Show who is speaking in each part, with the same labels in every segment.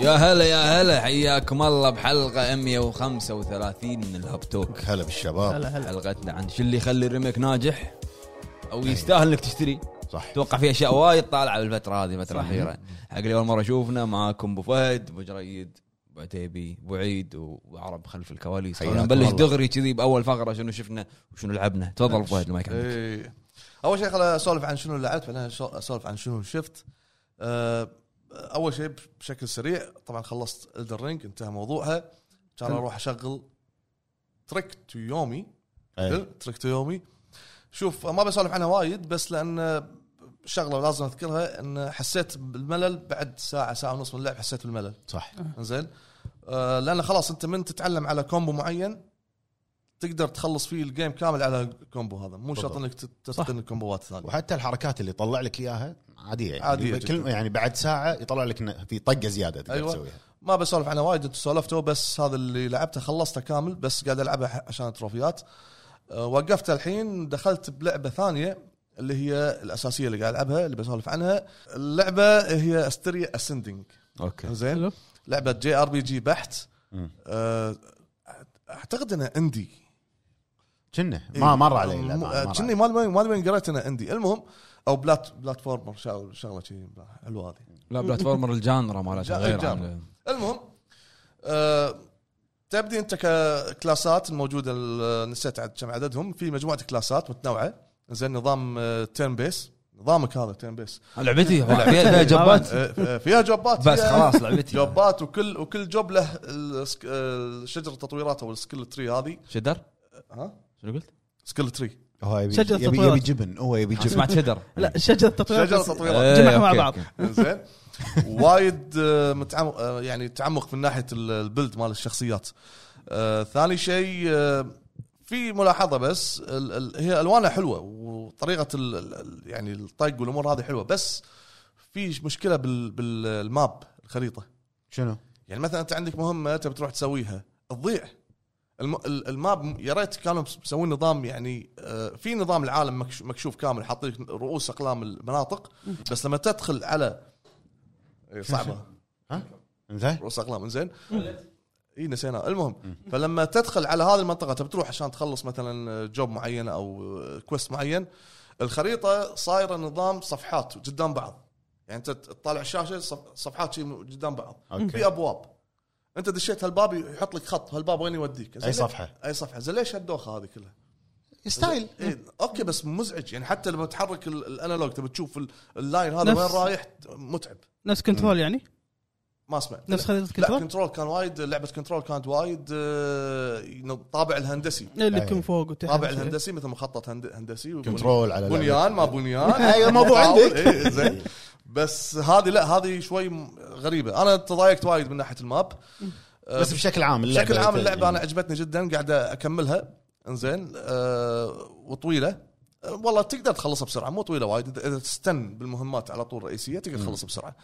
Speaker 1: يا هلا يا هلا حياكم الله بحلقه 135 من الهاب توك
Speaker 2: هلا بالشباب
Speaker 3: هلا هلا
Speaker 1: حلقتنا عن شو اللي يخلي الريميك ناجح او يستاهل انك تشتري
Speaker 2: صح إيه،
Speaker 1: اتوقع في اشياء وايد طالعه بالفتره هذه الفتره الاخيره حق اللي اول مره اشوفنا معاكم ابو فهد ابو جريد ابو عتيبي ابو عيد وعرب خلف الكواليس
Speaker 2: حياكم
Speaker 1: خلونا نبلش
Speaker 2: الله.
Speaker 1: دغري كذي باول فقره شنو شفنا وشنو لعبنا تفضل ابو فهد المايك عندك
Speaker 4: إيه. اول شيء خل اسولف عن شنو لعبت بعدين اسولف عن شنو شفت أه، اول شيء بشكل سريع طبعا خلصت الدر رينج انتهى موضوعها كان اروح اشغل تريك تو يومي
Speaker 2: إيه.
Speaker 4: حلو؟ تريك تو يومي شوف ما بسولف عنها وايد بس لان شغله لازم اذكرها ان حسيت بالملل بعد ساعه ساعه ونص من اللعب حسيت بالملل
Speaker 2: صح
Speaker 4: زين آه لان خلاص انت من تتعلم على كومبو معين تقدر تخلص فيه الجيم كامل على كومبو هذا مو شرط
Speaker 2: بالضبط.
Speaker 4: انك تت- تتقن الكومبوات الثانيه
Speaker 2: وحتى الحركات اللي طلع لك اياها عاديه يعني
Speaker 4: عادية
Speaker 2: كل يعني بعد ساعه يطلع لك إنه في طقه زياده تقدر
Speaker 4: أيوة.
Speaker 2: تسويها
Speaker 4: ما بسولف عنها وايد انتم سولفتوا بس هذا اللي لعبته خلصته كامل بس قاعد العبه ح- عشان التروفيات آه وقفت الحين دخلت بلعبه ثانيه اللي هي الاساسيه اللي قاعد العبها اللي بسولف عنها اللعبه هي استريا اسندنج
Speaker 1: اوكي
Speaker 4: زين
Speaker 3: حلو
Speaker 4: لعبه جي ار بي جي بحت
Speaker 2: مم.
Speaker 4: آه اعتقد انها اندي
Speaker 2: كنا
Speaker 4: إيه.
Speaker 2: ما مر علي لا، ما- مر
Speaker 4: كني
Speaker 2: علي.
Speaker 4: ما ما ما وين قريت انا عندي المهم او بلات بلاتفورمر شا- شغله شي حلوه هذه
Speaker 1: لا بلاتفورمر الجانرا مالتها
Speaker 4: الجا-
Speaker 1: غير
Speaker 4: الجانرا.
Speaker 1: عن-
Speaker 4: المهم آه تبدي انت ككلاسات الموجوده ال- نسيت عد كم عددهم في مجموعه كلاسات متنوعه زين نظام تيرن بيس نظامك هذا تيرن بيس
Speaker 1: لعبتي فيها جبات
Speaker 4: آه، فيها جوبات
Speaker 1: بس
Speaker 4: فيها
Speaker 1: خلاص لعبتي
Speaker 4: جوبات وكل وكل جوب له السك- آه، شجره تطويرات او السكيل تري هذه
Speaker 1: شدر
Speaker 4: ها
Speaker 1: شنو قلت؟
Speaker 4: سكيل تري
Speaker 2: هو يبي
Speaker 3: شجرة
Speaker 2: يبي, يبي
Speaker 3: تطويرات.
Speaker 2: جبن هو يبي
Speaker 1: أنا
Speaker 2: جبن
Speaker 1: سمعت شدر
Speaker 3: لا شجره تطوير
Speaker 4: شجره
Speaker 3: بس-
Speaker 4: تطويرات
Speaker 1: إيه،
Speaker 3: جمعها مع
Speaker 1: أوكي،
Speaker 3: بعض.
Speaker 1: أوكي.
Speaker 4: زين وايد آه، متعم... آه، يعني تعمق من ناحيه ال- البلد مال الشخصيات آه، ثاني شيء آه، في ملاحظه بس ال... ال... هي الوانها حلوه وطريقه ال... ال- ال... يعني الطق والامور هذه حلوه بس في مشكله بال... بالماب الخريطه
Speaker 2: شنو؟
Speaker 4: يعني مثلا انت عندك مهمه تبي تروح تسويها تضيع الم... ال- الماب يا ريت كانوا مس- مسوين نظام يعني آه، في نظام العالم مكش- مكشوف كامل حاطين لك رؤوس اقلام المناطق بس لما تدخل على إيه، صعبه
Speaker 2: انزين
Speaker 4: رؤوس اقلام زين اي نسيناه المهم فلما تدخل على هذه المنطقه تبي تروح عشان تخلص مثلا جوب معين او كويست معين الخريطه صايره نظام صفحات قدام بعض يعني انت تطالع الشاشه صف- صفحات شي قدام بعض في
Speaker 2: اوكي
Speaker 4: ابواب انت دشيت هالباب يحط لك خط هالباب وين يوديك زين
Speaker 2: اي
Speaker 4: ليه-
Speaker 2: صفحه
Speaker 4: اي صفحه زين ليش هالدوخه هذه كلها
Speaker 2: ستايل
Speaker 4: إيه اوكي بس مزعج يعني حتى لما تحرك ال- الانالوج تبي تشوف ال- اللاين هذا
Speaker 3: نفس-
Speaker 4: وين رايح متعب
Speaker 3: نفس كنترول يعني
Speaker 4: ما سمعت
Speaker 3: نفس خريطه
Speaker 4: لا
Speaker 3: كنترول
Speaker 4: كنترول كان وايد لعبه كنترول كانت وايد آه، ين- طابع الهندسي
Speaker 3: إيه، اللي
Speaker 2: أي.
Speaker 3: يكون فوق وتحت
Speaker 4: أيوه. طابع الهندسي مثل مخطط هند- هندسي وبن-
Speaker 2: كنترول على
Speaker 4: بنيان ما بنيان
Speaker 2: أي، الموضوع عندك.
Speaker 4: إيه، زين بس هذه لا هذه شوي م- غريبه انا تضايقت وايد من ناحيه الماب آه،
Speaker 2: بس بشكل عام اللعبه
Speaker 4: بشكل عام
Speaker 2: يعني-
Speaker 4: اللعبه انا عجبتني جدا قاعد اكملها انزين أه وطويله أه والله تقدر تخلصها بسرعه مو طويله وايد اذا إذا تستن بالمهمات على طول الرئيسيه تقدر تخلصها بسرعه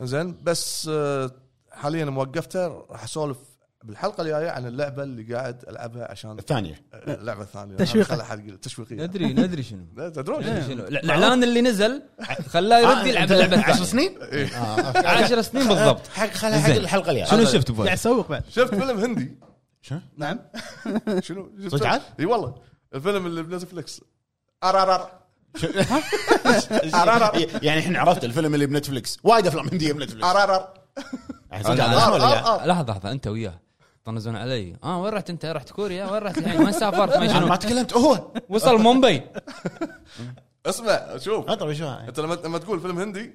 Speaker 4: انزين بس أه حاليا موقفتها راح اسولف بالحلقه الجايه عن اللعبه اللي قاعد العبها عشان
Speaker 2: الثانيه
Speaker 4: أه، اللعبه الثانيه
Speaker 3: تشويقي.
Speaker 4: خلها حد يقول تشويقيه
Speaker 1: ندري ندري شنو
Speaker 4: لا تدرون
Speaker 1: ندري شنو لا، الاعلان اللي نزل خلاه
Speaker 2: آه،
Speaker 1: يرد يلعب اللعبه
Speaker 2: أنت- 10
Speaker 1: الثانية.
Speaker 2: سنين؟
Speaker 4: إيه.
Speaker 2: آه، أوكي.
Speaker 1: 10 سنين بالضبط
Speaker 2: حق خلها حق
Speaker 1: زين.
Speaker 2: الحلقه الجايه
Speaker 1: شنو شفت بوي؟
Speaker 3: قاعد يسوق بعد
Speaker 4: شفت فيلم هندي
Speaker 2: شنو؟
Speaker 3: نعم
Speaker 4: شنو
Speaker 2: صدق عاد؟
Speaker 4: اي والله الفيلم اللي بنتفلكس ارارار
Speaker 2: يعني الحين عرفت الفيلم اللي بنتفلكس وايد افلام هنديه بنتفلكس
Speaker 4: ارارار
Speaker 2: يعني
Speaker 1: أنا-
Speaker 2: صدق هذا اسمه ولا لا؟
Speaker 4: آه.
Speaker 1: لحظه لحظه انت وياه طنزون علي اه وين رحت انت رحت كوريا وين رحت يعني وين سافرت ما
Speaker 2: آه، أنا
Speaker 1: شنو
Speaker 2: ما تكلمت هو
Speaker 1: وصل مومباي
Speaker 4: اسمع شوف
Speaker 2: ادري شو هاي.
Speaker 4: انت لما لما تقول فيلم هندي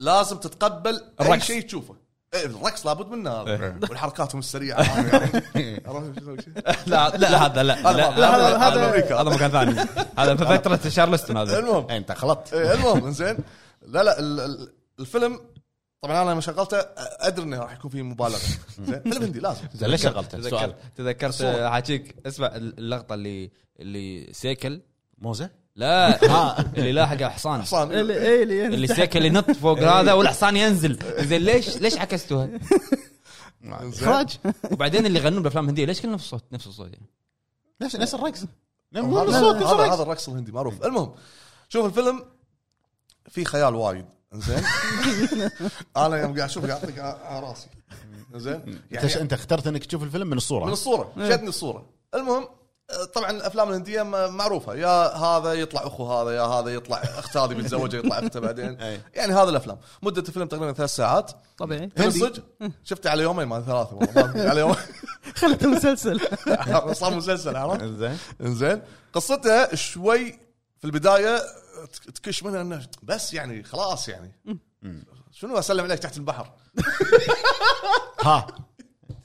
Speaker 4: لازم تتقبل اي
Speaker 1: الرقص.
Speaker 4: شيء تشوفه إيه، الرقص لابد منه
Speaker 2: إيه.
Speaker 4: هذا والحركاتهم السريعه هذه. عرفت شلون شي؟
Speaker 1: لا لا هذا لا
Speaker 4: هذا- هذا- هذا أمريكا.
Speaker 1: هذا مكان ثاني هذا في فتره شارلستون هذا
Speaker 4: المهم
Speaker 2: إيه، انت خلطت
Speaker 4: إيه، المهم زين لا لا ال- ال- الفيلم طبعا انا لما شغلته ادري انه راح يكون فيه مبالغه زين فيلم هندي لازم
Speaker 2: زين ليش شغلته؟ سؤال
Speaker 1: تذكرت تذكرت حاجيك اسمع اللقطه اللي اللي سيكل
Speaker 2: موزه؟
Speaker 1: لا
Speaker 2: آه.
Speaker 1: اللي لاحقه حصان
Speaker 4: حصان
Speaker 3: اللي إيه، اللي
Speaker 1: اللي
Speaker 3: ينزل تحت.
Speaker 1: سيكل ينط فوق هذا والحصان ينزل زين ليش ليش عكستوها؟
Speaker 4: زين.
Speaker 3: اخراج
Speaker 1: وبعدين اللي يغنون بالافلام الهنديه ليش كل نفس الصوت نفس الصوت يعني؟
Speaker 2: نفس نفس الرقص
Speaker 4: هذا هذا- هذا الرقص الهندي معروف المهم شوف الفيلم في خيال وايد زين انا يوم قاعد اشوف قاعد اعطيك على راسي يعني زين
Speaker 2: انت انت اخترت انك تشوف الفيلم يعني- من
Speaker 4: من
Speaker 2: الصوره
Speaker 4: الصوره شدني الصوره المهم آه، طبعا الافلام الهنديه م- معروفه يا هذا يطلع اخو هذا يا هذا يطلع اخت هذه بيتزوجها يطلع اخته بعدين
Speaker 2: أي.
Speaker 4: يعني هذا الافلام مده الفيلم تقريبا ثلاث ساعات
Speaker 3: طبيعي
Speaker 4: أنا صدق شفته على يومين ما ثلاثه والله ما أدري، على
Speaker 3: خلت مسلسل
Speaker 4: يومين صار مسلسل عرفت
Speaker 2: زين
Speaker 4: انزين قصتها شوي في البدايه تك- تكش منها انه بس يعني خلاص يعني شنو اسلم عليك تحت البحر
Speaker 2: ها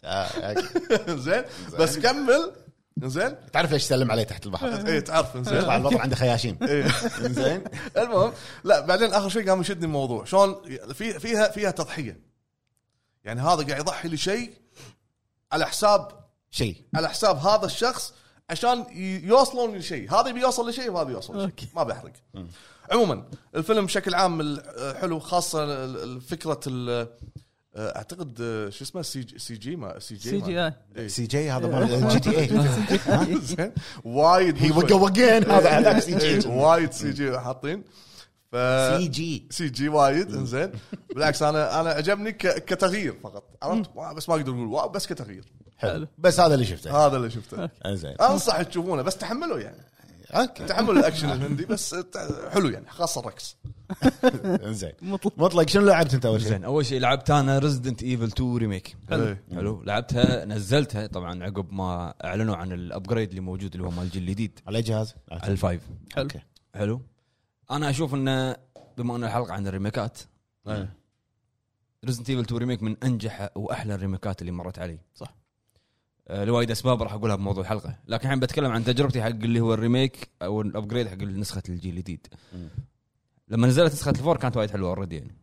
Speaker 2: آه، أوكي.
Speaker 4: زين بس كمل زين
Speaker 2: تعرف ليش سلم عليه تحت البحر
Speaker 4: اي تعرف إيه. زين
Speaker 2: يطلع البطل عنده خياشيم زين
Speaker 4: المهم لا بعدين اخر شيء قام يشدني الموضوع شلون في فيها فيها تضحيه يعني هذا قاعد يضحي لشيء على حساب
Speaker 2: شيء
Speaker 4: على حساب هذا الشخص عشان ي- يوصلون لشيء هذا بيوصل لشيء وهذا بيوصل
Speaker 3: أوكي.
Speaker 4: لشيء ما بحرق عموما الفيلم بشكل عام ال- حلو خاصه ال- ال- فكره ال- اعتقد شو اسمه سي جي سي جي ما سي جي
Speaker 3: سي جي آه. اي
Speaker 2: سي جي هذا مال جي تي اي
Speaker 4: زين وايد
Speaker 2: هي وقا وقين هذا هذاك سي
Speaker 4: إيه،
Speaker 2: جي
Speaker 4: وايد سي جي حاطين ف
Speaker 2: سي جي
Speaker 4: سي جي وايد انزين بالعكس انا انا عجبني ك- كتغيير فقط عرفت واو، بس ما اقدر اقول واو بس كتغيير
Speaker 2: حلو بس هذا اللي شفته
Speaker 4: هذا اللي شفته
Speaker 2: زين
Speaker 4: انصح تشوفونه بس تحملوا يعني
Speaker 2: اوكي
Speaker 4: تحمل الاكشن الهندي بس تع- حلو يعني خاصه الركس
Speaker 2: زين
Speaker 3: مطلق
Speaker 2: مطلق شنو لعبت انت اول شيء؟
Speaker 1: زين اول شيء لعبت انا ريزدنت ايفل 2 ريميك
Speaker 4: حلو.
Speaker 1: حلو لعبتها نزلتها طبعا عقب ما اعلنوا عن الابجريد اللي موجود اللي هو مال الجيل الجديد
Speaker 2: على اي جهاز؟
Speaker 1: على الفايف
Speaker 3: حلو
Speaker 2: اوكي
Speaker 1: حلو انا اشوف انه بما ان الحلقه عن الريميكات
Speaker 2: إيه.
Speaker 1: ريزنت ايفل 2 ريميك من انجح واحلى الريميكات اللي مرت علي
Speaker 3: صح.
Speaker 1: آه، لوايد اسباب راح اقولها بموضوع الحلقه لكن الحين بتكلم عن تجربتي حق اللي هو الريميك او الابجريد حق نسخه الجيل الجديد
Speaker 2: مم.
Speaker 1: لما نزلت نسخه الفور كانت وايد حلوه اوريدي يعني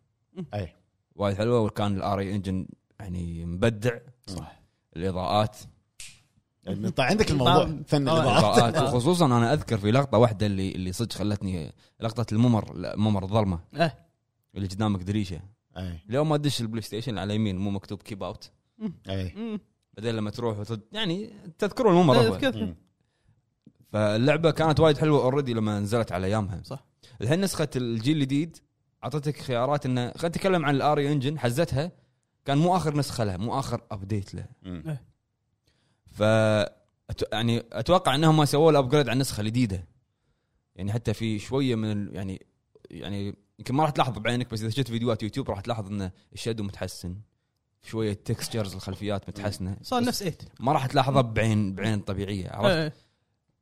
Speaker 2: اي
Speaker 1: وايد حلوه وكان الار اي انجن يعني مبدع
Speaker 2: صح.
Speaker 1: الاضاءات
Speaker 2: طيب عندك الموضوع
Speaker 3: طبعاً.
Speaker 2: فن
Speaker 3: طبعاً.
Speaker 2: الاضاءات
Speaker 1: الاضاءات وخصوصا انا اذكر في لقطه واحده اللي اللي صدق خلتني لقطه الممر لا، ممر الظلمه
Speaker 3: إيه.
Speaker 1: اللي قدامك دريشه
Speaker 2: اي
Speaker 1: اليوم ما تدش البلاي ستيشن على يمين مو مكتوب كيب اوت
Speaker 2: اي
Speaker 3: أمم.
Speaker 1: بعدين لما تروح وتد... يعني تذكرون الممر
Speaker 3: إيه،
Speaker 1: هو.
Speaker 3: كذا.
Speaker 1: فاللعبه كانت وايد حلوه اوريدي لما نزلت على ايامها
Speaker 3: صح.
Speaker 1: الحين نسخه الجيل الجديد اعطتك خيارات انه خلينا نتكلم عن الاري انجن حزتها كان مو اخر نسخه لها مو اخر ابديت لها ف أت- يعني اتوقع انهم سووا الابجريد على النسخه الجديده يعني حتى في شويه من ال- يعني يعني يمكن ما راح تلاحظ بعينك بس اذا شفت فيديوهات يوتيوب راح تلاحظ ان الشادو متحسن شويه تكستشرز الخلفيات متحسنه
Speaker 3: صار
Speaker 1: بس
Speaker 3: نفس 8
Speaker 1: ما راح تلاحظها بعين بعين طبيعيه عرفت
Speaker 3: إيه.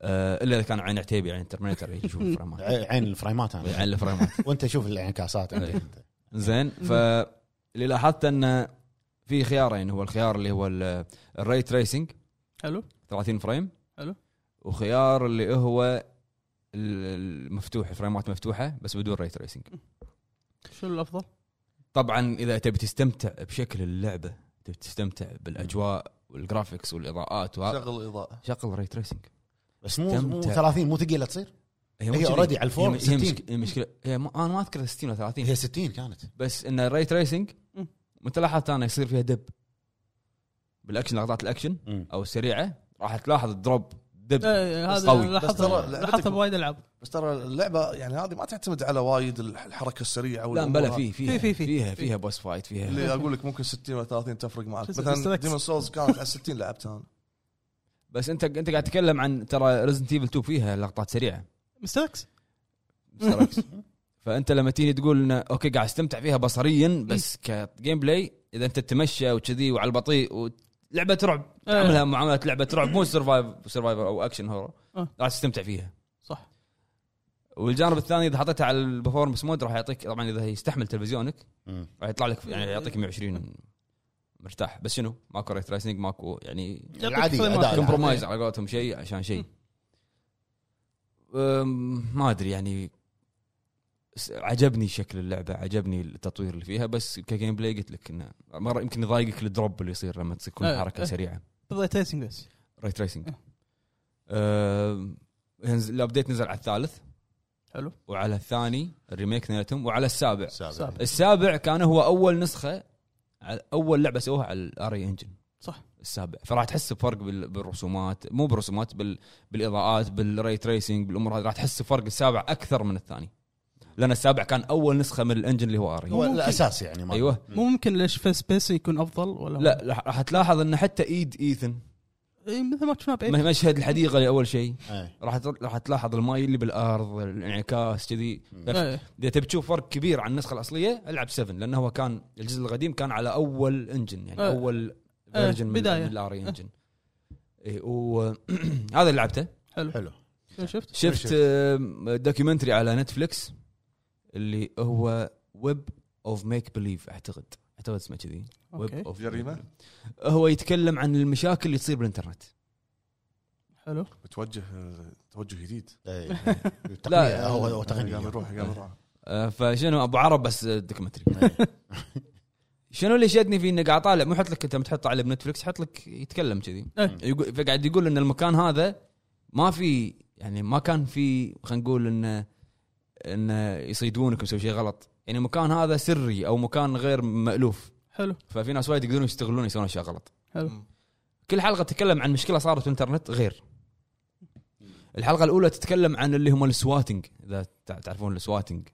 Speaker 1: آه الا اذا كان عين عتيبي يعني ترمينيتر يشوف الفريمات
Speaker 2: عين الفريمات انا
Speaker 1: عين الفريمات
Speaker 2: وانت شوف الانعكاسات
Speaker 1: إيه.
Speaker 2: انت
Speaker 1: زين فاللي لاحظت انه في خيارين هو الخيار اللي هو ال- الري تريسنج
Speaker 3: حلو
Speaker 1: 30 فريم
Speaker 3: حلو.
Speaker 1: وخيار اللي هو ال- المفتوح الفريمات مفتوحه بس بدون ري تريسنج
Speaker 3: شنو الافضل؟
Speaker 1: طبعا اذا تبي تستمتع بشكل اللعبه تبي تستمتع بالاجواء والجرافيكس والاضاءات وهذا
Speaker 4: شغل الاضاءه
Speaker 1: شغل ري تريسنج
Speaker 2: بس مو مو
Speaker 1: تمتع.
Speaker 2: 30 مو ثقيله تصير
Speaker 1: مو
Speaker 2: هي
Speaker 1: كذي.
Speaker 2: already على الفور
Speaker 1: هي- هي
Speaker 2: 60.
Speaker 1: مشك- هي مشكله هي ما- انا ما اذكر 60 ولا 30
Speaker 2: هي 60 كانت
Speaker 1: بس ان الري تريسنج
Speaker 3: مم.
Speaker 1: انت لاحظت انا يصير فيها دب بالاكشن لقطات الاكشن او السريعه راح تلاحظ الدروب دب
Speaker 3: إيه،
Speaker 1: بس
Speaker 3: هذا
Speaker 1: قوي.
Speaker 4: بس ترى
Speaker 3: لاحظته لاحظته
Speaker 4: لعبتك-
Speaker 3: بوايد العاب
Speaker 4: بس ترى اللعبه يعني هذه ما تعتمد على وايد الح- الحركه السريعه
Speaker 1: لا
Speaker 4: والأمور
Speaker 1: بلا
Speaker 4: هذه.
Speaker 1: في فيها
Speaker 3: في- في-
Speaker 1: فيها
Speaker 3: في.
Speaker 1: فيها بوس فايت فيها
Speaker 4: اللي اقول لك ممكن 60 ولا 30 تفرق معك
Speaker 3: شو اسمه؟
Speaker 4: مثلا
Speaker 3: مستر إكس.
Speaker 4: ديمون سولز كانت على 60 لعبتها انا
Speaker 1: بس انت انت قاعد تتكلم عن ترى ريزنت ايفل 2 فيها لقطات سريعه
Speaker 3: مستر اكس
Speaker 1: مستر إكس. فانت لما تيجي تقول إنه اوكي قاعد استمتع فيها بصريا بس كجيم بلاي اذا انت تتمشى وكذي وعلى البطيء و- لعبه رعب
Speaker 3: إيه.
Speaker 1: تعملها معامله لعبه رعب مو سرفايف سرفايفر او اكشن هورر
Speaker 3: آه.
Speaker 1: راح تستمتع فيها
Speaker 3: صح
Speaker 1: والجانب الثاني اذا حطيتها على البرفورمس مود راح يعطيك طبعا اذا يستحمل تلفزيونك
Speaker 2: مم.
Speaker 1: راح يطلع لك يعني يعطيك 120 مرتاح بس شنو ماكو ريت ريسنج ماكو يعني
Speaker 2: العادي
Speaker 3: فريمات.
Speaker 2: أداء.
Speaker 1: كومبرومايز على قولتهم شيء عشان شيء أم، ما ادري يعني س- عجبني شكل اللعبه عجبني التطوير اللي فيها بس كجيم بلاي قلت لك انه مره يمكن يضايقك الدروب اللي يصير لما تكون
Speaker 3: أه،
Speaker 1: حركه
Speaker 3: أه.
Speaker 1: سريعه
Speaker 3: بالضبط تيسنج بس
Speaker 1: ريت ريسنج
Speaker 3: أه.
Speaker 1: الابديت نزل على الثالث
Speaker 3: حلو
Speaker 1: وعلى الثاني الريميك نيتهم وعلى السابع
Speaker 2: سابع.
Speaker 3: سابع.
Speaker 1: السابع كان هو اول نسخه على- اول لعبه سووها على الاري انجن
Speaker 3: صح.
Speaker 1: السابع فراح تحس بفرق بال- بالرسومات مو بالرسومات بال... بالاضاءات بالري تريسنج بالامور هذه راح تحس بفرق السابع اكثر من الثاني لان السابع كان اول نسخه من الانجن اللي هو اري
Speaker 2: هو
Speaker 3: ممكن.
Speaker 2: الاساس يعني ما
Speaker 1: ايوه
Speaker 3: مو ممكن ليش فيس بيس يكون افضل ولا
Speaker 1: لا راح- راح تلاحظ ان حتى ايد ايثن
Speaker 3: إيه، مثل ما شفنا
Speaker 1: م-
Speaker 3: بايد
Speaker 1: مشهد الحديقه اول شيء
Speaker 2: إيه.
Speaker 1: راح تل- راح تلاحظ الماي اللي بالارض الانعكاس كذي
Speaker 3: إيه.
Speaker 1: اذا تبي تشوف فرق كبير عن النسخه الاصليه العب 7 لانه هو كان الجزء القديم كان على اول انجن يعني
Speaker 3: آه.
Speaker 1: اول
Speaker 3: آه،
Speaker 1: فيرجن من
Speaker 3: بداية.
Speaker 1: الاري انجن اي وهذا اللي لعبته
Speaker 2: حلو
Speaker 3: إيه. شفت
Speaker 1: شفت آم، دوكيومنتري على نتفلكس اللي هو ويب اوف ميك بليف اعتقد اعتقد اسمه كذي
Speaker 3: أوكي.
Speaker 1: Web of-
Speaker 4: جريمه
Speaker 1: هو يتكلم عن المشاكل اللي تصير بالانترنت
Speaker 3: حلو
Speaker 4: بتوجه آه، توجه جديد يعني
Speaker 2: إيه.
Speaker 1: لا.
Speaker 2: تقنية هو هو تقنية
Speaker 4: قام يروح قام يروح
Speaker 1: آه، فشنو ابو عرب بس دوكيومنتري شنو اللي شدني فيه انه قاعد طالع مو حط لك انت متحط عليه بنتفلكس حط لك يتكلم كذي
Speaker 3: إيه.
Speaker 1: يقول فقاعد يقول ان المكان هذا ما في يعني ما كان في خلينا نقول انه انه يصيدونك ويسوي شيء غلط يعني المكان هذا سري او مكان غير مالوف
Speaker 3: حلو
Speaker 1: ففي ناس وايد يقدرون يستغلون يسوون اشياء غلط
Speaker 3: حلو
Speaker 1: كل حلقه تتكلم عن مشكله صارت في الانترنت غير الحلقه الاولى تتكلم عن اللي هم السواتنج اذا تع- تعرفون السواتنج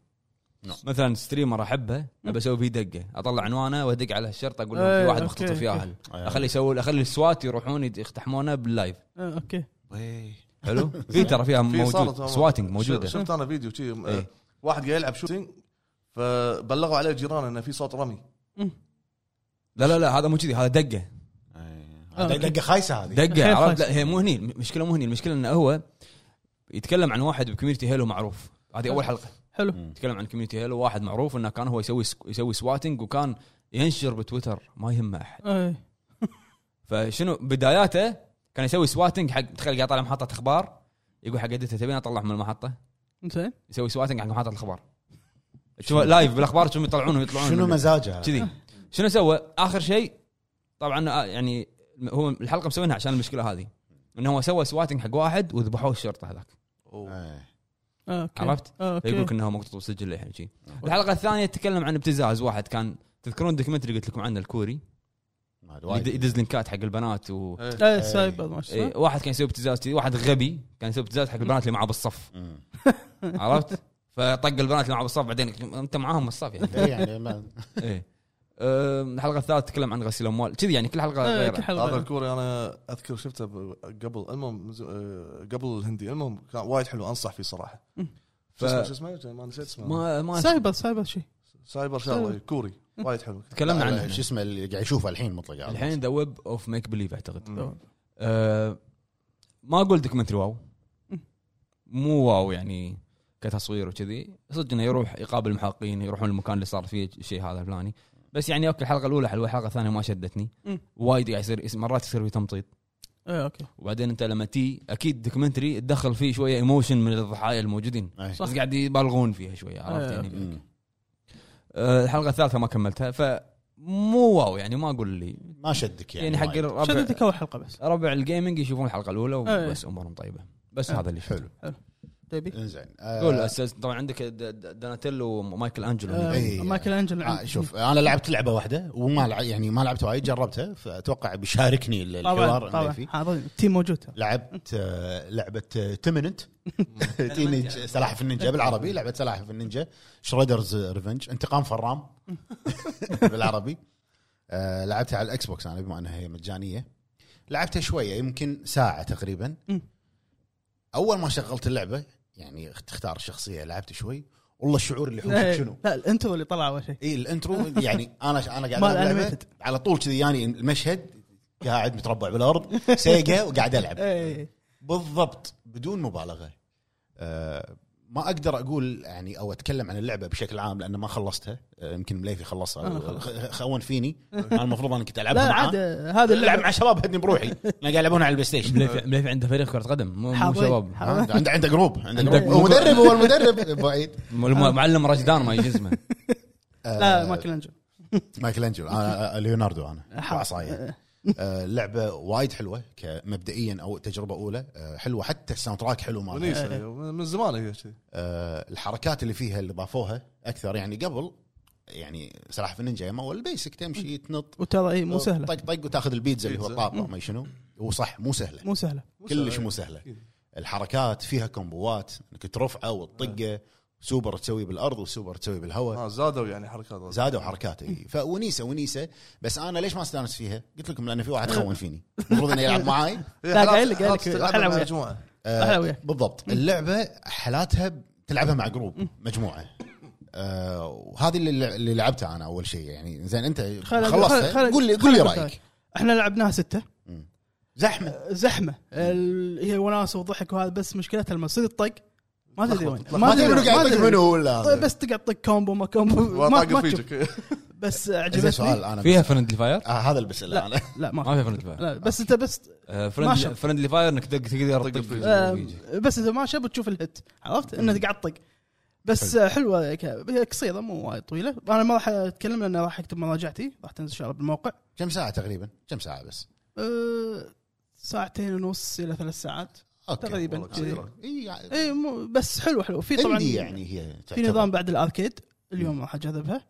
Speaker 2: نعم.
Speaker 1: مثلا ستريمر احبه ابى اسوي فيه دقه اطلع عنوانه وادق على الشرطه اقول لهم في
Speaker 3: إيه،
Speaker 1: واحد
Speaker 3: أوكي،
Speaker 1: مختطف
Speaker 3: أوكي.
Speaker 1: ياهل اخلي يسوي اخلي السوات يروحون يد- يقتحمونه باللايف
Speaker 3: آه، اوكي
Speaker 1: حلو في ترى فيها
Speaker 4: في
Speaker 1: موجود
Speaker 4: صارت والله.
Speaker 1: سواتنج موجوده
Speaker 4: شفت انا فيديو شي آه،
Speaker 1: إيه.
Speaker 4: واحد قاعد يلعب شوتينج فبلغوا عليه جيرانه انه في صوت رمي
Speaker 1: لا لا لا هذا مو كذي هذا دقه
Speaker 2: دق- دقة خايسة هذه
Speaker 1: دقه
Speaker 3: خير
Speaker 1: عرفت لا
Speaker 3: خايس.
Speaker 1: هي مو هني المشكله مو هني المشكله انه هو يتكلم عن واحد بكوميونتي هيلو معروف هذه اول حلقه
Speaker 3: حلو
Speaker 2: Mm.
Speaker 1: يتكلم عن كوميونتي هيلو واحد معروف انه كان هو يسوي سك- يسوي سواتنج وكان ينشر بتويتر ما يهمه احد
Speaker 3: إيه.
Speaker 1: فشنو بداياته كان يسوي سواتنج حق تخيل قاعد طالع محطه اخبار يقول حق ادته تبين اطلع من المحطه
Speaker 3: زين
Speaker 1: يسوي سواتنج حق محطه الاخبار شوف لايف بالاخبار شو يطلعون ويطلعون
Speaker 2: شنو
Speaker 1: من-
Speaker 2: مزاجها
Speaker 1: كذي شنو سوى؟ اخر شيء طبعا آه، يعني هو الحلقه مسوينها عشان المشكله هذه انه هو سوى سواتنج حق واحد وذبحوه الشرطه هذاك
Speaker 4: أوه.
Speaker 2: إيه.
Speaker 3: آه، اوكي
Speaker 1: عرفت؟
Speaker 3: آه، اوكي
Speaker 1: فيقول لك انه هو مقطوع سجل الحين شي الحلقه الثانيه تتكلم عن ابتزاز واحد كان تذكرون دوكيومنتري قلت لكم عنه الكوري
Speaker 2: ما أدري
Speaker 1: اللي يد-
Speaker 2: وايد.
Speaker 1: يدز لينكات حق البنات و
Speaker 4: إيه.
Speaker 3: ايه سايبر ما
Speaker 1: إيه،
Speaker 3: شاء
Speaker 1: واحد كان يسوي ابتزاز كذي، واحد غبي كان يسوي ابتزاز حق البنات اللي معاه بالصف
Speaker 2: مم.
Speaker 1: عرفت؟ فطق البنات اللي معاه بالصف بعدين انت معاهم بالصف يعني
Speaker 2: إيه، يعني ما-
Speaker 1: ايه أم، الحلقه الثالثه تتكلم عن غسيل اموال كذي يعني كل حلقه
Speaker 3: الله. إيه، كل
Speaker 1: غير
Speaker 4: هذا
Speaker 3: حلقه
Speaker 4: الكوري انا اذكر شفته ب- قبل المهم ز- آه، قبل الهندي المهم كان وايد حلو انصح فيه صراحه
Speaker 1: ف-
Speaker 4: شو اسمه شو اسمه ما نسيت اسمه
Speaker 1: ما ما
Speaker 3: سايبر سايبر شيء
Speaker 4: سايبر شغله كوري وايد حلو
Speaker 1: تكلمنا
Speaker 2: لا، يعني
Speaker 1: عنه
Speaker 2: لا،
Speaker 1: إحنا.
Speaker 2: شو اسمه اللي قاعد يشوفه الحين مطلق
Speaker 1: الحين ذا ويب اوف ميك بليف اعتقد
Speaker 4: مم.
Speaker 1: أه ما اقول دوكيومنتري واو مو واو يعني كتصوير وكذي صدق انه يروح يقابل المحققين يروحون المكان اللي صار فيه الشيء هذا الفلاني بس يعني اوكي الحلقه الاولى حلوه الحلقه الثانيه ما شدتني
Speaker 3: مم.
Speaker 1: وايد قاعد يصير مرات يصير في تمطيط
Speaker 3: ايه اوكي
Speaker 1: وبعدين انت لما تي اكيد دوكيومنتري تدخل فيه شويه ايموشن من الضحايا الموجودين
Speaker 2: إيه.
Speaker 1: بس قاعد يبالغون فيها شويه عرفت
Speaker 3: آه،
Speaker 1: يعني
Speaker 2: مم.
Speaker 1: أه الحلقه الثالثه ما كملتها فمو واو يعني ما اقول لي
Speaker 2: ما شدك يعني
Speaker 1: يعني حق
Speaker 2: وايد.
Speaker 1: الربع
Speaker 3: شدتك اول حلقه بس
Speaker 1: ربع الجيمنج يشوفون الحلقه الاولى
Speaker 3: آه.
Speaker 1: وبس امورهم طيبه بس
Speaker 3: آه.
Speaker 1: هذا اللي حلو
Speaker 3: تبي
Speaker 2: انزين
Speaker 1: قول
Speaker 2: آه
Speaker 1: اساس طبعا عندك د- د- داناتيلو ومايكل انجلو
Speaker 3: آه،
Speaker 2: إيه.
Speaker 3: مايكل انجل
Speaker 2: آه،
Speaker 3: عندك.
Speaker 2: شوف انا لعبت لعبه واحده وما لع... يعني ما لعبت وايد جربتها فاتوقع بيشاركني ال- الحوار
Speaker 3: طبعا
Speaker 2: اللي
Speaker 3: طبعا
Speaker 2: فيه
Speaker 3: حاضر التيم موجود
Speaker 2: لعبت آه، لعبه تمننت تينيج سلاحف النينجا بالعربي لعبه سلاحف النينجا شرودرز ريفنج انتقام فرام بالعربي آه، لعبتها على الاكس بوكس انا بما انها هي مجانيه لعبتها شويه يمكن ساعه تقريبا
Speaker 3: مم.
Speaker 2: اول ما شغلت اللعبه يعني تختار الشخصيه لعبت شوي والله الشعور اللي
Speaker 3: لا،
Speaker 2: حوشك شنو
Speaker 3: إيه. لا الانترو اللي طلع اول شيء
Speaker 2: اي الانترو يعني انا انا قاعد
Speaker 3: مال
Speaker 2: ألعب لعبة،
Speaker 3: animated.
Speaker 2: على طول كذي يعني المشهد قاعد متربع بالارض سيجا وقاعد العب
Speaker 3: ايه
Speaker 2: بالضبط بدون مبالغه آه، ما اقدر اقول يعني او اتكلم عن اللعبه بشكل عام لان ما خلصتها آه، يمكن مليفي خلصها
Speaker 3: أنا
Speaker 2: أو- خ- خون فيني انا المفروض انا كنت العبها
Speaker 3: لا
Speaker 2: معاه.
Speaker 3: عاد آه، هذا
Speaker 2: العب
Speaker 3: اللعب
Speaker 2: مع شباب هدني بروحي انا قاعد يلعبون على البلاي ستيشن
Speaker 1: مليفي مليفي عنده فريق كره قدم مو مو
Speaker 3: حاضرين.
Speaker 1: شباب
Speaker 3: حاضرين.
Speaker 2: آه، عنده عنده جروب عنده
Speaker 1: عندك
Speaker 2: جروب هو
Speaker 1: جروب.
Speaker 2: مدرب هو المدرب بعيد
Speaker 1: الم- معلم رجدان ما يجي اسمه
Speaker 2: آه،
Speaker 3: لا مايكل انجل
Speaker 2: مايكل انجلو انا آه، ليوناردو انا
Speaker 3: حاضر.
Speaker 2: عصايه آه، لعبه وايد حلوه كمبدئيا او تجربه اولى آه، حلوه حتى الساوند تراك حلو
Speaker 1: آه.
Speaker 2: مالها
Speaker 3: إيه.
Speaker 4: ونيسه من زمان هي شي.
Speaker 2: آه، الحركات اللي فيها اللي ضافوها اكثر يعني قبل يعني سلاحف النينجا يما هو البيسك تمشي تنط
Speaker 3: وترى اي مو سهله
Speaker 2: طق طق وتاخذ البيتزا اللي هو
Speaker 4: بيتزا.
Speaker 2: طابه ما شنو وصح مو سهله
Speaker 3: مو سهله
Speaker 4: مو
Speaker 2: كلش
Speaker 4: سهلة. إيه. إيه.
Speaker 2: مو سهله الحركات فيها كومبوات انك ترفعه وتطقه سوبر تسويه بالارض وسوبر تسويه
Speaker 1: طيب.
Speaker 2: بالهواء
Speaker 4: اه زادوا يعني حركات
Speaker 2: زادوا حركات اي
Speaker 4: إيه.
Speaker 2: فونيسه ونيسه بس انا ليش ما استانس فيها؟ قلت لكم لان في واحد خون فيني المفروض انه يلعب معاي
Speaker 4: إيه،
Speaker 3: لا،
Speaker 4: خلاص-
Speaker 3: قايل لك- قايل
Speaker 4: خلاص
Speaker 3: لك،
Speaker 4: تلعبها
Speaker 3: حلوة.
Speaker 4: مع مجموعه
Speaker 3: أحلى وياك.
Speaker 2: آه، بالضبط اللعبه حالاتها ب- تلعبها مع جروب مجموعه آه، وهذه اللي اللي لعبتها انا اول شيء يعني زين انت
Speaker 3: خالد-
Speaker 2: خلصت
Speaker 3: خالد-
Speaker 2: قول لي قول لي
Speaker 3: خالد-
Speaker 2: رايك
Speaker 3: احنا لعبناها سته
Speaker 2: زحمه
Speaker 3: زحمه ال- هي وناسه وضحك وهذا بس مشكلتها لما يصير الطق ما تدري وين
Speaker 2: ما تدري منو قاعد يطق
Speaker 3: تدري.
Speaker 2: منو ولا
Speaker 3: طيب
Speaker 2: هذا.
Speaker 3: بس تقعد طق كومبو ما كومبو ما,
Speaker 4: وطاقه
Speaker 3: ما تشوف
Speaker 4: فيجك
Speaker 3: بس
Speaker 2: زين
Speaker 3: عجبتني
Speaker 2: سؤال انا
Speaker 1: فيها فرندلي فاير؟
Speaker 2: آه هذا اللي بساله انا
Speaker 3: لا ما
Speaker 1: ما فيها فرندلي فاير
Speaker 3: لا بس انت بس
Speaker 1: آه،
Speaker 3: ما
Speaker 1: فرندلي
Speaker 3: شاف.
Speaker 1: فرندلي فاير انك تق- تقدر
Speaker 4: طق
Speaker 1: تطق
Speaker 4: الفيجن.
Speaker 1: الفيجن.
Speaker 3: آه، بس اذا ما شب تشوف الهت عرفت انه قاعد طق بس آه، حلوه ك- هي قصيره مو وايد طويله انا ما راح اتكلم لان راح اكتب مراجعتي راح تنزل ان شاء الله بالموقع
Speaker 2: كم ساعه تقريبا كم ساعه بس
Speaker 3: أه، ساعتين ونص الى ثلاث ساعات
Speaker 2: اوكي
Speaker 3: تقريبا
Speaker 4: والله كثيرة.
Speaker 2: اي
Speaker 3: اي مو- بس حلو حلو في طبعا
Speaker 2: يعني عندي يعني هي
Speaker 3: في
Speaker 2: تعتبر.
Speaker 3: نظام بعد الاركيد اليوم راح اجربها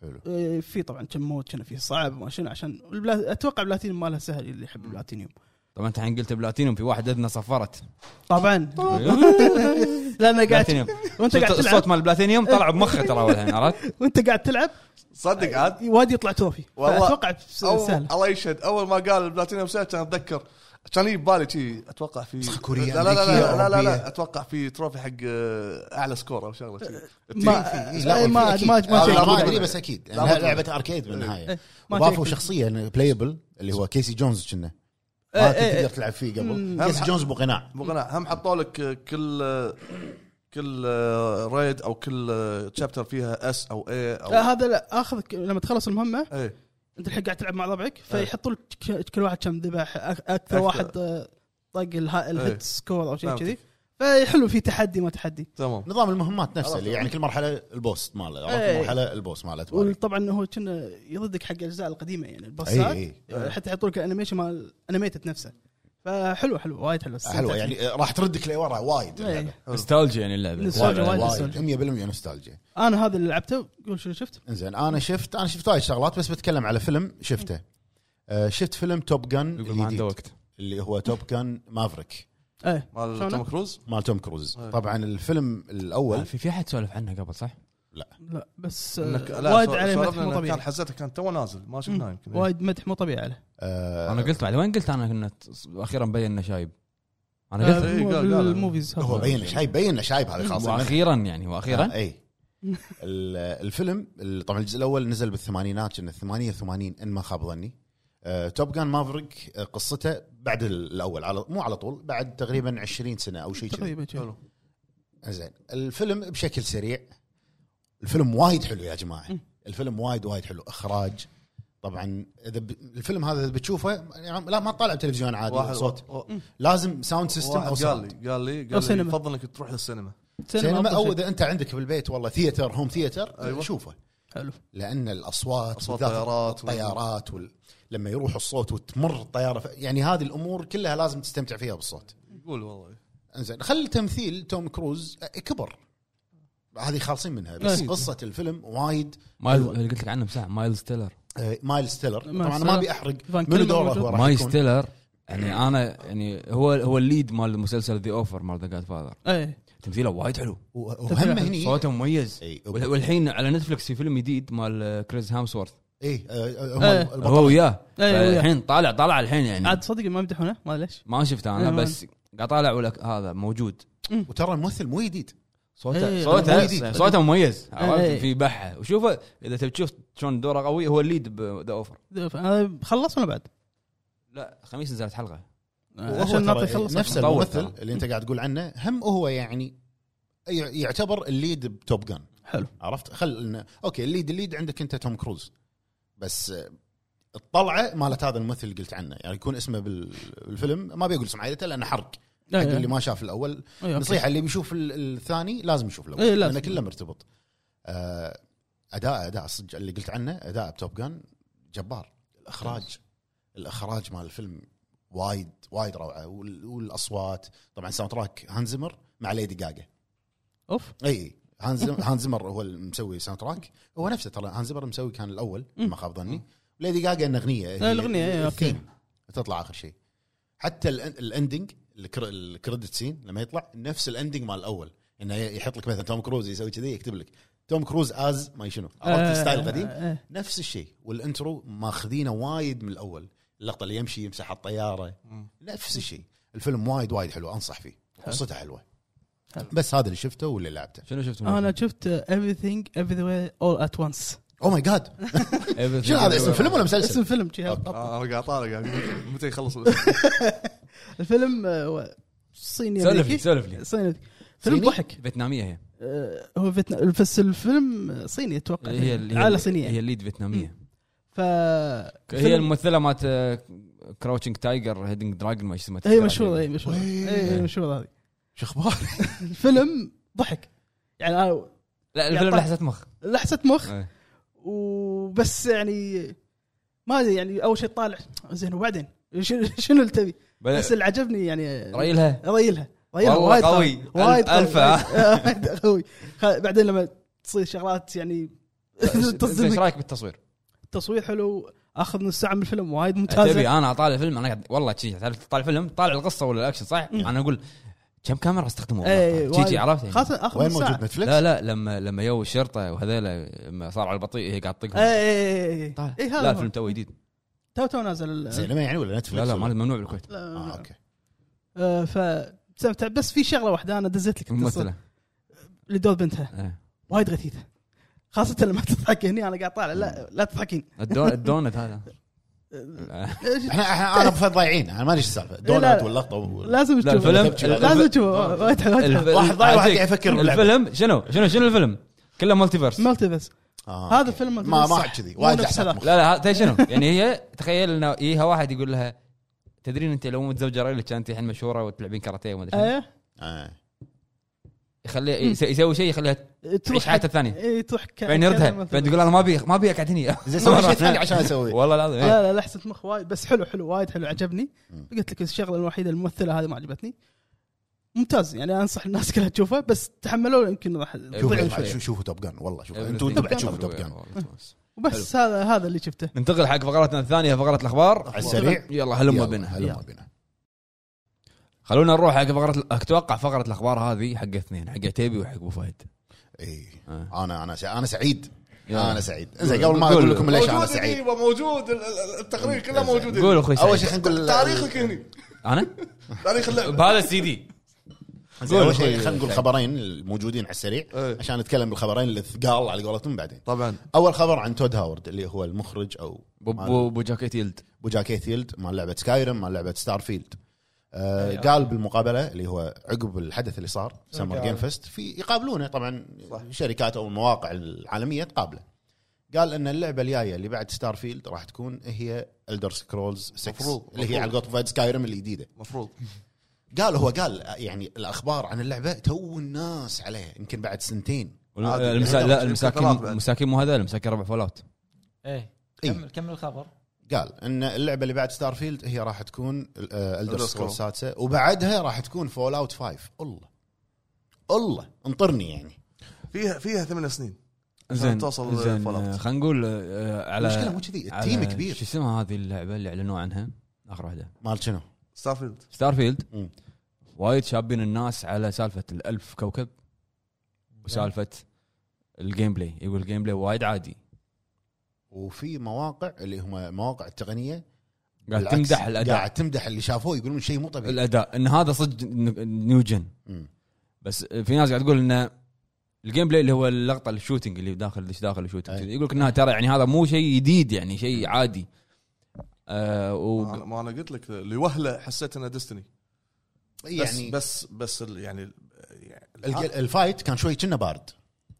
Speaker 2: حلو
Speaker 3: إيه، في طبعا كم مود كان فيه صعب وما شنو عشان البلا... اتوقع بلاتينيوم مالها سهل اللي يحب البلاتينيوم
Speaker 1: طبعا انت الحين قلت بلاتينيوم في واحد اذنه صفرت
Speaker 3: طبعا لان قاعد
Speaker 1: بلاتينيوم
Speaker 3: وانت قاعد
Speaker 1: الصوت
Speaker 3: تلعب
Speaker 1: مال بلاتينيوم طلع بمخه ترى الحين عرفت؟
Speaker 3: وانت قاعد تلعب
Speaker 4: صدق عاد
Speaker 3: وادي يطلع توفي
Speaker 4: والله.
Speaker 3: اتوقع
Speaker 4: أول-
Speaker 3: سهل
Speaker 4: الله يشهد اول ما قال البلاتينيوم سيت كان اتذكر كان يجي ببالي شي اتوقع في
Speaker 2: صح، كوريا،
Speaker 4: لا لا لا
Speaker 2: أمريكية،
Speaker 4: لا, لا, لا,
Speaker 2: أوروبية.
Speaker 4: لا اتوقع في تروفي حق آه، اعلى سكور او شغله شي. أه،
Speaker 3: ما
Speaker 2: أه، إيه،
Speaker 3: إيه،
Speaker 2: في
Speaker 3: ما
Speaker 2: أكيد.
Speaker 3: ما
Speaker 2: آه، لا، ما
Speaker 3: ما
Speaker 2: ادري
Speaker 3: شيء
Speaker 2: بس يعني اكيد
Speaker 4: لا، ما
Speaker 2: لأنها لعبه اركيد بالنهايه
Speaker 3: إيه، ما
Speaker 2: وضافوا
Speaker 3: شيء.
Speaker 2: شخصيه بلايبل اللي هو كيسي جونز كنا
Speaker 3: إيه،
Speaker 2: ما كنت
Speaker 3: إيه،
Speaker 2: تقدر
Speaker 3: إيه.
Speaker 2: تلعب فيه قبل
Speaker 3: مم. أه.
Speaker 2: كيسي جونز ابو قناع
Speaker 4: مو قناع هم حطوا لك آه، كل آه، كل آه، ريد او كل تشابتر فيها اس او اي
Speaker 3: لا،
Speaker 4: او
Speaker 3: آه، هذا لا اخذ ك- لما تخلص المهمه
Speaker 4: ايه
Speaker 3: انت الحين قاعد تلعب مع ربعك فيحطوا لك ك- كل واحد كم ذبح أك- اكثر واحد آه، طق الها-
Speaker 4: إيه.
Speaker 3: الهيت سكور او شيء
Speaker 4: فهمتك.
Speaker 3: كذي فحلو في تحدي ما تحدي
Speaker 4: تمام
Speaker 2: نظام المهمات نفسه اللي
Speaker 4: عرفت.
Speaker 2: يعني كل مرحله البوس ماله عرفت؟
Speaker 3: إيه.
Speaker 2: كل مرحله البوس ماله إيه، تبارك.
Speaker 3: وطبعا هو كنا يضدك حق الاجزاء القديمه يعني البوسات
Speaker 2: اي
Speaker 4: إيه.
Speaker 3: حتى يحطوا لك الانيميشن مال انيميتد نفسه فحلو حلو وايد حلو
Speaker 2: اي حلوه يعني آه، راح تردك لورا وايد اللعبة.
Speaker 3: إيه.
Speaker 1: نوستالجيا يعني اللعبه
Speaker 3: نوستالجيا. وايد
Speaker 2: وايد
Speaker 3: نوستالجيا.
Speaker 2: 100% نوستالجيا
Speaker 3: انا هذا اللي لعبته قول شنو شفت؟
Speaker 2: انزين انا شفت انا شفت وايد شغلات بس بتكلم على فيلم شفته
Speaker 3: إيه.
Speaker 2: آه، شفت فيلم توب جن
Speaker 1: يقول ما عنده
Speaker 2: الجديد
Speaker 1: وقت
Speaker 2: اللي هو توب جن مافريك
Speaker 3: ايه
Speaker 4: مال
Speaker 3: شلونه؟
Speaker 4: توم كروز
Speaker 2: مال توم كروز
Speaker 4: إيه.
Speaker 2: طبعا الفيلم
Speaker 1: آه،
Speaker 2: الاول
Speaker 1: في في احد سولف عنها قبل صح؟
Speaker 3: لا بس
Speaker 4: إنك-
Speaker 3: آه،
Speaker 4: لا،
Speaker 3: وايد
Speaker 4: سو-
Speaker 3: عليه
Speaker 4: سولفنا
Speaker 3: مدح مو
Speaker 4: إنه كان
Speaker 3: طبيعي
Speaker 4: حزتها كان تو نازل ما شفناه يمكن إيه.
Speaker 3: وايد مدح مو طبيعي عليه
Speaker 2: آه،
Speaker 1: انا قلت بعد وين قلت انا انه اخيرا بين انه شايب انا
Speaker 3: آه،
Speaker 1: قلت
Speaker 4: إيه،
Speaker 3: مو-
Speaker 4: قال- قال.
Speaker 3: بالموفيز
Speaker 2: هو
Speaker 3: هذا.
Speaker 2: بين إنه شايب بين إنه شايب هذا خلاص
Speaker 1: واخيرا يعني واخيرا
Speaker 2: آه، اي ال- الفيلم ال- طبعا الجزء الاول نزل بالثمانينات كنا 88 ان ما خاب ظني آه، توب جان مافريك آه، قصته بعد ال- الاول على مو على طول بعد تقريبا 20 سنه او شيء كذي
Speaker 3: تقريبا شوف.
Speaker 4: حلو.
Speaker 2: زين الفيلم بشكل سريع الفيلم وايد حلو يا جماعه
Speaker 3: مم.
Speaker 2: الفيلم وايد وايد حلو اخراج طبعا اذا ب... الفيلم هذا اذا بتشوفه يعني لا ما تطالع بتلفزيون عادي صوت
Speaker 4: و-
Speaker 2: لازم ساوند سيستم او
Speaker 4: واحد
Speaker 2: صوت
Speaker 4: قال لي قال لي
Speaker 3: أو
Speaker 4: قال لي
Speaker 3: سينما.
Speaker 4: يفضل انك تروح للسينما
Speaker 2: سينما
Speaker 3: أفضل
Speaker 2: او
Speaker 3: شيء.
Speaker 2: اذا انت عندك بالبيت والله ثيتر هوم ثيتر
Speaker 4: أيوة.
Speaker 2: أيوة. شوفه
Speaker 3: حلو
Speaker 2: لان الاصوات
Speaker 4: أصوات
Speaker 2: بالذات
Speaker 4: طيارات وال-
Speaker 2: الطيارات وال... لما يروح الصوت وتمر الطياره ف... يعني هذه الامور كلها لازم تستمتع فيها بالصوت
Speaker 4: يقول والله
Speaker 2: انزين خل تمثيل توم كروز آه، كبر هذه خالصين منها بس
Speaker 3: أكيد.
Speaker 2: قصه الفيلم وايد
Speaker 1: مايل اللي قلت لك عنه بساعه مايلز تيلر
Speaker 2: آه، مايل ستيلر
Speaker 3: مايل
Speaker 2: طبعا انا
Speaker 3: ستيلر.
Speaker 2: ما ابي احرق
Speaker 3: فان
Speaker 2: منو
Speaker 3: كلمة
Speaker 2: دوره
Speaker 3: موجود.
Speaker 2: هو راح
Speaker 1: مايلز
Speaker 2: يكون
Speaker 1: تيلر يعني انا يعني هو هو الليد مال مسلسل ذا اوفر مال ذا جاد فاذر
Speaker 3: ايه
Speaker 1: تمثيله وايد حلو
Speaker 2: و- وهم هني إيه،
Speaker 1: صوته مميز
Speaker 2: اي
Speaker 3: أيوة.
Speaker 1: وال- والحين على نتفلكس في فيلم جديد مال كريس هامسورث
Speaker 2: إي، آه، هم
Speaker 3: إيه.
Speaker 2: البطل.
Speaker 1: هو وياه
Speaker 3: إيه، وياه.
Speaker 1: الحين طالع طالع الحين يعني
Speaker 3: عاد صدق ما مدحونه ما ليش
Speaker 1: ما شفته انا
Speaker 3: إيه، ما-
Speaker 1: بس قاعد طالع ولك هذا موجود
Speaker 2: وترى الممثل مو جديد
Speaker 1: صوته
Speaker 3: إيه،
Speaker 2: مو جديد.
Speaker 1: صوته صوته مميز
Speaker 3: إيه.
Speaker 1: عرفت في بحه وشوفه اذا تبي تشوف شلون دوره قوي هو الليد بذا اوفر
Speaker 3: هذا خلص ولا بعد؟ آه،
Speaker 1: لا خميس نزلت حلقه
Speaker 2: وهو
Speaker 3: عشان
Speaker 2: ترى
Speaker 3: نعطي يخلص
Speaker 2: نفس
Speaker 1: مطور
Speaker 2: الممثل
Speaker 1: ترى.
Speaker 2: اللي انت قاعد تقول عنه هم هو يعني ي- يعتبر الليد بتوب جان
Speaker 3: حلو
Speaker 2: عرفت خل إنه- اوكي الليد الليد عندك انت توم كروز بس آه، الطلعه مالت هذا الممثل اللي قلت عنه يعني يكون اسمه بال- بالفيلم ما بيقول اسم عائلته لانه حرق
Speaker 3: إيه.
Speaker 2: حق اللي ما شاف الاول نصيحه اللي بيشوف ال- الثاني لازم يشوف الاول
Speaker 3: إيه، لازم.
Speaker 2: لانه كله مرتبط آه، اداء اداء صدق اللي قلت عنه اداء بتوب جان جبار الاخراج الاخراج مال الفيلم وايد وايد روعه وال- والاصوات طبعا ساوند تراك هانز زمر مع ليدي جاجا
Speaker 3: اوف
Speaker 2: اي هانز زم- هانز زمر هو المسوي ساوند تراك هو نفسه ترى هانز زمر مسوي كان الاول
Speaker 3: مم.
Speaker 2: ما خاب ظني ليدي جاجا انه اغنيه هي
Speaker 3: الأغنية، إيه، أوكي.
Speaker 2: الثيم. تطلع اخر شيء حتى الاندنج الكريدت سين لما يطلع نفس الاندنج مال الاول انه يحط لك مثلا توم كروز يسوي كذي يكتب لك توم كروز از ما شنو
Speaker 3: آه،
Speaker 2: عرفت ستايل قديم
Speaker 3: آه، آه.
Speaker 2: نفس الشيء والانترو ماخذينه وايد من الاول اللقطه اللي يمشي يمسح الطياره نفس الشيء الفيلم وايد وايد حلو انصح فيه قصته حلوه
Speaker 3: حلو.
Speaker 2: بس هذا اللي شفته واللي لعبته
Speaker 1: شنو شفت
Speaker 3: انا شفت everything everywhere all at once
Speaker 2: او ماي جاد
Speaker 1: إيه،
Speaker 2: شنو هذا اسم فيلم ولا مسلسل؟
Speaker 3: اسم فيلم شي
Speaker 4: آه، انا قاعد طالع قاعد أقول متى يخلص
Speaker 3: الفيلم آه، هو صيني
Speaker 1: سولف لي
Speaker 3: أمريكي.
Speaker 1: سولف لي
Speaker 3: إيه. صيني أمريكي. فيلم
Speaker 2: صيني؟
Speaker 3: ضحك
Speaker 1: فيتناميه هي
Speaker 3: آه، هو فيتنا... بس الفيلم صيني اتوقع
Speaker 1: هي ال-
Speaker 3: عائله
Speaker 1: هي, هي
Speaker 3: صينيه
Speaker 1: الليد فيتناميه
Speaker 3: ف
Speaker 1: هي الممثله مات آه، كراوتشنج تايجر هيدنج دراجون ما إيش اسمها
Speaker 3: هي
Speaker 1: تذكر
Speaker 3: مشهوره
Speaker 1: عليه.
Speaker 3: هي مشهوره
Speaker 2: وي.
Speaker 3: هي
Speaker 1: إيه.
Speaker 3: هي مشهوره هذه
Speaker 2: شو اخبارك؟
Speaker 3: الفيلم ضحك يعني أنا
Speaker 1: لا الفيلم
Speaker 3: يعطاك-
Speaker 1: لحسه مخ
Speaker 3: لحسه مخ
Speaker 1: إيه.
Speaker 3: وبس يعني ما ادري يعني اول شيء طالع زين وبعدين شنو شنو اللي تبي؟
Speaker 1: بل-
Speaker 3: بس اللي عجبني يعني
Speaker 1: رأيلها
Speaker 3: ريلها ريلها
Speaker 1: إيه. والله
Speaker 3: وايد
Speaker 1: قوي.
Speaker 3: قوي وايد
Speaker 1: ألف- ألفة.
Speaker 3: ألفة قوي خ- بعدين لما تصير شغلات يعني
Speaker 1: ايش
Speaker 3: تصدمك
Speaker 1: رايك بالتصوير؟
Speaker 3: التصوير حلو اخذ نص ساعه من الفيلم وايد
Speaker 1: تبي
Speaker 3: ممتازه
Speaker 1: انا اطالع فيلم انا قاعد والله شي تعرف طالع فيلم طالع القصه ولا الاكشن صح؟ انا اقول كم كاميرا استخدموها؟
Speaker 3: إيه،
Speaker 1: شي-
Speaker 3: وايد.
Speaker 1: شي عرفت؟ يعني.
Speaker 3: خاصه اخذ
Speaker 2: وين
Speaker 3: نص ساعه
Speaker 2: موجود نتفلكس؟
Speaker 1: لا لا لما لما يو الشرطه وهذيلا لما صار على البطيء هي قاعد
Speaker 3: اي
Speaker 1: تطقهم
Speaker 3: اي اي
Speaker 1: طالع.
Speaker 3: اي
Speaker 1: طيب. لا
Speaker 3: إيه، هذا
Speaker 1: الفيلم
Speaker 3: هو.
Speaker 1: تو جديد
Speaker 3: تو تو نازل ال-
Speaker 2: سينما يعني ولا
Speaker 1: لا
Speaker 2: نتفلكس؟
Speaker 1: لا ما
Speaker 2: ولا-
Speaker 1: ممنوع بالكويت
Speaker 2: آه،
Speaker 3: لا،
Speaker 2: اوكي
Speaker 3: آه، ف استمتع. بس في شغله واحده انا دزيت لك التصوير
Speaker 1: الممثله
Speaker 3: لدور بنتها
Speaker 1: إيه.
Speaker 3: وايد غثيثه خاصه لما تضحك هني انا قاعد طالع لا لا تضحكين
Speaker 1: الدون- الدونت هذا
Speaker 2: احنا احنا انا بفضل ضايعين انا ما ادري ايش السالفه
Speaker 3: لا.
Speaker 2: دونات واللقطه وال-
Speaker 3: لازم
Speaker 1: لا،
Speaker 3: تشوفه
Speaker 1: الفيلم-
Speaker 3: لازم تشوفه وايد حلو وايد حلو
Speaker 1: الف-
Speaker 2: واحد ضايع واحد
Speaker 1: عجيب.
Speaker 2: قاعد يفكر باللعبة.
Speaker 1: الفيلم شنو شنو شنو الفيلم؟ كله مالتي فيرس لا
Speaker 3: مالتي بس
Speaker 2: آه،
Speaker 3: هذا
Speaker 2: أوكي.
Speaker 3: فيلم
Speaker 2: ما ما
Speaker 3: صح.
Speaker 2: حد كذي
Speaker 3: مو
Speaker 2: وايد
Speaker 3: نفس
Speaker 2: أحسن.
Speaker 3: هذا.
Speaker 1: لا هذا شنو؟ يعني هي تخيل انه يجيها واحد يقول لها تدرين انت لو متزوجه راجل كانت الحين مشهوره وتلعبين كاراتيه وما ادري شنو.
Speaker 3: ايه
Speaker 2: آه.
Speaker 1: يخليها يس- يسوي شيء يخليها تعيش
Speaker 3: تروح
Speaker 1: حياتها الثانيه
Speaker 3: اي تروح ك-
Speaker 1: بعدين يردها
Speaker 3: كلمة-
Speaker 1: بعدين تقول انا ما ابي ما ابي اقعد هني
Speaker 2: زين سوي شيء ثاني عشان اسوي
Speaker 1: والله العظيم إيه.
Speaker 3: لا لا لحسه مخ وايد بس حلو حلو وايد حلو عجبني
Speaker 2: آه. مم.
Speaker 3: قلت لك الشغله الوحيده الممثله هذه ما عجبتني ممتاز يعني انصح الناس كلها تشوفه بس تحملوا يمكن راح تضيعوا
Speaker 1: شوف.
Speaker 2: شوفوا
Speaker 3: شوي
Speaker 2: شوفوا- شوفوا توب جان والله شوفوا انتم انتم
Speaker 1: Everything. Oh,
Speaker 2: بعد يعني. شوفوا توب جان
Speaker 3: وبس هذا هذا اللي شفته
Speaker 1: ننتقل حق فقراتنا الثانيه فقره الاخبار
Speaker 2: على السريع
Speaker 1: يلا هلم بنا
Speaker 2: هلم بنا
Speaker 1: خلونا نروح حق فقره ال- اتوقع فقره الاخبار هذه حق اثنين حق عتيبي وحق ابو فهد
Speaker 2: اي
Speaker 1: آه.
Speaker 2: انا انا إيه. سع- انا سعيد
Speaker 1: يلا.
Speaker 2: انا سعيد زين قبل ما
Speaker 1: قول.
Speaker 2: اقول لكم ليش انا
Speaker 4: موجود
Speaker 2: سعيد
Speaker 4: هني موجود ال- ال- التقرير كله موجود
Speaker 1: قول
Speaker 4: هني.
Speaker 1: اخوي سعيد
Speaker 2: اول شيء خلينا نقول
Speaker 4: تاريخك هني
Speaker 1: انا
Speaker 4: تاريخ اللعبه
Speaker 1: بهذا السي دي
Speaker 2: زين،
Speaker 1: قول
Speaker 2: اول شيء
Speaker 1: أخوي
Speaker 2: خلينا نقول خبرين الموجودين على السريع
Speaker 4: إيه.
Speaker 2: عشان نتكلم بالخبرين الثقال على قولتهم بعدين
Speaker 4: طبعا
Speaker 2: اول خبر عن تود هاورد اللي هو المخرج او مال-
Speaker 1: ابو جاكيت يلد
Speaker 2: ابو جاكي ثيلد مال لعبه سكايرم مال لعبه ستار فيلد آه قال بالمقابله اللي هو عقب الحدث اللي صار سمر جيم فيست في يقابلونه طبعا
Speaker 4: صح.
Speaker 2: شركات او المواقع العالميه تقابله قال ان اللعبه الجايه اللي بعد ستار فيلد راح تكون هي الدر سكرولز 6
Speaker 4: مفروض،
Speaker 2: اللي هي
Speaker 4: مفروض.
Speaker 2: على قولت فايد سكايرم الجديده
Speaker 4: مفروض
Speaker 2: قال هو قال يعني الاخبار عن اللعبه تو الناس عليها يمكن بعد سنتين عادي.
Speaker 1: المسا...
Speaker 4: يعني
Speaker 1: لا
Speaker 4: شيء
Speaker 1: المساكين
Speaker 4: كثرات بعد.
Speaker 1: المساكين مو هذا المساكين ربع فول اوت
Speaker 5: ايه
Speaker 2: إيه.
Speaker 5: كمل كمل الخبر
Speaker 2: قال ان اللعبه اللي بعد ستار فيلد هي راح تكون آه، الدر
Speaker 4: Elder
Speaker 2: سكرول
Speaker 4: Scrolls.
Speaker 2: السادسه وبعدها راح تكون فول اوت 5 الله الله انطرني يعني
Speaker 4: فيها فيها ثمان سنين
Speaker 1: زين
Speaker 4: توصل
Speaker 1: زين
Speaker 4: Fallout.
Speaker 1: آه، خلينا نقول آه، على
Speaker 2: المشكله مو كذي
Speaker 1: على-
Speaker 2: التيم
Speaker 1: شو
Speaker 2: كبير
Speaker 1: اسمها هذه اللعبه اللي اعلنوا عنها اخر واحده
Speaker 2: مال شنو؟
Speaker 4: ستارفيلد
Speaker 1: ستار فيلد
Speaker 2: مم.
Speaker 1: وايد شابين الناس على سالفه الألف كوكب وسالفه الجيم بلاي يقول الجيم بلاي وايد عادي
Speaker 2: وفي مواقع اللي هم المواقع التقنيه
Speaker 1: قاعد
Speaker 2: بالعكس،
Speaker 1: تمدح الاداء
Speaker 2: قاعد تمدح اللي شافوه يقولون شيء مو طبيعي
Speaker 1: الاداء ان هذا صدق ن- نيو جن
Speaker 2: مم.
Speaker 1: بس في ناس قاعد تقول انه الجيم بلاي اللي هو اللقطه الشوتنج اللي داخل ليش داخل الشوتنج
Speaker 2: أي.
Speaker 1: يقول لك انها ترى يعني هذا مو شيء جديد يعني شيء عادي آه
Speaker 4: ما
Speaker 1: و...
Speaker 4: أنا- ما انا قلت لك لوهله حسيت انها ديستني بس
Speaker 2: يعني بس
Speaker 4: بس بس ال- يعني ال- يعني الع-
Speaker 1: آه.
Speaker 2: الفايت كان شوي كنا بارد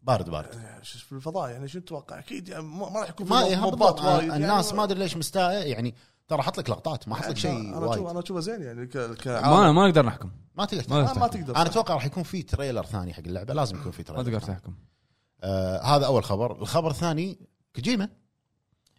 Speaker 2: بارد بارد
Speaker 4: شو في الفضاء يعني شو تتوقع اكيد يعني ما ما راح يكون في
Speaker 2: ما إيه،
Speaker 4: موبات
Speaker 2: بالضبط.
Speaker 4: وايد يعني.
Speaker 2: الناس ما ادري ليش مستاء يعني ترى حط لك لقطات ما حط لك شيء
Speaker 4: انا اشوف
Speaker 2: وايد
Speaker 4: انا اشوفه زين يعني ك ك
Speaker 1: ما ما نقدر نحكم
Speaker 2: ما تقدر
Speaker 1: ما
Speaker 4: ما, ما
Speaker 1: نقدر
Speaker 4: تقدر
Speaker 2: انا اتوقع راح يكون في تريلر ثاني حق اللعبه لازم يكون في
Speaker 1: ما
Speaker 2: تريلر
Speaker 1: تقدر
Speaker 2: ثاني.
Speaker 1: تحكم
Speaker 2: آه هذا اول خبر الخبر الثاني كوجيما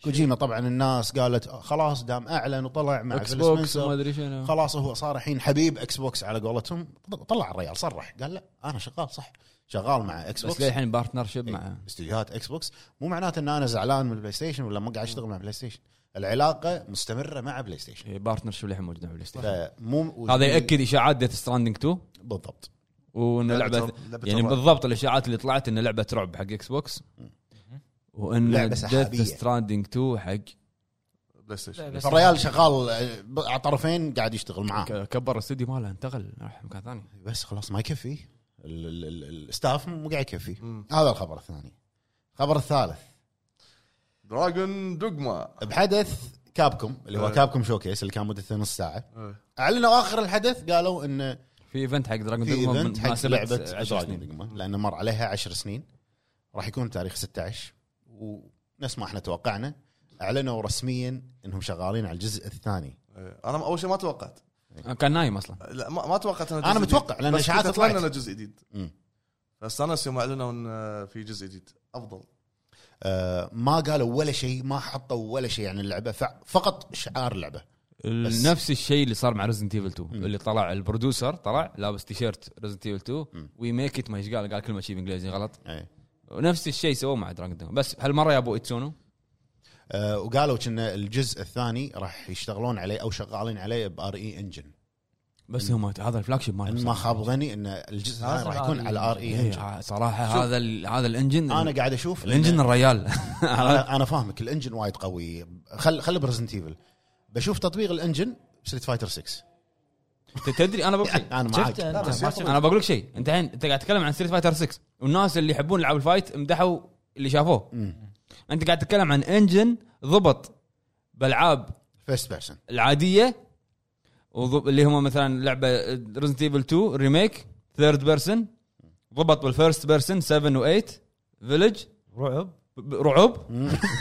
Speaker 2: كوجيما طبعا الناس قالت آه، خلاص دام اعلن وطلع مع
Speaker 1: اكس
Speaker 2: فيل
Speaker 1: بوكس
Speaker 2: سبنسر،
Speaker 1: ما ادري شنو
Speaker 2: خلاص هو صار الحين حبيب اكس بوكس على قولتهم طلع الريال صرح قال لا انا شغال صح شغال مع اكس
Speaker 1: بس
Speaker 2: بوكس
Speaker 1: للحين بارتنرشيب
Speaker 2: إيه،
Speaker 1: مع
Speaker 2: استديوهات اكس بوكس مو معناته ان انا زعلان من البلاي ستيشن ولا ما قاعد اشتغل مع بلاي ستيشن العلاقه مستمره مع بلاي
Speaker 1: إيه،
Speaker 2: ستيشن طيب.
Speaker 1: بارتنرشيب للحين موجود مع بلاي ستيشن
Speaker 2: فمو
Speaker 1: هذا ياكد اشاعات ديث ستراندنج 2
Speaker 2: بالضبط
Speaker 1: وان لعبه
Speaker 4: لعبة
Speaker 1: يعني
Speaker 4: الرعب.
Speaker 1: بالضبط الاشاعات اللي طلعت ان لعبه رعب حق اكس بوكس وان
Speaker 2: لعبة سحابية.
Speaker 1: ديث ستراندنج 2 حق
Speaker 4: بلاي ستيشن
Speaker 5: بس-
Speaker 2: فالريال شغال آه، ب- على طرفين قاعد يشتغل معاه
Speaker 1: ك- كبر الاستديو ماله انتقل راح مكان ثاني
Speaker 2: بس خلاص ما يكفي ال- ال- ال- الستاف مو قاعد يكفي
Speaker 4: مم.
Speaker 2: هذا الخبر الثاني الخبر الثالث
Speaker 4: دراجون دوغما
Speaker 2: بحدث كابكم اللي هو
Speaker 4: أه.
Speaker 2: كابكم شوكيس اللي كان مدته نص ساعه اعلنوا اخر الحدث قالوا انه
Speaker 1: في ايفنت حق دراجون
Speaker 2: في
Speaker 1: دوغما
Speaker 2: ايفنت حق
Speaker 1: بمناسبة
Speaker 2: لعبه
Speaker 1: 10
Speaker 2: دراجون
Speaker 1: سنين.
Speaker 2: دوغما لانه مر عليها 10 سنين راح يكون تاريخ 16 ونفس ما احنا توقعنا اعلنوا رسميا انهم شغالين على الجزء الثاني
Speaker 4: انا اول شيء إيه. ما توقعت
Speaker 1: كان نايم اصلا
Speaker 4: لا ما, ما توقعت انا جزء
Speaker 2: انا
Speaker 4: جديد.
Speaker 2: متوقع لان
Speaker 4: بس
Speaker 2: اشاعات
Speaker 4: كنت اتمنى انه
Speaker 2: طلعت
Speaker 4: جزء جديد
Speaker 2: مم.
Speaker 4: فاستانس يوم اعلنوا ان في جزء جديد افضل
Speaker 2: آه، ما قالوا ولا شيء ما حطوا ولا شيء عن اللعبه ف- فقط شعار اللعبه بس.
Speaker 1: نفس الشيء اللي صار مع ريزنت ايفل 2 اللي طلع البرودوسر طلع لابس تيشيرت ريزنت ايفل 2
Speaker 2: مم.
Speaker 1: وي ميك ات ما ايش قال قال كلمه شيء بالانجليزي غلط
Speaker 2: أي.
Speaker 1: ونفس الشيء سووه مع دراجون دوغما بس هالمره يا ابو اتسونو
Speaker 2: آه، وقالوا ان الجزء الثاني راح يشتغلون عليه او شغالين عليه بار اي انجن
Speaker 1: بس هم هذا الفلاج شيب مالهم
Speaker 2: ان ما خاب ظني ان الجزء الثاني
Speaker 5: لازم
Speaker 2: راح يكون
Speaker 5: RE
Speaker 2: على ار اي انجن
Speaker 1: إيه، صراحه هذا ال- هذا الانجن
Speaker 2: انا قاعد اشوف
Speaker 1: الانجن الريال
Speaker 2: انا انا فاهمك الانجن وايد قوي خل خل برزنت ايفل بشوف تطبيق الانجن ستريت فايتر 6
Speaker 1: تدري انا بقول شيء
Speaker 2: انا معاك
Speaker 5: شفت أنت؟ ما شفت.
Speaker 1: انا بقول لك شيء انت الحين انت قاعد تتكلم عن ستريت فايتر 6 والناس اللي يحبون العاب الفايت مدحوا اللي شافوه انت قاعد تتكلم عن انجن ضبط بالعاب
Speaker 2: فيرست بيرسون
Speaker 1: العاديه وضب... اللي هم مثلا لعبه ريزنت ايفل 2 ريميك ثيرد بيرسون ضبط بالفيرست بيرسون 7 و8 فيلج
Speaker 5: رعب
Speaker 1: رعب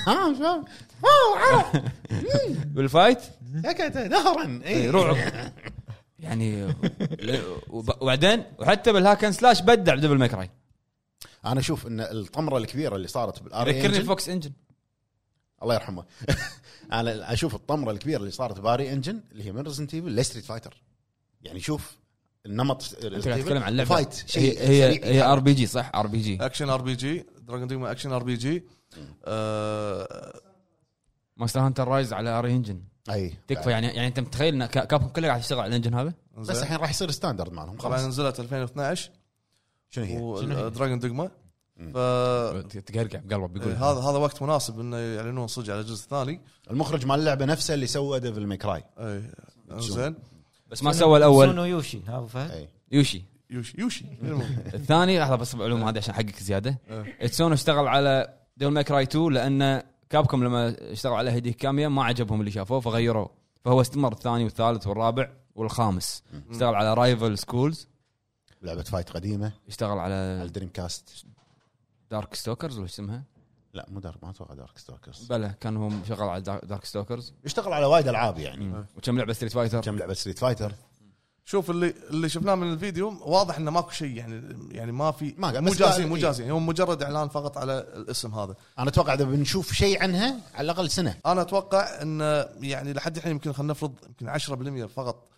Speaker 2: ها شباب
Speaker 1: بالفايت
Speaker 2: سكت دهرا
Speaker 1: إيه،
Speaker 2: اي
Speaker 1: رعب يعني ل- وب- وبعدين وحتى بالهاكن سلاش بدع بدبل ماكراي
Speaker 2: انا اشوف ان الطمره الكبيره اللي صارت E بالار اي
Speaker 1: ذكرني
Speaker 2: انجن
Speaker 1: الفوكس انجن
Speaker 2: الله يرحمه انا اشوف الطمره الكبيره اللي صارت باري انجن اللي هي من ريزنت ايفل لستريت فايتر يعني شوف النمط
Speaker 1: انت قاعد تتكلم عن لعبه
Speaker 2: فايت
Speaker 1: هي
Speaker 2: شيء
Speaker 1: هي,
Speaker 2: سريع.
Speaker 1: هي ار بي جي صح ار بي جي
Speaker 4: اكشن ار بي جي دراجون دوغما اكشن ار بي جي آه،
Speaker 1: ماستر هانتر رايز على ار انجن
Speaker 2: اي
Speaker 1: تكفى يعني يعني انت متخيل ان كا- كابهم كله قاعد يشتغل على الانجن هذا
Speaker 2: بس الحين راح يصير ستاندرد مالهم
Speaker 4: طبعا
Speaker 2: خلاص
Speaker 4: نزلت 2012
Speaker 2: شنو هي؟
Speaker 4: ودراجون دوغما
Speaker 2: مم. أه،
Speaker 4: فهذا
Speaker 1: تقرقع بقلبه بيقول
Speaker 2: إيه،
Speaker 4: هذا وقت مناسب انه يعلنون صدق على الجزء الثاني
Speaker 2: المخرج مال اللعبه نفسه اللي سوى ديفل ميكراي
Speaker 4: اي زين
Speaker 1: بس ما سوى الاول
Speaker 5: سونو يوشي ها أبو فهد
Speaker 2: اي
Speaker 1: يوشي
Speaker 4: يوشي يوشي المهم.
Speaker 1: الثاني لحظه بس بعلوم هذه عشان حقك زياده
Speaker 4: إيه.
Speaker 1: اتسونو اشتغل على ديل ماي كراي 2 لان كابكم لما اشتغلوا على هديه كاميه ما عجبهم اللي شافوه فغيروه فهو استمر الثاني والثالث والرابع والخامس اشتغل على رايفل سكولز
Speaker 2: لعبه فايت قديمه
Speaker 1: اشتغل
Speaker 2: على
Speaker 1: على
Speaker 2: الدريم كاست
Speaker 1: دارك ستوكرز ولا إيش اسمها
Speaker 2: لا مو دارك ما اتوقع دارك ستوكرز
Speaker 1: بلى كان هو شغال على دار- دارك ستوكرز
Speaker 2: اشتغل على وايد العاب يعني
Speaker 1: وكم لعبه ستريت فايتر
Speaker 2: كم لعبه ستريت فايتر
Speaker 4: شوف اللي اللي شفناه من الفيديو واضح انه ماكو شيء يعني يعني ما في
Speaker 2: ما قال،
Speaker 4: مو
Speaker 2: بس
Speaker 4: جاهزين
Speaker 2: قال-
Speaker 4: مو
Speaker 2: إيه.
Speaker 4: جاهزين هو مجرد اعلان فقط على الاسم هذا
Speaker 2: انا اتوقع اذا بنشوف شيء عنها على الاقل سنه
Speaker 4: انا اتوقع ان يعني لحد الحين يمكن خلينا نفرض يمكن 10% فقط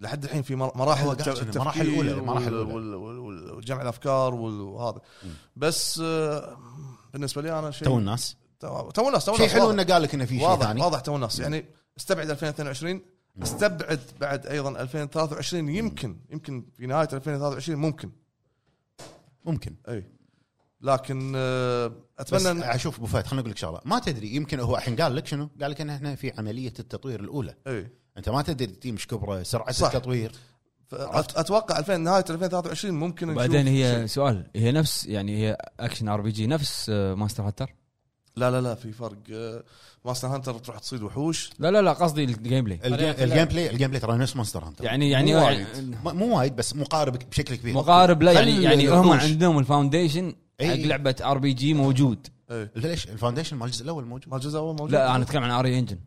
Speaker 4: لحد الحين في مر- مراحل
Speaker 2: هو قاعد
Speaker 4: الت-
Speaker 2: كذا، المراحل الأولى،
Speaker 4: وال-
Speaker 2: المراحل الأولى.
Speaker 4: وال- وال- وال- وجمع الافكار وال- وهذا بس آه، بالنسبه لي انا شيء
Speaker 2: تو الناس
Speaker 4: تو تو الناس تو
Speaker 2: شيء
Speaker 4: الناس
Speaker 2: حلو
Speaker 4: واضح.
Speaker 2: انه قال لك انه في شيء
Speaker 4: واضح
Speaker 2: ثاني
Speaker 4: واضح تو الناس يعني استبعد 2022 استبعد بعد ايضا 2023 يمكن يمكن في نهايه 2023 ممكن
Speaker 2: ممكن
Speaker 4: اي لكن آه،
Speaker 2: بس
Speaker 4: اتمنى ان
Speaker 2: اشوف ابو فهد خليني اقول لك شغله ما تدري يمكن هو الحين قال لك شنو؟ قال لك انه احنا في عمليه التطوير الاولى
Speaker 4: اي
Speaker 2: انت ما تدري التيم ايش كبره سرعه
Speaker 4: صح.
Speaker 2: التطوير
Speaker 4: ف- أت- اتوقع 2000 نهايه 2023 ممكن نشوف
Speaker 1: بعدين
Speaker 4: شيء.
Speaker 1: هي سؤال هي نفس يعني هي اكشن ار بي جي نفس آه، ماستر هانتر
Speaker 4: لا لا لا في فرق آه، ماستر هانتر تروح تصيد وحوش
Speaker 1: لا لا لا قصدي الجيم بلاي
Speaker 2: الجيم
Speaker 5: لا.
Speaker 2: الجيم بلاي الجيم بلاي ترى نفس مونستر هانتر
Speaker 1: يعني يعني
Speaker 2: مو وايد. ما- مو وايد بس مقارب بشكل كبير
Speaker 1: مقارب لا يعني
Speaker 2: خل
Speaker 1: يعني هم
Speaker 2: الوحوش.
Speaker 1: عندهم الفاونديشن حق
Speaker 2: أي.
Speaker 1: لعبه ار بي جي موجود
Speaker 4: اي
Speaker 2: ليش الفاونديشن مال الجزء الاول موجود
Speaker 4: ما الجزء الاول موجود
Speaker 1: لا انا اتكلم عن اري انجن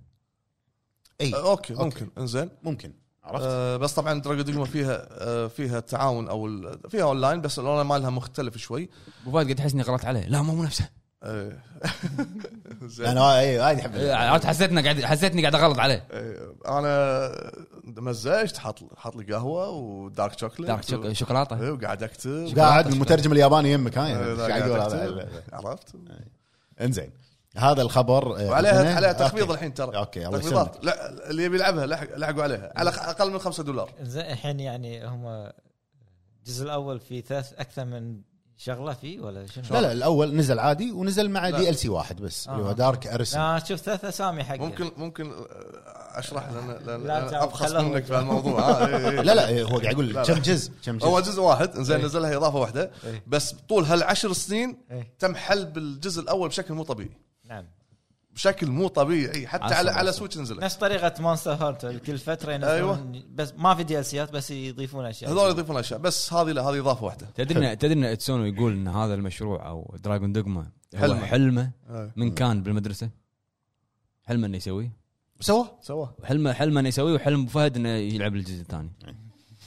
Speaker 2: اي
Speaker 4: آه، اوكي
Speaker 2: أوكي.
Speaker 4: ممكن انزين
Speaker 2: ممكن عرفت
Speaker 4: آه، بس طبعا دراجون دوغما فيها آه، فيها تعاون او ال- فيها اونلاين بس الاونلاين مالها مختلف شوي
Speaker 1: ابو فهد قد تحس اني غلطت عليه لا مو مو نفسه
Speaker 4: آه، زين.
Speaker 2: انا اي وايد احب
Speaker 1: إيه، عرفت حسيتنا قاعد حسيتني قاعد اغلط عليه
Speaker 4: إيه، انا مزجت حاط حاط لي قهوه ودارك شوكليت
Speaker 1: دارك شوك- شوكولاته
Speaker 4: إيه، وقاعد اكتب
Speaker 2: قاعد المترجم الياباني يمك ها
Speaker 4: إيه،
Speaker 2: يعني
Speaker 4: لا،
Speaker 2: قاعد يقول
Speaker 4: قاعد
Speaker 2: هذا- آه،
Speaker 4: أكتب.
Speaker 2: هذا-
Speaker 4: عرفت
Speaker 2: انزين هذا الخبر آه، عندنا.
Speaker 4: وعليها عليها
Speaker 2: أوكي.
Speaker 4: تخفيض الحين ترى
Speaker 2: أوكي، الله
Speaker 4: تخفيضات لا اللي يبي يلعبها لحق- لحقوا عليها على اقل من 5 دولار
Speaker 5: زين الحين يعني هم الجزء الاول في ثلاث اكثر من شغله فيه ولا شنو؟
Speaker 2: لا لا الاول نزل عادي ونزل مع
Speaker 4: لا.
Speaker 2: دي ال سي واحد بس
Speaker 5: آه.
Speaker 2: اللي هو دارك ارسن
Speaker 5: لا آه، شوف ثلاث اسامي حقه
Speaker 4: ممكن ممكن آه، اشرح لان لان
Speaker 5: لا
Speaker 4: أنا
Speaker 5: تعب،
Speaker 4: ابخص
Speaker 5: خلهم.
Speaker 4: منك في الموضوع آه، إيه، إيه.
Speaker 2: لا لا إيه، هو قاعد يقول
Speaker 4: لا، لا.
Speaker 2: كم جزء كم
Speaker 4: هو
Speaker 2: جزء
Speaker 4: جزء واحد زين
Speaker 5: إيه.
Speaker 4: نزل لها اضافه واحده
Speaker 5: إيه.
Speaker 4: بس طول هالعشر سنين
Speaker 5: إيه.
Speaker 4: تم حل بالجزء الاول بشكل مو طبيعي
Speaker 5: نعم
Speaker 4: بشكل مو طبيعي حتى
Speaker 1: عسل،
Speaker 4: على على
Speaker 1: عسل.
Speaker 4: سويتش نزلت
Speaker 5: نفس طريقه مونستر هانتر كل فتره ينزلون
Speaker 4: أيوة.
Speaker 5: أيوة. بس ما في دي ال سيات بس يضيفون اشياء
Speaker 4: هذول يضيفون اشياء بس هذه لا هذه اضافه واحده
Speaker 1: تدري إن- تدري ان اتسونو يقول ان هذا المشروع او دراجون دوغما هو
Speaker 4: حلمه.
Speaker 1: حلمه
Speaker 4: إيه.
Speaker 1: من كان بالمدرسه حلمه انه يسويه
Speaker 2: سواه
Speaker 4: سواه
Speaker 1: حلمه حلمه انه يسويه وحلم أبو فهد انه يلعب الجزء الثاني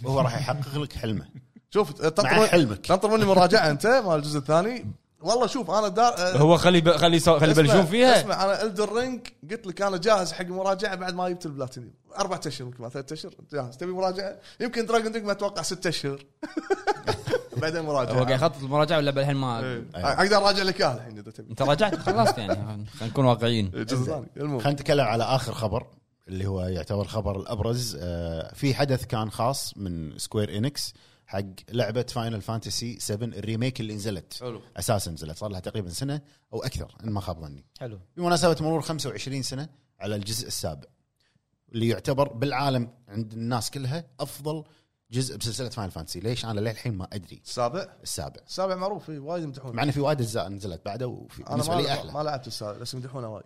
Speaker 2: هو راح يحقق لك حلمه
Speaker 4: شوف
Speaker 2: مع
Speaker 4: تنطر
Speaker 2: حلمك
Speaker 4: تنطر مني مراجعه انت مال الجزء الثاني والله شوف انا دار آه،
Speaker 1: هو خلي ب- خلي يسو- خلي
Speaker 4: اسمع-
Speaker 1: يبلشون فيها
Speaker 4: اسمع انا الدر رينج قلت لك انا جاهز حق مراجعه بعد ما جبت البلاتينيوم اربع اشهر يمكن ثلاث اشهر جاهز تبي مراجعه يمكن دراجون دوج ما اتوقع ست اشهر بعدين
Speaker 1: هو قاعد
Speaker 4: مراجعه
Speaker 1: يخطط المراجعه ولا الحين ما
Speaker 4: إيه. اقدر اراجع لك اياها الحين اذا تبي
Speaker 1: انت راجعت خلصت يعني خلينا نكون واقعيين
Speaker 4: الجزء الثاني المهم
Speaker 2: خلينا نتكلم على اخر خبر اللي هو يعتبر الخبر الابرز آه، في حدث كان خاص من سكوير انكس حق لعبه فاينل فانتسي 7 الريميك اللي نزلت
Speaker 4: حلو
Speaker 2: اساسا نزلت صار لها تقريبا سنه او اكثر ان ما خاب ظني
Speaker 5: حلو
Speaker 2: بمناسبه مرور 25 سنه على الجزء السابع اللي يعتبر بالعالم عند الناس كلها افضل جزء بسلسله فاينل فانتسي ليش انا للحين ما ادري
Speaker 4: السابع
Speaker 2: السابع
Speaker 4: السابع معروف إيه، وايد يمدحونه
Speaker 2: مع انه في وايد اجزاء نزلت بعده وفي
Speaker 4: انا
Speaker 2: بالنسبه لي
Speaker 4: ما
Speaker 2: احلى
Speaker 4: ما لعبت السابع بس يمدحونه وايد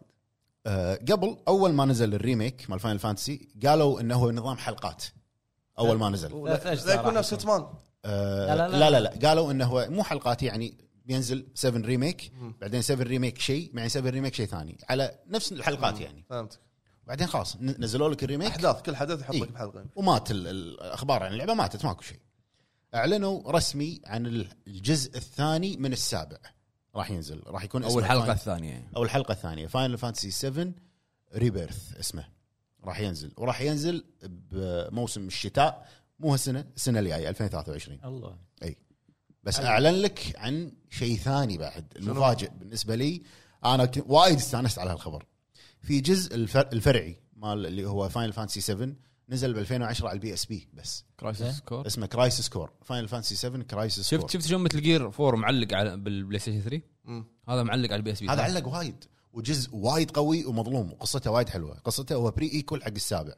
Speaker 2: آه، قبل اول ما نزل الريميك مال فاينل فانتسي قالوا انه هو نظام حلقات اول ما نزل
Speaker 5: ثلاث
Speaker 4: لا
Speaker 5: أجزاء
Speaker 4: لا يكون
Speaker 5: راح
Speaker 4: نفس
Speaker 5: يكون.
Speaker 4: هيتمان
Speaker 2: آه،
Speaker 5: لا، لا، لا.
Speaker 2: لا لا لا قالوا انه هو مو حلقات يعني بينزل 7 ريميك
Speaker 4: مم.
Speaker 2: بعدين 7 ريميك شيء بعدين 7 ريميك شيء ثاني على نفس الحلقات يعني
Speaker 4: فهمتك
Speaker 2: بعدين خلاص ن- نزلوا لك الريميك
Speaker 4: احداث كل حدث يحط
Speaker 2: إيه.
Speaker 4: لك بحلقه
Speaker 2: ومات ال- الاخبار عن اللعبه ماتت ماكو شيء اعلنوا رسمي عن ال- الجزء الثاني من السابع راح ينزل راح يكون اسمه
Speaker 1: اول حلقه
Speaker 2: Final-
Speaker 1: الثانيه
Speaker 2: او الحلقه الثانيه فاينل فانتسي 7 ريبيرث اسمه راح ينزل وراح ينزل بموسم الشتاء مو هالسنه السنه الجايه 2023
Speaker 5: الله
Speaker 2: بس اعلن لك عن شيء ثاني بعد المفاجئ بالنسبه لي انا كنت وايد استانست على هالخبر في جزء الفر... الفرعي مال اللي هو فاينل فانتسي 7 نزل ب 2010 على البي اس بي بس
Speaker 1: كرايسيس كور
Speaker 2: اسمه كرايسس كور فاينل فانتسي 7 كرايسس كور
Speaker 1: شفت شفت شلون مثل جير 4 معلق على بالبلاي ستيشن 3
Speaker 4: مم.
Speaker 1: هذا معلق على البي اس بي
Speaker 2: هذا علق وايد وجزء وايد قوي ومظلوم وقصته وايد حلوه قصته هو بري ايكول حق السابع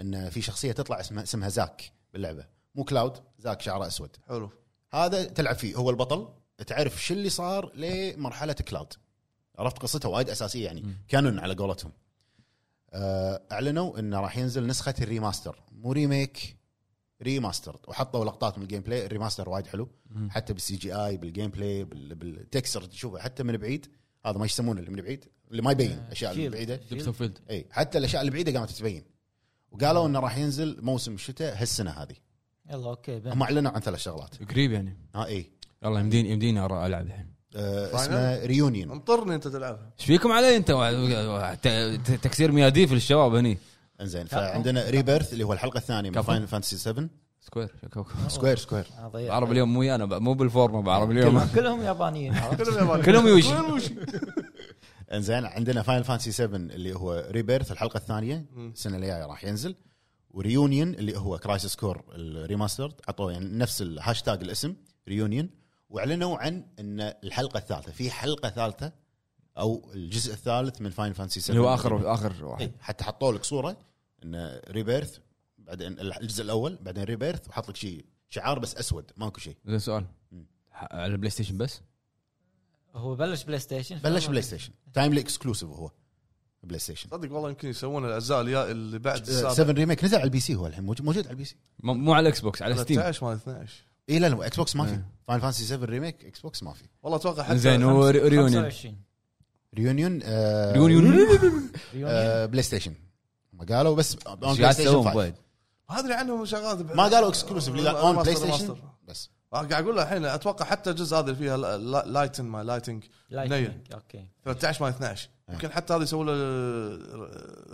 Speaker 2: ان في شخصيه تطلع اسمها اسمها زاك باللعبه مو كلاود زاك شعره اسود
Speaker 4: حلو
Speaker 2: هذا تلعب فيه هو البطل تعرف شو اللي صار لمرحله كلاود عرفت قصته وايد اساسيه يعني كانون على قولتهم آه، اعلنوا انه راح ينزل نسخه الريماستر مو ريميك ريماستر وحطوا لقطات من الجيم بلاي الريماستر وايد حلو
Speaker 1: مم.
Speaker 2: حتى بالسي جي اي بالجيم بلاي بال- بالتكسر تشوفه حتى من بعيد هذا ما يسمونه اللي من بعيد اللي ما يبين الاشياء اللي
Speaker 5: Shield.
Speaker 2: من بعيده
Speaker 1: جيبسون فيلد
Speaker 2: اي حتى الاشياء اللي بعيده قامت تبين وقالوا انه راح ينزل موسم الشتاء هالسنه هذه
Speaker 5: يلا اوكي بن.
Speaker 2: هم اعلنوا عن ثلاث شغلات
Speaker 1: قريب يعني
Speaker 2: ها اي
Speaker 1: يلا يمديني يمديني أرا- العب الحين
Speaker 2: آه
Speaker 4: Final؟
Speaker 2: اسمه ريونيون
Speaker 4: مطرني انت تلعبها
Speaker 1: ايش فيكم علي انت وع- وع- ت- ت- تكسير مياديف للشباب هني
Speaker 2: انزين فعندنا ريبيرث اللي هو الحلقه الثانيه من
Speaker 1: كفو.
Speaker 2: فاينل فانتسي 7
Speaker 1: سكوير
Speaker 2: سكوير سكوير
Speaker 5: أنا ضيعت.
Speaker 1: عرب اليوم مو ويانا بقى، مو بالفورمه بعرب اليوم
Speaker 5: كلهم- كلهم يابانيين عرفت؟
Speaker 4: كلهم يابانيين.
Speaker 1: كلهم يوشي.
Speaker 4: كلهم يوشي
Speaker 2: انزين عندنا فاينل فانتسي 7 اللي هو ريبيرث الحلقه الثانيه
Speaker 4: مم.
Speaker 2: السنه الجايه راح ينزل وريونيون اللي هو كرايسس كور الريماسترد عطوه يعني نفس الهاشتاج الاسم ريونيون واعلنوا عن ان الحلقه الثالثه في حلقه ثالثه او الجزء الثالث من فاينل فانتسي 7
Speaker 1: اللي هو اخر اخر واحد
Speaker 2: إيه، حتى حطوا لك صوره ان ريبيرث بعدين الجزء الاول بعدين ريبيرث وحط لك شيء شعار بس اسود ماكو شيء
Speaker 1: زين سؤال
Speaker 2: مم.
Speaker 1: ح- على البلاي ستيشن بس
Speaker 5: هو بلش بلاي ستيشن
Speaker 1: آه.
Speaker 2: بلش بلاي ستيشن تايملي اكسكلوسيف هو بلاي ستيشن
Speaker 4: صدق والله يمكن يسوون الاجزاء اليا اللي بعد السابع
Speaker 2: 7 آه، ريميك نزل على البي سي هو الحين موجود, موجود على البي سي
Speaker 1: مو مو على الاكس بوكس على ستيم
Speaker 4: 13 مال 12
Speaker 2: اي لا لا اكس بوكس ما في
Speaker 1: إيه.
Speaker 2: فاينل فانسي 7 ريميك اكس بوكس ما في
Speaker 4: والله اتوقع حتى
Speaker 1: زين
Speaker 4: خمسة.
Speaker 1: وريونيون
Speaker 5: 25
Speaker 2: ريونيون آه
Speaker 1: ريونيون
Speaker 5: ريونيون.
Speaker 2: آه بلاي ستيشن ما قالوا بس آه، on
Speaker 1: ايش
Speaker 2: PlayStation
Speaker 1: قاعد تسوون طيب.
Speaker 2: 5.
Speaker 1: بعد؟
Speaker 4: ما ادري عنهم شغلات
Speaker 2: ما قالوا اكسكلوسيف اللي قال اون بلاي
Speaker 4: ريماستر-
Speaker 2: ستيشن
Speaker 4: ريماستر.
Speaker 2: بس
Speaker 4: قاعد اقول له الحين اتوقع حتى الجزء هذا اللي فيها لايتن ما لايتنج
Speaker 5: لايتنينج. اوكي
Speaker 4: 13 ما 12
Speaker 2: إيه.
Speaker 4: يمكن حتى هذا يسوي له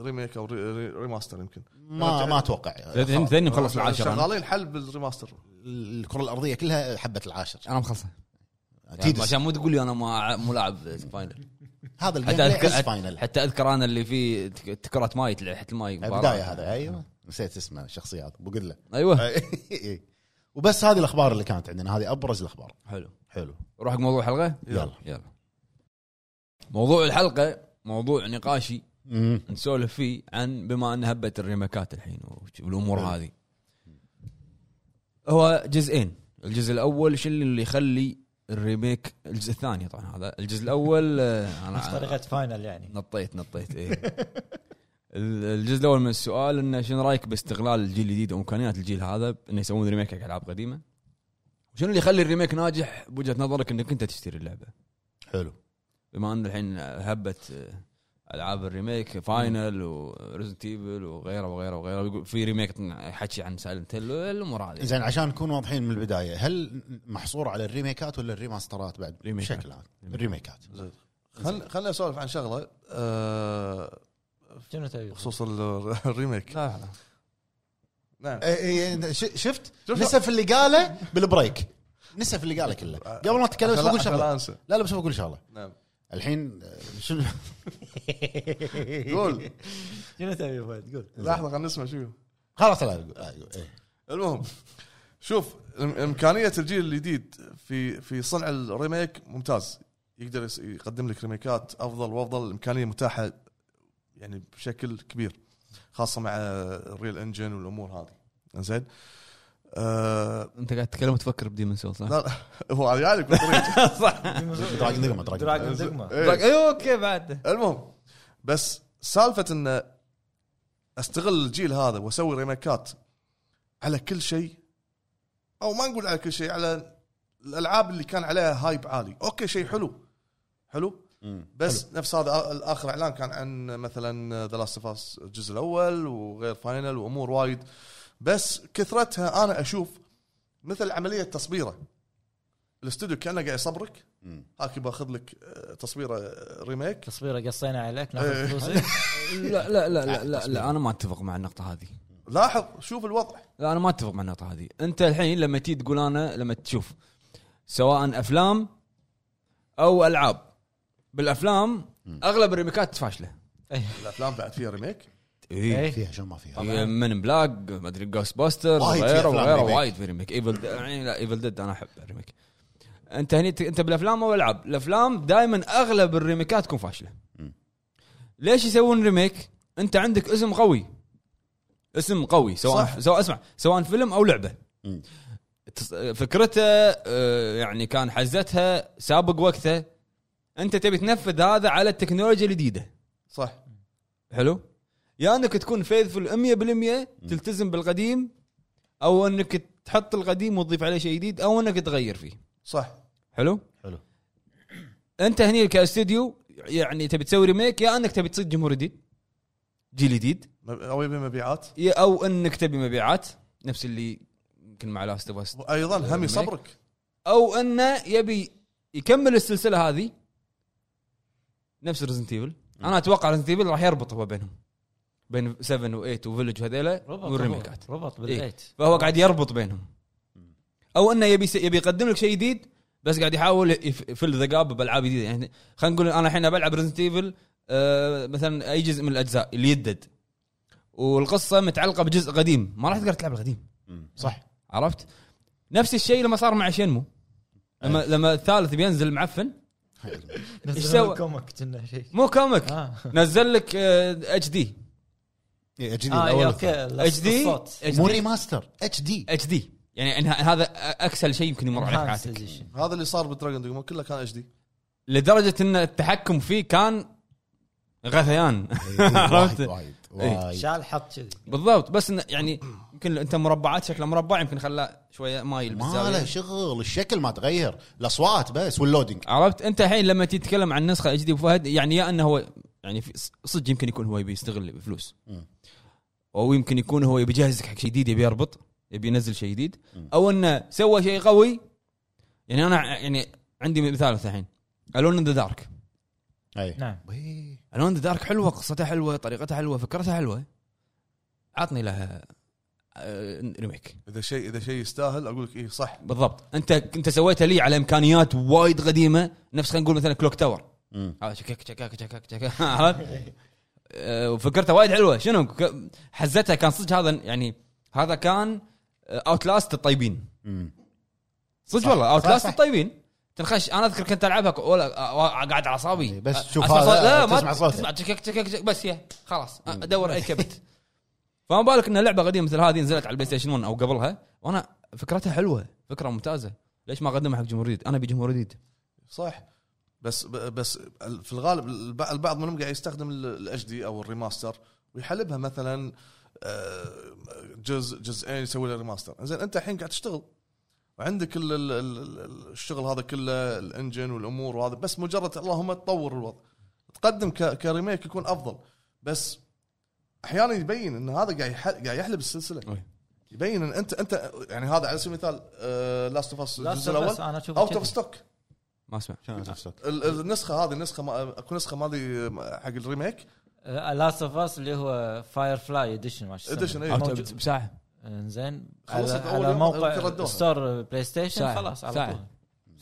Speaker 4: ريميك او ري- ري- ريماستر يمكن يعني
Speaker 2: ما ما اتوقع
Speaker 1: تدري- تدري مخلص العاشر أنا.
Speaker 4: شغالين حل بالريماستر
Speaker 2: الكره الارضيه كلها حبه العاشر
Speaker 1: انا مخلصه
Speaker 2: تيدس.
Speaker 1: عشان مو تقول لي انا ما مو لاعب فاينل
Speaker 2: هذا الجيم
Speaker 1: حتى
Speaker 2: بلاي
Speaker 1: اذكر
Speaker 2: عز فاينل
Speaker 1: حتى اذكر انا اللي فيه تك- تكرة ماي تحت الماي
Speaker 2: أيوة. نعم. البدايه هذا ايوه نسيت اسمه الشخصيه هذا بقول له
Speaker 1: ايوه
Speaker 2: إيه. وبس هذه الاخبار اللي كانت عندنا هذه ابرز الاخبار
Speaker 1: حلو
Speaker 2: حلو
Speaker 1: نروح حق موضوع الحلقه
Speaker 2: يلا
Speaker 1: يلا موضوع الحلقه موضوع نقاشي
Speaker 2: مم.
Speaker 1: نسولف فيه عن بما ان هبت الريميكات الحين وش- والامور
Speaker 2: حلو.
Speaker 1: هذه هو جزئين الجزء الاول شو اللي يخلي الريميك الجزء الثاني طبعا هذا الجزء الاول آه،
Speaker 5: نفس
Speaker 1: انا
Speaker 5: طريقه فاينل يعني
Speaker 1: نطيت نطيت ايه ال- الجزء الاول من السؤال انه شنو رايك باستغلال الجيل الجديد وامكانيات الجيل هذا انه يسوون ريميك حق العاب قديمه وشنو اللي يخلي الريميك ناجح بوجهه نظرك انك انت تشتري اللعبه
Speaker 2: حلو
Speaker 1: بما ان الحين هبت آه، العاب الريميك فاينل وريزنت ايفل وغيره وغيره وغيره ويقول في ريميك حكي عن سايلنت هيل الامور هذه
Speaker 2: زين عشان نكون واضحين من البدايه هل محصور على الريميكات ولا الريماسترات بعد
Speaker 1: ريميكات.
Speaker 2: بشكل عام الريميكات
Speaker 4: زين خل خلنا اسولف عن شغله آه،
Speaker 5: شنو تبي؟
Speaker 4: بخصوص ال- الريميك
Speaker 1: لا لا
Speaker 4: نعم
Speaker 2: إيه، إيه، ش- شفت
Speaker 4: شوف-
Speaker 2: نسف اللي قاله بالبريك أه، نسف اللي قاله كله قبل ما تتكلم بس
Speaker 4: عشان لا-
Speaker 2: بقول
Speaker 4: عشان
Speaker 2: شغله
Speaker 4: لا انسى
Speaker 2: لا لا بس بقول شغله
Speaker 4: نعم
Speaker 2: الحين آه، شنو
Speaker 4: قول
Speaker 5: شنو تبي فهد قول
Speaker 4: لحظه خلينا نسمع شو
Speaker 2: خلاص لا لا، لا، إيه.
Speaker 4: المهم شوف إم- امكانيه الجيل الجديد في في صنع الريميك ممتاز يقدر يس- يقدم لك ريميكات افضل وافضل الامكانيه متاحه يعني بشكل كبير خاصه مع الريل انجن والامور هذه زين آه
Speaker 1: انت قاعد تتكلم تفكر بديمن سول صح؟
Speaker 4: لا لا، هو جاي لك بالطريق
Speaker 2: دراجون دقمة، دراجون
Speaker 5: دراجون دقمه
Speaker 4: إيه.
Speaker 1: ايوه اوكي بعد
Speaker 4: المهم بس سالفه ان استغل الجيل هذا واسوي ريميكات على كل شيء او ما نقول على كل شيء على الالعاب اللي كان عليها هايب عالي اوكي شيء حلو حلو
Speaker 2: مم.
Speaker 4: بس حلو. نفس هذا الاخر اعلان كان عن مثلا ذا لاست اوف اس الجزء الاول وغير فاينل وامور وايد بس كثرتها انا اشوف مثل عمليه تصبيره الاستوديو كانه قاعد يصبرك
Speaker 2: مم.
Speaker 4: هاك باخذ لك آه، تصويره آه، ريميك
Speaker 5: تصويره قصينا عليك
Speaker 4: إيه.
Speaker 5: ناخذ فلوسك
Speaker 1: لا لا لا لا, لا, لا انا ما اتفق مع النقطه هذه
Speaker 4: لاحظ شوف الوضع
Speaker 1: لا انا ما اتفق مع النقطه هذه انت الحين لما تيجي تقول انا لما تشوف سواء افلام او العاب بالافلام اغلب الريميكات فاشله
Speaker 4: الافلام بعد فيها ريميك
Speaker 5: إيه.
Speaker 2: فيها شنو ما فيها
Speaker 1: هي من بلاك ما ادري جوست باستر
Speaker 2: وايد في
Speaker 1: وغيره
Speaker 2: أفلام
Speaker 1: وغيره
Speaker 2: ريميك.
Speaker 1: وايد في ريميك ايفل يعني لا ايفل ديد انا احب الريميك انت هني ت- انت بالافلام او العاب الافلام دائما اغلب الريميكات تكون فاشله
Speaker 2: مم.
Speaker 1: ليش يسوون ريميك انت عندك اسم قوي اسم قوي سواء
Speaker 4: صح.
Speaker 1: سواء اسمع سواء فيلم او لعبه
Speaker 2: مم.
Speaker 1: تس- فكرته آه، يعني كان حزتها سابق وقته انت تبي تنفذ هذا على التكنولوجيا الجديده
Speaker 4: صح
Speaker 1: حلو يا انك تكون فيثفul 100% تلتزم بالقديم او انك تحط القديم وتضيف عليه شيء جديد او انك تغير فيه
Speaker 4: صح
Speaker 1: حلو
Speaker 2: حلو.
Speaker 1: انت هني كاستديو يعني تبي تسوي ريميك يا انك تبي تصيد جمهور جديد جيل جديد
Speaker 4: مب- او يبي مبيعات
Speaker 1: يا- او انك تبي مبيعات نفس اللي يمكن مع لاست اوف أس.
Speaker 4: وايضا هم
Speaker 1: ريميك.
Speaker 4: يصبرك
Speaker 1: او انه يبي يكمل السلسله هذه نفس ريزنت ايفل انا اتوقع ريزنت ايفل راح يربط هو بينهم بين 7 و8 وفيلج وهذيلا والريميكات
Speaker 5: ربط ربط
Speaker 1: إيه.
Speaker 5: بالايت
Speaker 1: فهو قاعد يربط بينهم او انه يبي يبي يقدم لك شيء جديد بس قاعد يحاول يف- يفل ذا جاب بالعاب جديده يعني خلينا نقول انا الحين بلعب ريزنت ايفل مثلا اي آه، جزء من الاجزاء اللي يدد والقصه متعلقه بجزء قديم ما راح تقدر تلعب القديم
Speaker 2: مم. صح
Speaker 1: عرفت؟ نفس الشيء لما صار مع شنمو لما
Speaker 5: إيه.
Speaker 1: لما الثالث بينزل معفن إيش سوى؟
Speaker 5: نزلوا كومك كنا شيء
Speaker 1: مو كوميك
Speaker 5: اه
Speaker 1: نزل لك آه، اتش دي
Speaker 2: إيه، اتش دي
Speaker 5: آه،
Speaker 2: الأول
Speaker 5: إيه،
Speaker 2: والثاني.
Speaker 5: اوكي لا،
Speaker 1: اتش دي
Speaker 5: الصوت.
Speaker 2: مو ريماستر اتش دي
Speaker 1: اتش دي يعني إنها- هذا اكسل شيء يمكن يمر عليك
Speaker 5: Enhanced
Speaker 1: حياتك
Speaker 5: Edition.
Speaker 4: هذا اللي صار بالدراجون دوغما كله كان اتش دي
Speaker 1: لدرجه ان التحكم فيه كان غثيان
Speaker 2: أيوة. وايد
Speaker 1: عرفت
Speaker 2: وايد وايد
Speaker 5: شال حط كذي
Speaker 1: بالضبط بس إنه يعني يمكن انت مربعات شكله مربع يمكن خلاه شويه مايل
Speaker 2: ما له
Speaker 1: بالزاويه
Speaker 2: شغل الشكل ما تغير الاصوات بس واللودينج
Speaker 1: عرفت انت الحين لما تيجي تتكلم عن نسخه اتش دي فهد يعني يا انه هو يعني في- صدق يمكن يكون هو يبي يستغل فلوس
Speaker 2: مم.
Speaker 1: او يمكن يكون هو يبي يجهزك حق شيء جديد يبي يربط يبي ينزل شيء جديد
Speaker 2: مم.
Speaker 1: او انه سوى شيء قوي يعني انا ع- يعني عندي مثال الحين الون ذا دارك
Speaker 2: اي
Speaker 5: نعم
Speaker 2: وي.
Speaker 1: الون ذا دارك حلوه قصتها حلوه طريقتها حلوه فكرتها حلوه عطني لها آه، ريميك
Speaker 4: اذا شيء اذا شيء يستاهل اقول لك ايه صح
Speaker 1: بالضبط انت انت سويتها لي على امكانيات وايد قديمه نفس خلينا نقول مثلا كلوك تاور
Speaker 2: مم.
Speaker 1: هذا شكك شكك شكك شكك عرفت؟ آه، وفكرته وايد حلوه شنو ك- حزتها كان صدق هذا يعني هذا كان اوتلاست الطيبين
Speaker 2: مم.
Speaker 1: صدق
Speaker 2: صح.
Speaker 1: والله
Speaker 2: صح،
Speaker 1: اوتلاست
Speaker 2: صح.
Speaker 1: الطيبين تنخش انا اذكر كنت العبها ك- ولا أ- قاعد على اعصابي
Speaker 2: إي، إيه، بس
Speaker 1: أ-
Speaker 2: تشوف
Speaker 1: أسمع
Speaker 2: هذا،
Speaker 1: صوت- لا ما
Speaker 2: تسمع صوته.
Speaker 1: تسمع تشك تشك تشك بس يا خلاص آه، أ- ادور اي كبت فما بالك ان لعبه قديمه مثل هذه نزلت على البلاي ستيشن 1 او قبلها وانا فكرتها حلوه فكره ممتازه ليش ما اقدمها حق جمهور جديد؟ انا بجمهور جديد
Speaker 4: صح بس ب- بس ال- في الغالب الب- البعض منهم قاعد يستخدم الاتش دي او الريماستر ويحلبها مثلا آه، جزء جزئين يسوي له ريماستر زين انت الحين قاعد تشتغل وعندك ال- ال- ال- ال- الشغل هذا كله الانجن والامور وهذا بس مجرد اللهم تطور الوضع تقدم ك- كريميك يكون افضل بس احيانا يبين ان هذا قاعد يح- قاعد يحلب السلسله
Speaker 1: أي.
Speaker 4: يبين ان انت انت يعني هذا على سبيل المثال آه، لاست اوف اس الجزء
Speaker 5: بس
Speaker 4: الاول
Speaker 5: انا اشوف
Speaker 4: اوت اوف ستوك
Speaker 1: ما اسمع
Speaker 2: شنو نفسك؟
Speaker 4: ال- ال- النسخه هذه النسخه ما اكو نسخه ماضي حق الريميك
Speaker 5: لاست اوف اس اللي هو فاير فلاي اديشن ما
Speaker 4: Edition، إيه.
Speaker 1: أوت-
Speaker 5: موجود
Speaker 1: بساعه
Speaker 5: انزين
Speaker 4: خلصت
Speaker 5: على,
Speaker 4: أول
Speaker 5: على
Speaker 4: يوم، يمكن
Speaker 5: موقع
Speaker 4: ردوها.
Speaker 5: ستور بلاي ستيشن
Speaker 1: ساعة.
Speaker 5: خلاص على
Speaker 1: ساعة.
Speaker 5: طول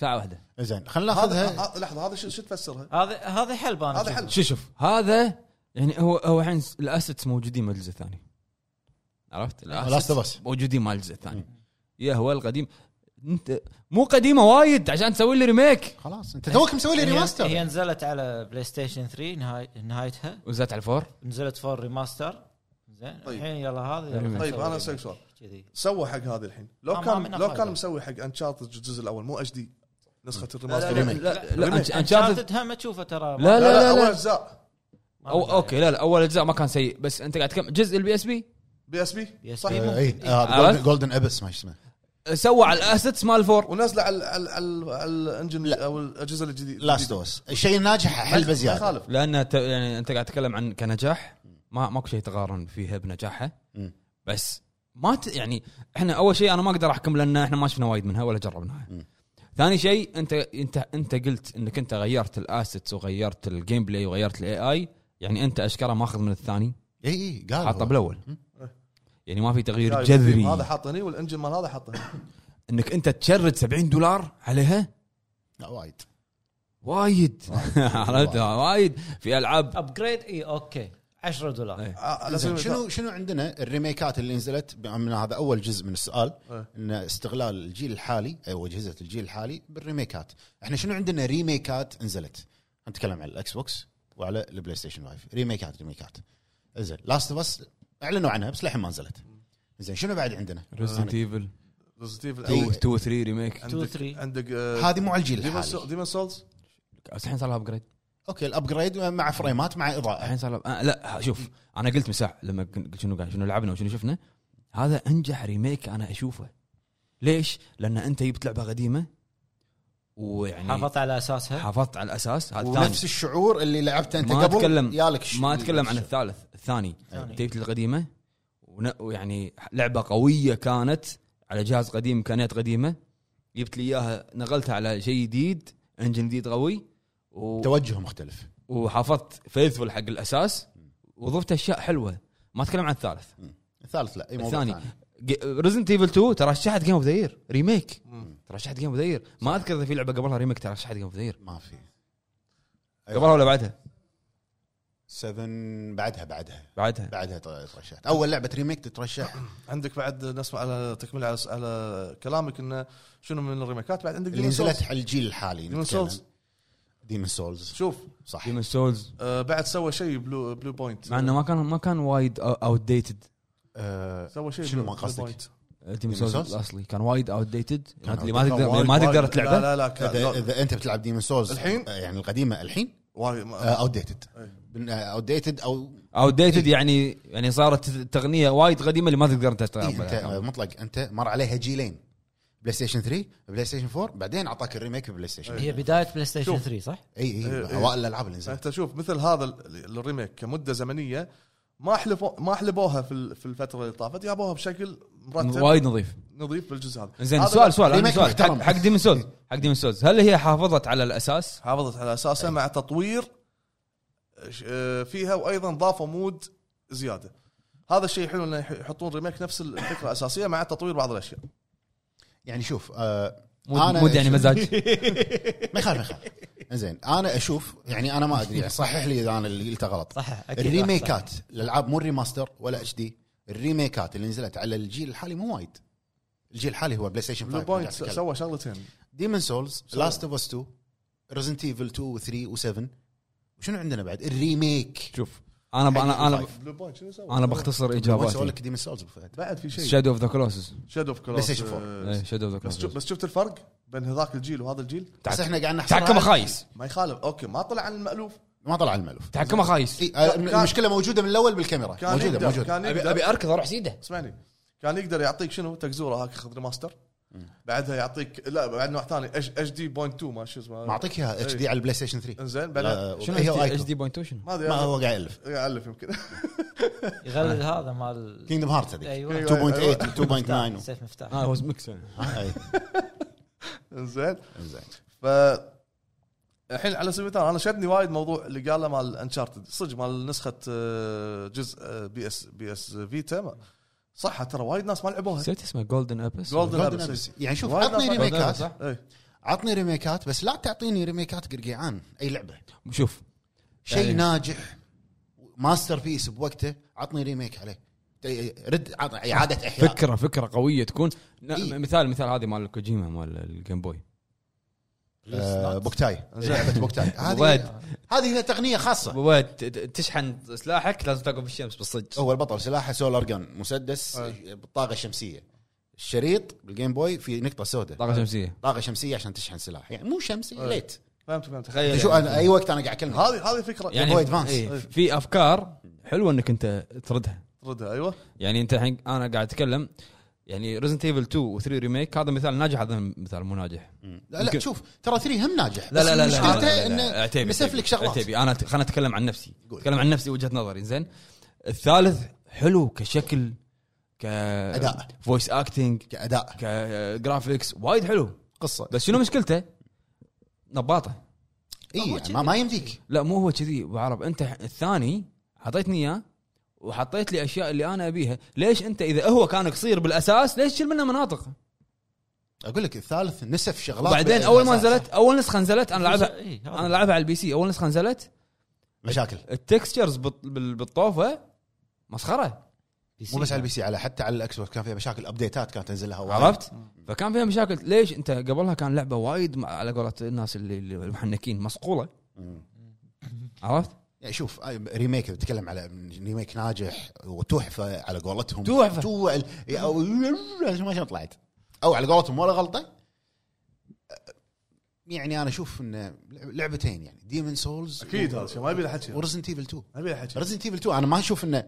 Speaker 1: ساعه واحده
Speaker 2: زين خلينا
Speaker 4: هذا
Speaker 2: ناخذها
Speaker 4: ه- لحظه هذا شو شو تفسرها؟
Speaker 5: هذا هذا حلب انا
Speaker 4: هذا
Speaker 5: أشوفه.
Speaker 4: حل
Speaker 1: شو شوف هذا يعني هو هو الحين الاسيتس موجودين مال الجزء الثاني عرفت
Speaker 2: لاست
Speaker 1: الاسيتس
Speaker 2: اوف اس
Speaker 1: موجودين مال الجزء الثاني يا هو القديم انت مو قديمه وايد عشان تسوي لي ريميك
Speaker 2: خلاص انت توك مسوي لي
Speaker 5: هي- هي
Speaker 2: ريماستر
Speaker 5: نزلت على بلاي ستيشن 3 نهاي... نهايتها
Speaker 1: وزات على الفور
Speaker 5: نزلت فور ريماستر زين
Speaker 4: طيب.
Speaker 5: الحين يلا هذا يلا
Speaker 1: طيب،
Speaker 5: نسوي
Speaker 4: أنا
Speaker 5: remake.
Speaker 4: أسألك سؤال.
Speaker 5: كذي
Speaker 4: سوى حق هذا الحين لو
Speaker 5: ما- ما
Speaker 4: كان لو
Speaker 5: منه فايدة.
Speaker 4: كان مسوي حق انشارتد الجزء الاول مو اتش دي نسخه
Speaker 1: لا
Speaker 4: الريماستر
Speaker 1: لا
Speaker 2: ريميك.
Speaker 1: لا لا
Speaker 4: ريميك.
Speaker 1: أنش- انشارتد
Speaker 5: انشارتد هم تشوفه ترى
Speaker 1: لا لا لا
Speaker 4: اول
Speaker 1: لا
Speaker 4: اجزاء
Speaker 1: أو اوكي لا لا اول اجزاء ما كان سيء بس انت قاعد تكمل جزء البي اس بي
Speaker 4: بي اس بي
Speaker 5: بي
Speaker 4: صح
Speaker 5: إس بي.
Speaker 2: اي
Speaker 1: عرفت؟
Speaker 2: جولدن ابس ما اسمه
Speaker 1: سوى على الاسيتس مال الفور
Speaker 4: ونازله على على على- على الانجن او الاجهزه الجديده
Speaker 2: لاست اوف اس الشيء الناجح حلبه زياده
Speaker 4: خالف
Speaker 1: لان ت- يعني انت قاعد تتكلم عن كنجاح ما ماكو شيء تقارن فيها بنجاحها
Speaker 2: مم.
Speaker 1: بس ما ت... يعني احنا اول شيء انا ما اقدر احكم لان احنا ما شفنا وايد منها ولا جربناها
Speaker 2: مم.
Speaker 1: ثاني شيء انت انت انت قلت انك انت غيرت الاسيتس وغيرت الجيم بلاي وغيرت الاي اي يعني انت اشكره ماخذ من الثاني
Speaker 2: اي اي قال
Speaker 1: حاطه
Speaker 2: هو.
Speaker 1: بالاول
Speaker 2: مم.
Speaker 1: يعني ما في تغيير
Speaker 4: شايف؟ هذا
Speaker 1: جذري
Speaker 4: حاط هني والانجن مال هذا حاط هني
Speaker 1: انك انت تشرد 70 دولار عليها
Speaker 2: لا، وايد
Speaker 1: وايد عرفت وايد في العاب
Speaker 5: ابجريد اي اوكي 10 دولار
Speaker 1: إيه.
Speaker 4: على سبيل
Speaker 2: زين،
Speaker 4: المثال.
Speaker 2: شنو شنو عندنا الريميكات اللي نزلت ب- من هذا اول جزء من السؤال
Speaker 4: إيه.
Speaker 2: ان استغلال الجيل الحالي او اجهزه الجيل الحالي بالريميكات احنا شنو عندنا ريميكات نزلت نتكلم على الاكس بوكس وعلى البلاي ستيشن 5 ريميكات ريميكات زين لاست اوف اس اعلنوا عنها بس للحين ما نزلت زين شنو بعد عندنا يعني
Speaker 1: ريزنت ايفل
Speaker 4: Resident
Speaker 1: 2
Speaker 4: Evil أول.
Speaker 1: 2 3 ريميك
Speaker 4: عندك-
Speaker 5: 2 3.
Speaker 4: عندك آه،
Speaker 2: هذه مو على الجيل الحالي
Speaker 4: ديمون سولز
Speaker 1: بس الحين صار لها ابجريد
Speaker 2: اوكي الابجريد مع فريمات مع اضاءه
Speaker 1: الحين صار لها- آه لا شوف انا قلت مساع لما قلت شنو قاعد شنو لعبنا وشنو شفنا هذا انجح ريميك انا اشوفه ليش؟ لان انت جبت لعبه قديمه ويعني
Speaker 5: حافظت على اساسها
Speaker 1: حافظت على الاساس هذا الثاني
Speaker 2: ونفس الشعور اللي لعبته انت
Speaker 1: ما
Speaker 2: قبل
Speaker 1: أتكلم-
Speaker 2: يالك
Speaker 1: ما اتكلم عن الثالث الثاني
Speaker 5: ثاني.
Speaker 1: جبت القديمه ون- ويعني لعبه قويه كانت على جهاز قديم امكانيات قديمه جبت لي اياها نقلتها على شيء جديد انجن جديد قوي و...
Speaker 2: توجه مختلف
Speaker 1: وحافظت فيثفل حق الاساس وضفت اشياء حلوه ما اتكلم عن الثالث
Speaker 2: الثالث لا اي موضوع
Speaker 1: الثاني
Speaker 2: ثاني
Speaker 1: ريزنت ايفل 2 ترشحت جيم اوف ذا يير ريميك ترشحت جيم اوف ذا يير ما اذكر اذا في لعبه قبلها ريميك ترشحت جيم اوف ذا يير
Speaker 2: ما في أيوة.
Speaker 1: قبلها ولا بعدها؟
Speaker 2: 7 بعدها بعدها
Speaker 1: بعدها
Speaker 2: بعدها تر- ترشحت اول لعبه ريميك تترشح
Speaker 4: عندك بعد نسمع على تكمله على, على كلامك انه شنو من الريميكات بعد عندك
Speaker 2: اللي
Speaker 4: Demon's
Speaker 2: نزلت
Speaker 4: Souls.
Speaker 2: على الجيل الحالي
Speaker 4: ديمون سولز
Speaker 2: ديمون سولز
Speaker 4: شوف
Speaker 2: صح
Speaker 1: ديمون سولز
Speaker 4: آه بعد سوى شيء بلو بلو بوينت
Speaker 1: مع انه ما كان ما كان وايد اوت ديتد
Speaker 2: آه،
Speaker 4: سوى شيء
Speaker 2: شنو
Speaker 4: بلو-
Speaker 2: ما قصدك؟
Speaker 4: بلو بوينت.
Speaker 1: ديمون
Speaker 2: Souls؟
Speaker 1: سولز الاصلي كان وايد اوت ديتد
Speaker 2: كان
Speaker 1: اللي ما
Speaker 2: outdated.
Speaker 1: تقدر
Speaker 2: كان
Speaker 1: ما
Speaker 4: وايد-
Speaker 1: تقدر تلعبه
Speaker 4: لا لا لا كان-
Speaker 2: اذا
Speaker 4: لا،
Speaker 2: اذا انت بتلعب ديمون سولز
Speaker 4: الحين؟ آه. إيه.
Speaker 2: يعني القديمه الحين آه،
Speaker 4: وايد- ما-
Speaker 1: آه.
Speaker 2: اوت ديتد اوت ديتد او
Speaker 1: اوت ديتد يعني يعني صارت تغنيه وايد قديمه اللي ما تقدر انت
Speaker 2: إيه، انت آه،
Speaker 1: تلعبها يعني
Speaker 2: مطلق انت مر عليها جيلين بلاي ستيشن 3 بلاي ستيشن 4 بعدين اعطاك الريميك بلاي ستيشن اي
Speaker 5: هي بدايه بلاي ستيشن
Speaker 4: شوف.
Speaker 5: 3 صح؟
Speaker 2: اي
Speaker 4: إيه، إيه.
Speaker 2: اوائل الالعاب اللي نزلت
Speaker 4: انت شوف مثل هذا ال- الريميك كمده زمنيه ما حلفوا ما حلبوها في ال- في الفتره اللي طافت جابوها بشكل مرتب
Speaker 1: وايد نظيف
Speaker 4: نظيف بالجزء هذا
Speaker 1: زين
Speaker 4: هذا
Speaker 1: سؤال سؤال عندي
Speaker 2: ريميك
Speaker 1: سؤال
Speaker 2: محترم.
Speaker 1: حق- حق ديمون سولز حق ديمون سولز هل هي حافظت على الاساس؟
Speaker 4: حافظت على اساسها مع تطوير ش- آه، فيها وايضا ضافوا مود زياده هذا الشيء حلو انه يح- يحطون ريميك نفس الفكره الاساسيه مع تطوير بعض الاشياء
Speaker 2: يعني شوف آه،
Speaker 1: مود مود يعني
Speaker 2: أشوف-
Speaker 1: مزاج
Speaker 2: ما يخالف ما يخالف زين انا اشوف يعني انا ما ادري يعني صحح لي اذا انا اللي قلته غلط
Speaker 5: صح اكيد
Speaker 2: الريميكات الالعاب مو الريماستر ولا اتش دي الريميكات اللي نزلت على الجيل الحالي مو وايد الجيل الحالي هو بلاي ستيشن 5
Speaker 4: بلو بوينت
Speaker 2: قاعد طيب، أتكلم.
Speaker 4: سوى شغلتين
Speaker 2: ديمن سولز لاست اوف اس 2 ريزنت ايفل 2 و3 و7 وشنو عندنا بعد الريميك
Speaker 1: شوف انا ب- انا انا
Speaker 2: Five.
Speaker 4: بلو بوينت شنو سوى؟
Speaker 1: ب- انا بختصر
Speaker 2: ما سووا
Speaker 1: اجاباتي
Speaker 2: لك ديمن سولز أبو فهد.
Speaker 4: بعد في شيء
Speaker 1: شادو اوف ذا كلوسس
Speaker 4: شادو اوف
Speaker 2: بلاي ستيشن فور.
Speaker 1: شادو اوف ذا
Speaker 4: بس شوف
Speaker 1: كلوسس
Speaker 4: بس شفت الفرق بين هذاك الجيل وهذا الجيل
Speaker 2: بس احنا قاعد نحصرها
Speaker 1: تحكمه
Speaker 2: على-
Speaker 1: خايس
Speaker 4: ما يخالف اوكي ما طلع عن المالوف
Speaker 2: ما طلع المالوف
Speaker 1: تحكمه خايس
Speaker 2: إي، آه، المشكله موجوده من الاول بالكاميرا
Speaker 4: كان
Speaker 2: موجوده
Speaker 4: يقدر
Speaker 2: موجوده
Speaker 4: كان يقدر
Speaker 1: اركض اروح سيده
Speaker 4: اسمعني كان يقدر يعطيك شنو تكزوره هاك خذ ريماستر بعدها يعطيك لا بعد نوع ثاني اتش دي بوينت 2 ما شو اسمه
Speaker 2: معطيك اياها اتش
Speaker 4: إيه.
Speaker 2: دي على البلاي ستيشن 3
Speaker 4: انزين بعدين
Speaker 2: لا،
Speaker 1: شنو
Speaker 2: هي
Speaker 1: اتش
Speaker 2: وايكون.
Speaker 1: دي بوينت شنو؟
Speaker 4: ما ادري
Speaker 2: ما
Speaker 4: أنا-
Speaker 2: هو قاعد يالف
Speaker 4: يالف يمكن
Speaker 5: يغلد هذا مال
Speaker 2: كينجدم هارت هذيك 2.8 2.9
Speaker 5: ايوه سيف مفتاح
Speaker 1: اه هو ميكس أنا.
Speaker 2: ها، أي.
Speaker 4: انزين
Speaker 2: زين
Speaker 4: ف الحين على سبيل المثال انا شدني وايد موضوع اللي قاله مال انشارتد صدق مال نسخه آه، جزء آه، بي اس بي اس فيتا ما- صح ترى وايد ناس ما لعبوها
Speaker 1: نسيت اسمه جولدن ابس
Speaker 4: Golden
Speaker 2: Golden
Speaker 4: Abyss.
Speaker 2: Abyss. يعني شوف
Speaker 4: وايد
Speaker 2: عطني
Speaker 4: ناس ما لعبوها.
Speaker 2: ريميكات
Speaker 1: صح؟
Speaker 4: إيه.
Speaker 2: عطني ريميكات بس لا تعطيني ريميكات قرقيعان اي لعبه
Speaker 1: شوف يعني-
Speaker 2: شيء ناجح ماستر بيس بوقته عطني ريميك عليه تي- رد عط- اعاده احياء
Speaker 1: فكره فكره قويه تكون ن-
Speaker 2: إيه.
Speaker 1: مثال مثال هذه مال كوجيما مال الجيم بوي
Speaker 2: آه، بوكتاي لعبه بوكتاي هذه
Speaker 1: وبعد-
Speaker 2: هذه هي تقنيه خاصه
Speaker 1: بابا، ت- ت- تشحن سلاحك لازم تقف بالشمس بالصدق
Speaker 2: هو البطل سلاحه سولار جان مسدس بالطاقه الشمسيه الشريط بالجيم بوي في نقطه سوداء
Speaker 1: طاقه شمسيه
Speaker 2: طاقه شمسيه عشان تشحن سلاح يعني مو شمسي ليت
Speaker 4: فهمت فهمت
Speaker 1: تخيل
Speaker 2: شو انا اي وقت انا قاعد اكلمك
Speaker 4: هذه هذه فكره
Speaker 1: يعني
Speaker 2: Game Boy Advance.
Speaker 1: إيه، في افكار حلوه انك انت تردها
Speaker 4: ردها ايوه
Speaker 1: يعني انت الحين انا قاعد اتكلم يعني ريزنت ايفل 2 و 3 ريميك هذا مثال ناجح هذا مثال مو ناجح
Speaker 2: لا لا
Speaker 1: يمكن-
Speaker 2: شوف ترى 3 هم ناجح
Speaker 1: لا
Speaker 2: بس
Speaker 1: لا لا لا,
Speaker 2: مشكلته
Speaker 1: لا, لا,
Speaker 2: انه
Speaker 1: لا عتيبي،
Speaker 2: مسف
Speaker 1: عتيبي،
Speaker 2: لك شغلات
Speaker 1: عتيبي انا ت- خلنا اتكلم عن نفسي
Speaker 2: قول.
Speaker 1: اتكلم عن نفسي وجهه نظري زين الثالث حلو كشكل ك
Speaker 2: أداء.
Speaker 1: فويس اكتنج
Speaker 2: كاداء
Speaker 1: كجرافيكس وايد حلو
Speaker 2: قصه
Speaker 1: بس شنو مشكلته؟ نباطه
Speaker 2: اي يعني ما, ما يمديك
Speaker 1: لا مو هو كذي ابو عرب انت الثاني اعطيتني اياه وحطيت لي اشياء اللي انا ابيها، ليش انت اذا هو كان قصير بالاساس ليش تشيل منه مناطق؟
Speaker 2: اقول لك الثالث نسف شغلات
Speaker 1: وبعدين
Speaker 2: بال-
Speaker 1: اول ما
Speaker 2: بالأساس.
Speaker 1: نزلت اول نسخه نزلت انا لعبها
Speaker 5: إيه، هذا.
Speaker 1: انا لعبها على البي سي اول نسخه نزلت
Speaker 2: مشاكل
Speaker 1: التكستشرز بال- بال- بالطوفه مسخره
Speaker 5: بي سي.
Speaker 2: مو بس على البي سي على حتى على الاكس بوكس كان فيها مشاكل ابديتات كانت تنزل لها وايد.
Speaker 1: عرفت؟ فكان فيها مشاكل ليش انت قبلها كان لعبه وايد مع- على قولة الناس اللي اللي المحنكين مصقوله
Speaker 2: مم.
Speaker 1: عرفت؟
Speaker 2: يعني شوف آي- ريميك تتكلم على ريميك ناجح وتحفه على قولتهم
Speaker 1: تحفة.
Speaker 2: توع او ما شلون طلعت او على قولتهم ولا غلطه يعني انا اشوف ان لعبتين يعني ديمن سولز
Speaker 4: اكيد هذا الشيء ما يبي له حكي ما
Speaker 2: ورزنت ايفل 2
Speaker 4: يبي له حكي
Speaker 2: رزنت ايفل 2 انا ما اشوف انه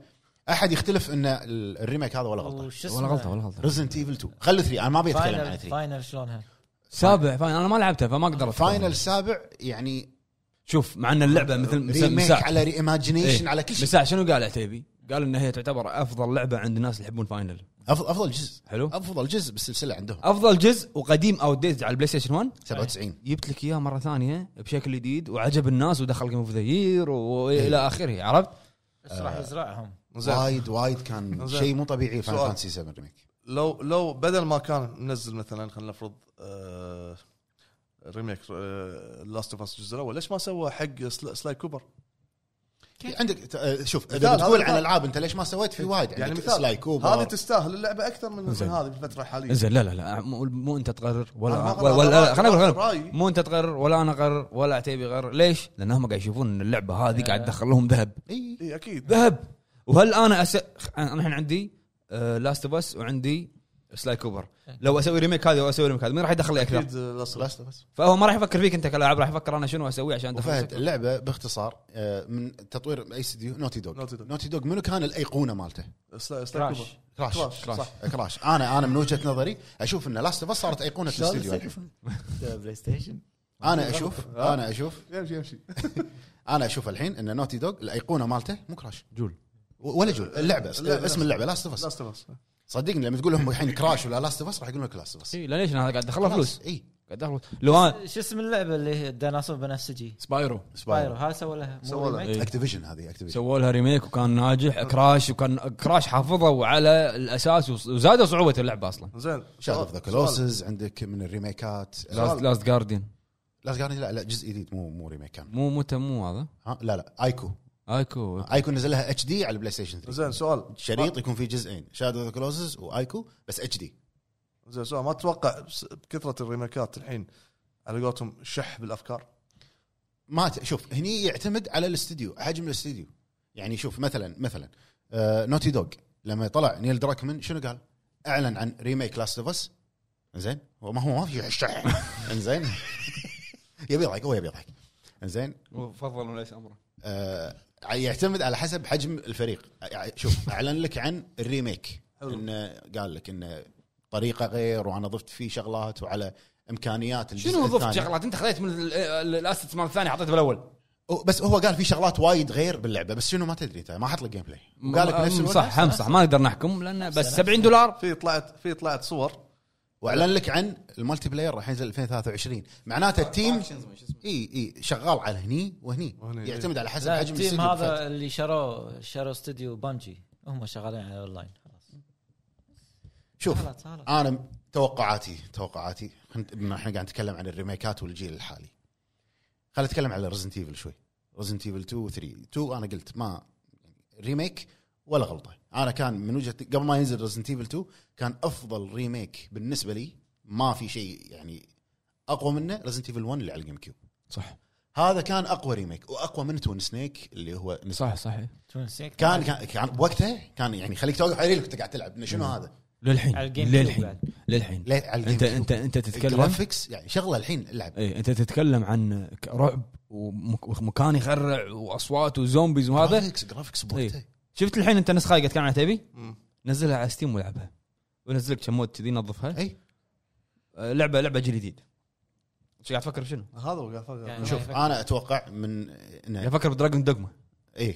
Speaker 2: احد يختلف ان ال- الريميك هذا ولا غلطه
Speaker 5: وش اسمه؟
Speaker 1: ولا غلطه ولا غلطه
Speaker 2: رزنت ايفل 2 خلي 3 انا ما ابي اتكلم عن
Speaker 5: فاينل
Speaker 2: 3
Speaker 5: فاينل شلونها؟
Speaker 1: سابع فاين انا ما لعبتها فما اقدر أتكلم.
Speaker 2: فاينل السابع يعني
Speaker 1: شوف مع ان اللعبه مثل مثل
Speaker 2: ريميك
Speaker 1: مساع-
Speaker 2: على ريماجينيشن
Speaker 1: إيه.
Speaker 2: على كل شيء
Speaker 1: مساع شنو قال عتيبي؟ قال ان هي تعتبر افضل لعبه عند الناس اللي يحبون فاينل
Speaker 2: أف- افضل جزء
Speaker 1: حلو
Speaker 2: افضل جزء بالسلسله عندهم
Speaker 1: افضل جزء وقديم او ديز على البلاي ستيشن 1
Speaker 2: 97
Speaker 1: جبت لك اياه مره ثانيه بشكل جديد وعجب الناس ودخل جيم اوف ذا يير
Speaker 4: إيه.
Speaker 1: والى اخره عرفت؟
Speaker 5: بس راح
Speaker 4: آه.
Speaker 5: يزرعهم
Speaker 4: زين
Speaker 2: وايد وايد كان
Speaker 4: زين.
Speaker 2: شيء مو طبيعي فاينل
Speaker 4: سؤال.
Speaker 2: فانتسي 7 ريميك
Speaker 4: لو لو بدل ما كان منزل مثلا خلينا نفرض آه، ريميك آه، لاست اوف اس الجزء الاول ليش ما سوى حق سل- سلاي كوبر؟
Speaker 2: عندك ت- آه، شوف
Speaker 4: مثال،
Speaker 2: اذا
Speaker 4: هذا
Speaker 2: بتقول عن
Speaker 4: مثال.
Speaker 2: العاب انت ليش ما سويت في وايد
Speaker 4: يعني
Speaker 2: عندك
Speaker 4: مثال
Speaker 2: سلاي كوبر
Speaker 4: هذه تستاهل اللعبه اكثر من من
Speaker 1: زين.
Speaker 4: هذه بالفتره الحاليه
Speaker 1: زين لا لا لا مو, مو انت تقرر
Speaker 4: أنا
Speaker 1: ولا
Speaker 4: ما
Speaker 1: ولا,
Speaker 4: أقرر،
Speaker 1: ولا,
Speaker 4: أنا
Speaker 1: لا، خلينا نقول خلينا
Speaker 4: رأيي.
Speaker 1: نقول. مو انت تقرر ولا انا اقرر ولا عتيبي يقرر ليش؟ لان هم قاعد يشوفون ان اللعبه هذه
Speaker 4: إيه.
Speaker 1: قاعد تدخل لهم ذهب
Speaker 2: اي
Speaker 4: اي اكيد
Speaker 1: ذهب وهل انا أس... انا الحين عندي آه، لاست اوف اس وعندي سلاي كوبر
Speaker 4: إيه.
Speaker 1: لو اسوي ريميك هذا واسوي ريميك هذا مين راح يدخل لي اكثر؟
Speaker 4: اكيد لاست اوف اس
Speaker 2: لاست اوف اس
Speaker 1: فهو ما راح يفكر فيك انت كلاعب راح يفكر انا شنو اسوي عشان ادخل
Speaker 2: وفهد
Speaker 1: نفسي.
Speaker 2: اللعبه باختصار آه، من تطوير اي استديو نوتي دوغ
Speaker 4: Naughty Dog.
Speaker 2: نوتي دوغ منو كان الايقونه مالته؟
Speaker 4: سلاي
Speaker 5: كراش.
Speaker 4: كوبر
Speaker 2: كراش
Speaker 4: كراش
Speaker 1: كراش.
Speaker 4: صح
Speaker 2: كراش انا انا من وجهه نظري اشوف ان لاست اوف اس صارت ايقونه الاستديو
Speaker 5: بلاي ستيشن
Speaker 2: انا اشوف انا اشوف
Speaker 4: يمشي يمشي
Speaker 2: انا اشوف الحين ان نوتي دوغ الايقونه مالته مو كراش
Speaker 1: جول
Speaker 2: و- ولا جول اللعبه است-
Speaker 4: اللعبة.
Speaker 2: اسم اللعبه لاست اوف اس
Speaker 4: لاست اوف اس
Speaker 2: صدقني لما تقول لهم الحين كراش ولا لاست اوف اس راح يقولون لك لاست اوف اس
Speaker 1: اي ليش انا قاعد ادخل فلوس
Speaker 2: اي
Speaker 1: قاعد ادخل فلوس. لو انا
Speaker 5: شو اسم اللعبه اللي هي الديناصور بنفسجي؟
Speaker 1: سبايرو
Speaker 5: سبايرو هاي سووا لها
Speaker 4: سووا لها.
Speaker 5: ريميك؟
Speaker 2: اكتيفيجن هذه اكتيفيجن
Speaker 1: سووا لها ريميك وكان ناجح كراش وكان كراش حافظه على الاساس وص- وزادوا صعوبه اللعبه اصلا
Speaker 4: زين
Speaker 2: شاد اوف ذا كلوسز عندك من الريميكات
Speaker 1: لاست لاست جارديان
Speaker 2: لا قارني لا لا جزء جديد مو مو ريميك كان
Speaker 1: مو مو مو هذا
Speaker 2: ها لا لا ايكو
Speaker 1: ايكو
Speaker 2: ايكو نزلها اتش دي على البلاي ستيشن 3
Speaker 4: زين سؤال
Speaker 2: شريط يكون فيه جزئين شاد اوف ذا كلوزز وايكو بس اتش دي
Speaker 4: زين سؤال ما تتوقع بس- بكثره الريميكات الحين على قولتهم شح بالافكار
Speaker 2: ما ت- شوف هني يعتمد على الاستديو حجم الاستديو يعني شوف مثلا مثلا آه نوتي دوغ لما طلع نيل دراكمن شنو قال؟ اعلن عن ريميك لاست اوف اس زين هو ما هو ما في شح زين يبي يضحك هو يبي يضحك زين
Speaker 1: فضل وليس امره
Speaker 2: آه، يعتمد على حسب حجم الفريق يعني شوف اعلن لك عن الريميك
Speaker 4: حلو.
Speaker 2: انه قال لك انه طريقه غير وانا ضفت فيه شغلات وعلى امكانيات الجزء
Speaker 1: شنو ضفت
Speaker 2: الثاني.
Speaker 1: شغلات انت خذيت من ال- ال- الاسيتس مال الثاني حطيته بالاول
Speaker 2: هو- بس هو قال في شغلات وايد غير باللعبه بس شنو ما تدري ترى، ما حط لك جيم بلاي وقال لك نفس الوقت
Speaker 1: أمم، صح هم صح ما نقدر نحكم لان بس 70 دولار
Speaker 4: في طلعت في طلعت صور
Speaker 2: واعلن لك عن المالتي بلاير راح ينزل 2023 معناته التيم اي اي شغال على هني وهني
Speaker 4: وهني،
Speaker 2: يعتمد على حسب
Speaker 5: لا،
Speaker 2: حجم
Speaker 5: التيم
Speaker 2: الاستديو بالفعل.
Speaker 5: هذا اللي شروه شروا استوديو بانجي هم شغالين على الاونلاين خلاص
Speaker 2: شوف
Speaker 5: خلاص خلاص
Speaker 2: انا م- توقعاتي توقعاتي خنت- بما احنا قاعد نتكلم عن الريميكات والجيل الحالي خلينا نتكلم على ريزنت ايفل شوي ريزنت ايفل 2 3 2 انا قلت ما ريميك ولا غلطه انا كان من وجهه قبل ما ينزل ريزنت ايفل 2 كان افضل ريميك بالنسبه لي ما في شيء يعني اقوى منه ريزنت ايفل 1 اللي على الجيم كيوب
Speaker 1: صح
Speaker 2: هذا كان اقوى ريميك واقوى من تون سنيك اللي هو نزل.
Speaker 1: صح صح
Speaker 5: تون سيك
Speaker 2: كان كان, كان وقتها كان يعني خليك توقف عليه انت قاعد تلعب شنو هذا
Speaker 1: للحين
Speaker 5: على الجيم كيوب
Speaker 1: للحين
Speaker 5: بعد.
Speaker 1: للحين
Speaker 2: ليه على الجيم
Speaker 1: انت
Speaker 2: كيوب.
Speaker 1: انت انت تتكلم إيه،
Speaker 2: جرافيكس يعني شغله الحين العب
Speaker 1: اي انت تتكلم عن ك- رعب ومك- ومكان يخرع واصوات وزومبيز وهذا
Speaker 2: جرافيكس جرافيكس
Speaker 1: إيه. شفت الحين انت نسخه قاعد تتكلم عنها تبي
Speaker 4: مم.
Speaker 1: نزلها على ستيم والعبها ونزل لك كم مود كذي نظفها
Speaker 2: اي
Speaker 1: آه، لعبه لعبه جيل جديد ايش قاعد تفكر بشنو؟
Speaker 4: هذا هو قاعد أفكر.
Speaker 5: يعني
Speaker 2: شوف انا اتوقع من
Speaker 1: قاعد
Speaker 2: إنه
Speaker 1: افكر بدراجون دوجما
Speaker 2: اي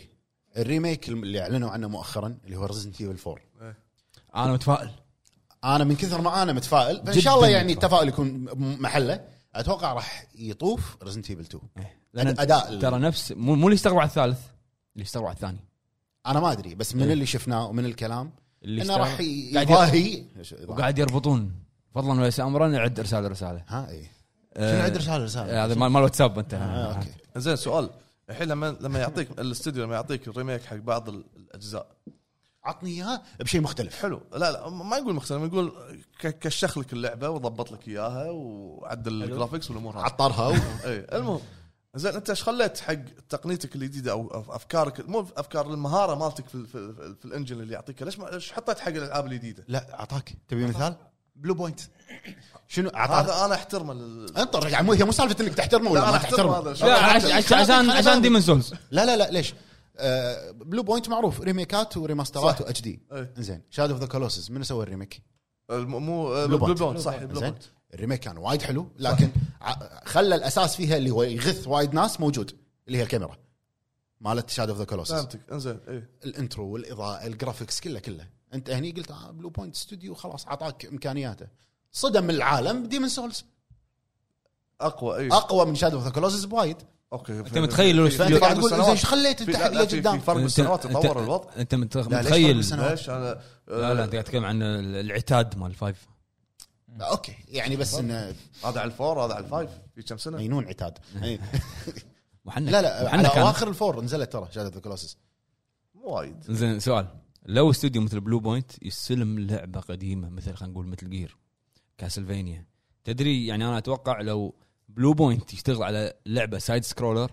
Speaker 2: الريميك اللي اعلنوا عنه مؤخرا اللي هو ريزنت ايفل 4
Speaker 1: انا متفائل
Speaker 2: انا من كثر ما انا متفائل فان
Speaker 1: جداً
Speaker 2: شاء الله يعني
Speaker 1: متفائل.
Speaker 2: التفاؤل يكون م- محله اتوقع راح يطوف ريزنت ايفل 2
Speaker 1: لان
Speaker 2: إيه. أداء ال-
Speaker 1: إيه. ترى نفس مو مو اللي اشتغلوا على الثالث اللي اشتغلوا على الثاني
Speaker 2: انا ما ادري بس من
Speaker 1: إيه.
Speaker 2: اللي شفناه ومن الكلام
Speaker 1: اللي
Speaker 2: انه
Speaker 1: اشتغل-
Speaker 2: راح
Speaker 1: قاعد
Speaker 2: يضاهي
Speaker 1: وقاعد يربطون فضلا وليس امرا عد رساله رساله
Speaker 2: ها اي شنو
Speaker 1: آه،
Speaker 2: عد رساله
Speaker 1: آه،
Speaker 2: رساله؟
Speaker 1: هذا مال مال واتساب انت
Speaker 2: آه، اوكي
Speaker 4: زين سؤال الحين لما لما يعطيك الاستوديو لما يعطيك الريميك حق بعض ال- الاجزاء
Speaker 2: عطني اياها بشيء مختلف
Speaker 4: حلو لا لا ما يقول مختلف يقول ك- كشخ لك اللعبه وضبط لك اياها وعدل الجرافكس والامور هذه
Speaker 2: عطرها و...
Speaker 4: اي إيه، المهم زين انت ايش خليت حق تقنيتك الجديده او أف- افكارك مو افكار المهاره مالتك في, ال- في, ال- في الانجن اللي يعطيك ليش ما ايش حطيت حق الالعاب الجديده؟
Speaker 2: لا اعطاك تبي مثال؟ بلو بوينت شنو
Speaker 1: آه.
Speaker 2: اعطاك
Speaker 4: هذا انا احترمه لل...
Speaker 2: انطر يا عمو هي يعني مو سالفه انك تحترمه ولا
Speaker 4: لا، أنا
Speaker 2: ما
Speaker 4: أحترم
Speaker 2: تحترمه
Speaker 4: هذا الشيء.
Speaker 1: لا عش- عش- عشان عشان ديمن سولز
Speaker 2: لا لا لا ليش؟ آه، بلو بوينت معروف ريميكات وريماسترات واتش دي
Speaker 4: إيه.
Speaker 2: زين شاد اوف ذا كولوسس منو سوى الريميك؟
Speaker 4: الم- مو
Speaker 2: بلو
Speaker 4: بلو
Speaker 2: بوينت.
Speaker 4: بوينت صح بلو
Speaker 2: زين
Speaker 4: بوينت
Speaker 2: الريميك كان وايد حلو لكن ع- خلى الاساس فيها اللي هو يغث وايد ناس موجود اللي هي الكاميرا مالت شاد اوف ذا كولوسس
Speaker 4: فهمتك إيه. انزين اي
Speaker 2: الانترو والاضاءه الجرافكس كله كله انت هني قلت آه بلو بوينت ستوديو خلاص اعطاك امكانياته صدم العالم ديمن سولز
Speaker 4: اقوى اي
Speaker 2: اقوى من شاد اوف ذا كولوسس بوايد
Speaker 4: اوكي
Speaker 1: أنت متخيل
Speaker 4: إيه.
Speaker 1: لو
Speaker 2: فانت
Speaker 1: فرق
Speaker 2: قاعد تقول زين ايش خليت
Speaker 4: في- لا، لا،
Speaker 2: التحدي
Speaker 4: في- في
Speaker 2: قدام
Speaker 4: فرق بالسنوات تطور الوضع
Speaker 1: انت مت-
Speaker 2: ليش فرق
Speaker 1: متخيل
Speaker 2: بالسنوات؟
Speaker 4: ليش آه، انا
Speaker 1: لا لا انت قاعد تتكلم عن ال- العتاد مال فايف
Speaker 2: اوكي يعني بس انه
Speaker 4: هذا على الفور هذا على الفايف في كم
Speaker 1: إيه.
Speaker 4: سنه
Speaker 2: مجنون عتاد
Speaker 4: إيه.
Speaker 2: إيه.
Speaker 1: محنك
Speaker 2: لا لا على
Speaker 1: محنك كان.
Speaker 2: اواخر الفور نزلت ترى شهاده ذا كلوسس
Speaker 4: مو وايد
Speaker 1: زين سؤال لو استوديو مثل بلو بوينت يستلم لعبه قديمه مثل خلينا نقول مثل جير كاسلفينيا تدري يعني انا اتوقع لو بلو بوينت يشتغل على لعبه سايد سكرولر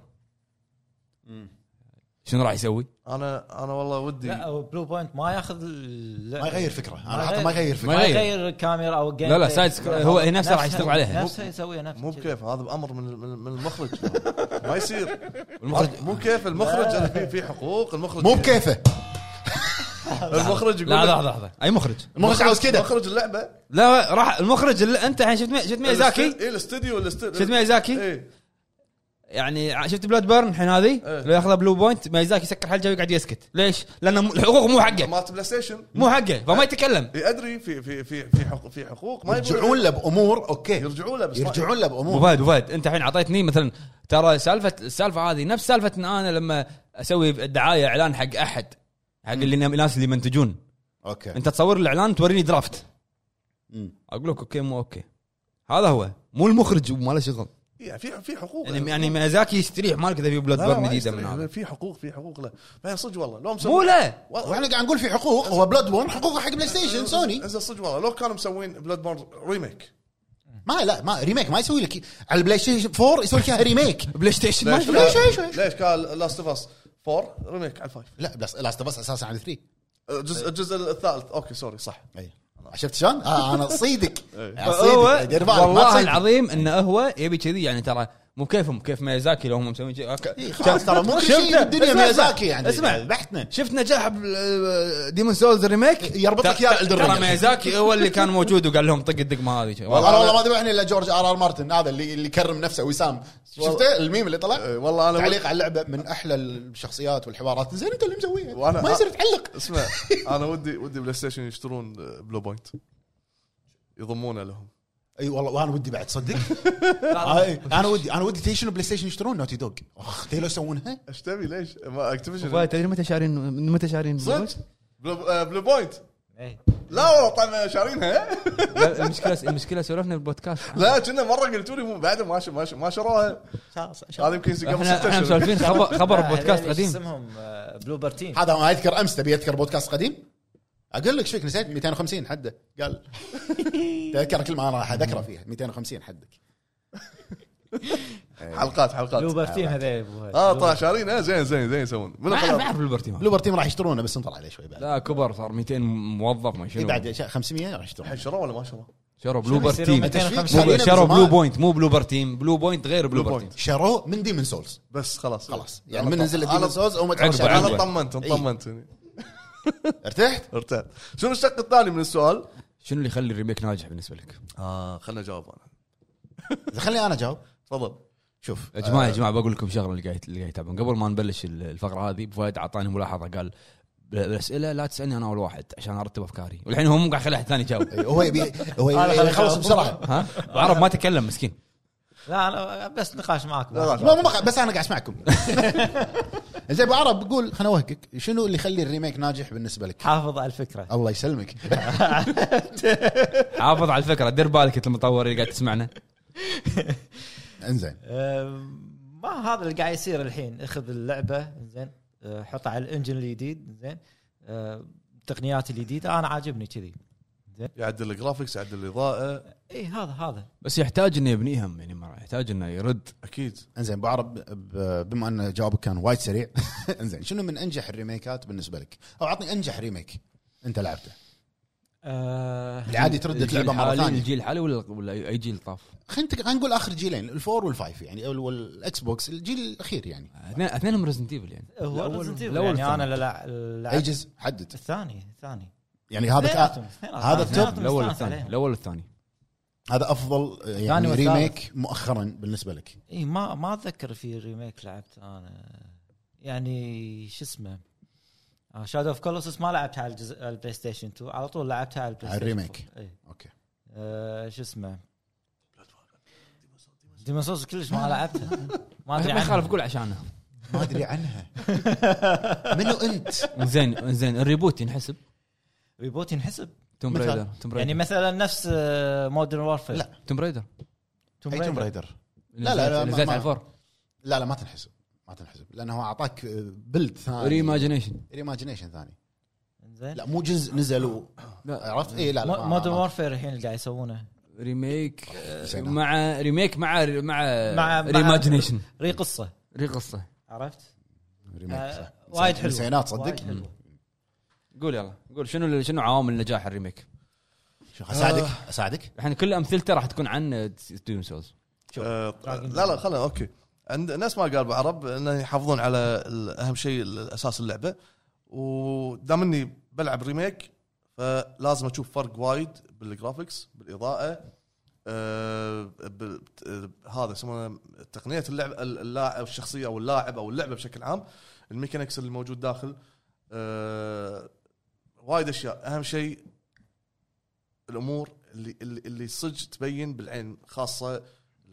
Speaker 1: شنو راح يسوي؟
Speaker 4: انا انا والله ودي
Speaker 5: لا أو بلو بوينت ما ياخذ اللعبة.
Speaker 2: ما يغير فكره انا حاطه ما يغير فكره
Speaker 5: ما
Speaker 1: غير.
Speaker 5: يغير الكاميرا او الجيم
Speaker 1: لا، لا،
Speaker 5: بلاي.
Speaker 1: سايد سكرول. هو هي نفسها راح يشتغل عليها.
Speaker 5: نفسه يسويها نفسه
Speaker 4: مو بكيف هذا بامر من من- من المخرج ما يصير
Speaker 1: المخرج
Speaker 4: مو كيف المخرج أنا في في حقوق المخرج
Speaker 2: مو بكيفه
Speaker 4: المخرج يقول
Speaker 1: لا
Speaker 4: لك-
Speaker 1: لحظه لحظه اي مخرج
Speaker 2: المخرج عاوز كذا
Speaker 4: مخرج اللعبه
Speaker 1: لا راح المخرج اللي انت الحين شفت مي- شفت ميازاكي
Speaker 4: اي الاستوديو الاستوديو
Speaker 1: شفت ميازاكي
Speaker 4: اي
Speaker 1: يعني ع- شفت بلاد بيرن الحين هذه
Speaker 4: إيه.
Speaker 1: لو ياخذها بلو بوينت ميازاكي يسكر حلجه ويقعد يسكت ليش؟ لان م- الحقوق مو حقه
Speaker 4: مالت بلاي ستيشن
Speaker 1: مو حقه
Speaker 4: إيه.
Speaker 1: فما يتكلم
Speaker 4: إي ادري في في في في حقوق في حقوق ما يبون-
Speaker 2: يرجعون له بامور اوكي
Speaker 4: يرجعون له بس ما-
Speaker 2: يرجعون له
Speaker 1: ابو
Speaker 2: بامور
Speaker 1: فهد ابو فهد انت الحين اعطيتني مثلا ترى سالفه السالفه هذه نفس سالفه ان انا لما اسوي دعايه اعلان حق احد حق اللي الناس اللي يمنتجون
Speaker 2: اوكي
Speaker 1: انت تصور الاعلان توريني درافت
Speaker 2: مم.
Speaker 1: اقول لك اوكي مو اوكي هذا هو مو المخرج وما له شغل
Speaker 4: يعني في في حقوق
Speaker 1: يعني يعني ميازاكي يستريح مالك اذا في بلاد
Speaker 4: لا، لا،
Speaker 1: بورن
Speaker 4: ما
Speaker 1: جديده
Speaker 4: يستريح.
Speaker 1: من هذا
Speaker 4: في حقوق في حقوق له بعدين صدق والله لو مسوي
Speaker 1: مو لا
Speaker 2: واحنا قاعد نقول في حقوق هو بلاد بورن حقوقه حق بلاي ستيشن سوني
Speaker 4: انزل صدق والله لو كانوا مسوين بلاد بورن ريميك
Speaker 2: ما لا ما ريميك ما يسوي لك على البلاي ستيشن 4 يسوي لك إياها ريميك
Speaker 1: بلاي ستيشن ما
Speaker 4: ليش
Speaker 1: في.
Speaker 2: ليش- ليش- ليش؟
Speaker 4: ليش كان لاست اوف اس 4 ريميك على 5
Speaker 2: لا بس لاست اوف اساسا على 3
Speaker 4: الجزء الجزء الثالث اوكي سوري صح
Speaker 2: اي شفت شلون؟ آه انا صيدك
Speaker 1: هو
Speaker 2: صيدك
Speaker 1: والله العظيم انه هو يبي كذي يعني ترى مو كيفهم كيف ميازاكي لو هم مسوين شيء أوكي.
Speaker 2: خلاص ترى مو كل
Speaker 1: شفته.
Speaker 2: شيء بالدنيا
Speaker 1: اسمع،
Speaker 2: ميازاكي يعني
Speaker 1: اسمع.
Speaker 2: بحتنا
Speaker 1: شفت نجاح بال- ديمون سولز ريميك
Speaker 2: يربط لك إياه Elden Ring.
Speaker 1: ترى ميازاكي هو اللي كان موجود وقال لهم طق الدقمه هذه
Speaker 2: والله انا
Speaker 4: والله
Speaker 2: والله ما ذبحني الا جورج ار ار مارتن هذا اللي اللي كرم نفسه وسام شفته الميم اللي طلع
Speaker 1: أه.
Speaker 4: إيه، والله أنا-
Speaker 2: تعليق على اللعبه من احلى الشخصيات والحوارات زين انت اللي مسويها
Speaker 4: وأنا-
Speaker 2: ما يصير تعلق
Speaker 4: اسمع انا ودي ودي بلاي ستيشن يشترون آه، بلو بوينت يضمونه لهم
Speaker 2: اي والله وانا ودي بعد تصدق آه، إيه. انا ودي انا ودي تيشن بلاي ستيشن يشترون نوتي دوغ اخ ليه لو يسوونها
Speaker 4: ايش تبي ليش؟ ما اكتيفيشن
Speaker 1: تدري متى شارين من متى شارين
Speaker 4: صدق بلو, آه، بلو بوينت
Speaker 5: إيه.
Speaker 4: لا والله طبعا شارينها
Speaker 1: لا، المشكله المشكله سولفنا بالبودكاست
Speaker 4: لا كنا مره قلتوا لي مو- بعد ما ش- ما ش- ما شروها هذا يمكن قبل
Speaker 1: احنا
Speaker 4: ست
Speaker 1: احنا
Speaker 4: اشهر
Speaker 1: مسولفين خبر خبر
Speaker 5: لا،
Speaker 1: بودكاست
Speaker 5: آه، هذول شو
Speaker 1: قديم
Speaker 5: اسمهم آه، بلوبر تيم
Speaker 2: هذا ما اذكر امس تبي اذكر بودكاست قديم اقول لك ايش فيك نسيت 250 حده قال تذكر كل ما انا راح اذكره فيها 250 حدك
Speaker 4: حلقات حلقات
Speaker 5: بلوبر تيم هذول أبو هذا.
Speaker 2: آه،
Speaker 4: اه
Speaker 2: طيب.
Speaker 4: طلع شارينها زين زين زين يسوون منو
Speaker 1: ما
Speaker 4: خلاص؟
Speaker 1: اعرف بالبرتي ما.
Speaker 2: بلوبر تيم راح يشترونه بس انطر عليه شوي بعد
Speaker 1: لا كبر صار 200 موظف ما
Speaker 2: إيه
Speaker 1: شنو
Speaker 2: بعد شيء 500 راح يشترونه
Speaker 4: الحين شروه ولا ما شروه؟
Speaker 1: شروا بلوبر
Speaker 5: يصيرون
Speaker 1: تيم
Speaker 5: 250.
Speaker 1: مو
Speaker 2: خلينا
Speaker 1: شروا
Speaker 2: من
Speaker 1: بلو
Speaker 2: زمان.
Speaker 1: بوينت مو بلوبر تيم بلو بوينت غير بلوبر
Speaker 4: بلو
Speaker 1: تيم
Speaker 2: شروه من ديمن سولز
Speaker 4: بس خلاص
Speaker 2: خلاص يعني من نزل
Speaker 4: أنا-
Speaker 2: ديمن سولز او ما
Speaker 1: عقب-
Speaker 2: تعرف
Speaker 4: انا
Speaker 1: عقب.
Speaker 4: طمنت طمنت يعني.
Speaker 2: ارتحت
Speaker 4: ارتحت شنو الشق الثاني من السؤال؟
Speaker 1: شنو اللي يخلي الريميك ناجح بالنسبه لك؟
Speaker 2: آه،
Speaker 4: اه خلنا اجاوب انا
Speaker 2: إذا خليني انا اجاوب
Speaker 4: تفضل
Speaker 2: شوف
Speaker 1: يا جماعه يا جماعه بقول لكم شغله اللي قاعد اللي قاعد يتابعون قبل ما نبلش ال- الفقره هذه أبو فهد اعطاني ملاحظه قال ب- الاسئله لا تسالني انا اول واحد عشان ارتب افكاري والحين هو مو قاعد يخلي احد ثاني يجاوب
Speaker 2: إيه، هو يبي هو يبي يخلص بسرعه
Speaker 1: ها أبو عرب ما تكلم مسكين
Speaker 5: لا لا بس نقاش معك
Speaker 4: لا، لا.
Speaker 2: لا مو مقا- بس انا قاعد اسمعكم زين ابو عرب قول خليني اوهقك شنو اللي يخلي الريميك ناجح بالنسبه لك؟
Speaker 5: حافظ على الفكره
Speaker 2: الله يسلمك
Speaker 1: حافظ على الفكره دير بالك انت المطور اللي قاعد تسمعنا
Speaker 2: انزين
Speaker 5: أم، ما هذا اللي قاعد يصير الحين اخذ اللعبه زين أه، حطها على الانجن الجديد زين أه، التقنيات الجديده انا عاجبني كذي
Speaker 4: يعدل الجرافكس يعدل الاضاءه
Speaker 5: اي هذا هذا
Speaker 1: بس يحتاج انه يبنيها يعني ما يحتاج انه يرد
Speaker 4: اكيد
Speaker 2: انزين ابو عرب ب- بما ان جوابك كان وايد سريع انزين شنو من انجح الريميكات بالنسبه لك؟ او عطني انجح ريميك انت لعبته
Speaker 5: أه،
Speaker 2: اللي عادي ترد
Speaker 1: الجيل
Speaker 2: تلعبه مره
Speaker 1: الحالي-
Speaker 2: ثانيه
Speaker 1: الجيل الحالي ولا ولا أي- اي جيل طاف؟
Speaker 2: خلينا نتك- خلينا نقول اخر جيلين الفور والفايف يعني او الاكس بوكس الجيل الاخير يعني
Speaker 1: اثنين- اثنينهم ريزنت ايفل يعني
Speaker 5: هو
Speaker 1: الأول-
Speaker 5: Resident Evil.
Speaker 1: الأول
Speaker 5: يعني انا لع- لعبت
Speaker 2: ايجز حدد
Speaker 5: الثاني الثاني
Speaker 2: يعني
Speaker 1: إيه.
Speaker 2: هذا
Speaker 5: اثنيناتهم،
Speaker 2: كا-
Speaker 5: اثنيناتهم.
Speaker 2: هذا التوب.
Speaker 5: اثنيناتهم
Speaker 1: الاول
Speaker 5: مستانس
Speaker 1: والثاني
Speaker 5: عليهم.
Speaker 1: الاول والثاني
Speaker 2: هذا افضل يعني
Speaker 5: ثاني والثالث.
Speaker 2: ريميك مؤخرا بالنسبه لك
Speaker 5: اي إيه، ما ما اتذكر في ريميك لعبت انا يعني شو اسمه آه، شادو اوف كولوسس ما لعبتها على الجزء على البلاي ستيشن 2 على طول لعبتها على البلاي
Speaker 2: على
Speaker 5: ستيشن
Speaker 2: الريميك.
Speaker 5: 4. إي.
Speaker 2: اوكي
Speaker 5: آه، شو اسمه ديمون سولز كلش ما لعبتها ما ادري
Speaker 1: ما يخالف
Speaker 5: عنها.
Speaker 1: قول عشانه
Speaker 2: ما ادري عنها منو انت؟
Speaker 1: زين زين الريبوت ينحسب
Speaker 5: ريبوت ينحسب
Speaker 1: توم
Speaker 2: مثال.
Speaker 1: برايدر توم
Speaker 5: يعني
Speaker 1: برايدر
Speaker 5: مثلا نفس آه، مودرن وورفير
Speaker 2: لا.
Speaker 1: توم برايدر
Speaker 2: اي توم رايدر
Speaker 1: لا
Speaker 2: لا، لا،
Speaker 1: لا
Speaker 2: ما-
Speaker 1: نزلت
Speaker 2: ما-
Speaker 1: على الفور
Speaker 2: لا لا ما تنحسب ما تنحسب لانه هو اعطاك بلد ثاني
Speaker 1: ريماجينيشن
Speaker 2: ريماجينيشن ثاني
Speaker 5: زين
Speaker 2: لا مو جزء نزل و...
Speaker 1: لا
Speaker 2: عرفت؟ اي لا لا ما-
Speaker 5: مودرن
Speaker 2: ما-
Speaker 5: وورفير الحين اللي قاعد يسوونه
Speaker 1: ريميك آه،
Speaker 2: نسيناه.
Speaker 1: مع ريميك مع مع
Speaker 2: إيه.
Speaker 5: مع- مع-
Speaker 1: ريماجينيشن
Speaker 5: ري قصه
Speaker 1: ري قصه
Speaker 5: عرفت؟
Speaker 2: ريميك صح.
Speaker 5: آه، وايد حلو
Speaker 2: نسينات صدق؟
Speaker 1: قول يلا قول شنو شنو عوامل نجاح الريميك
Speaker 2: شوف اساعدك
Speaker 5: آه.
Speaker 2: اساعدك
Speaker 1: الحين كل امثلته راح تكون عن ديم سولز
Speaker 4: آه، لا لا خلنا اوكي عند ناس ما قال بعرب انه يحافظون على ال- اهم شيء ال- اساس اللعبه ودام اني بلعب ريميك فلازم اشوف فرق وايد بالجرافكس بالاضاءه آه، بال- آه، هذا يسمونه تقنيه اللعب ال- اللاعب الشخصيه او اللاعب او اللعبه بشكل عام الميكانكس اللي موجود داخل آه، وايد اشياء اهم شيء الامور اللي اللي, اللي صدق تبين بالعين خاصه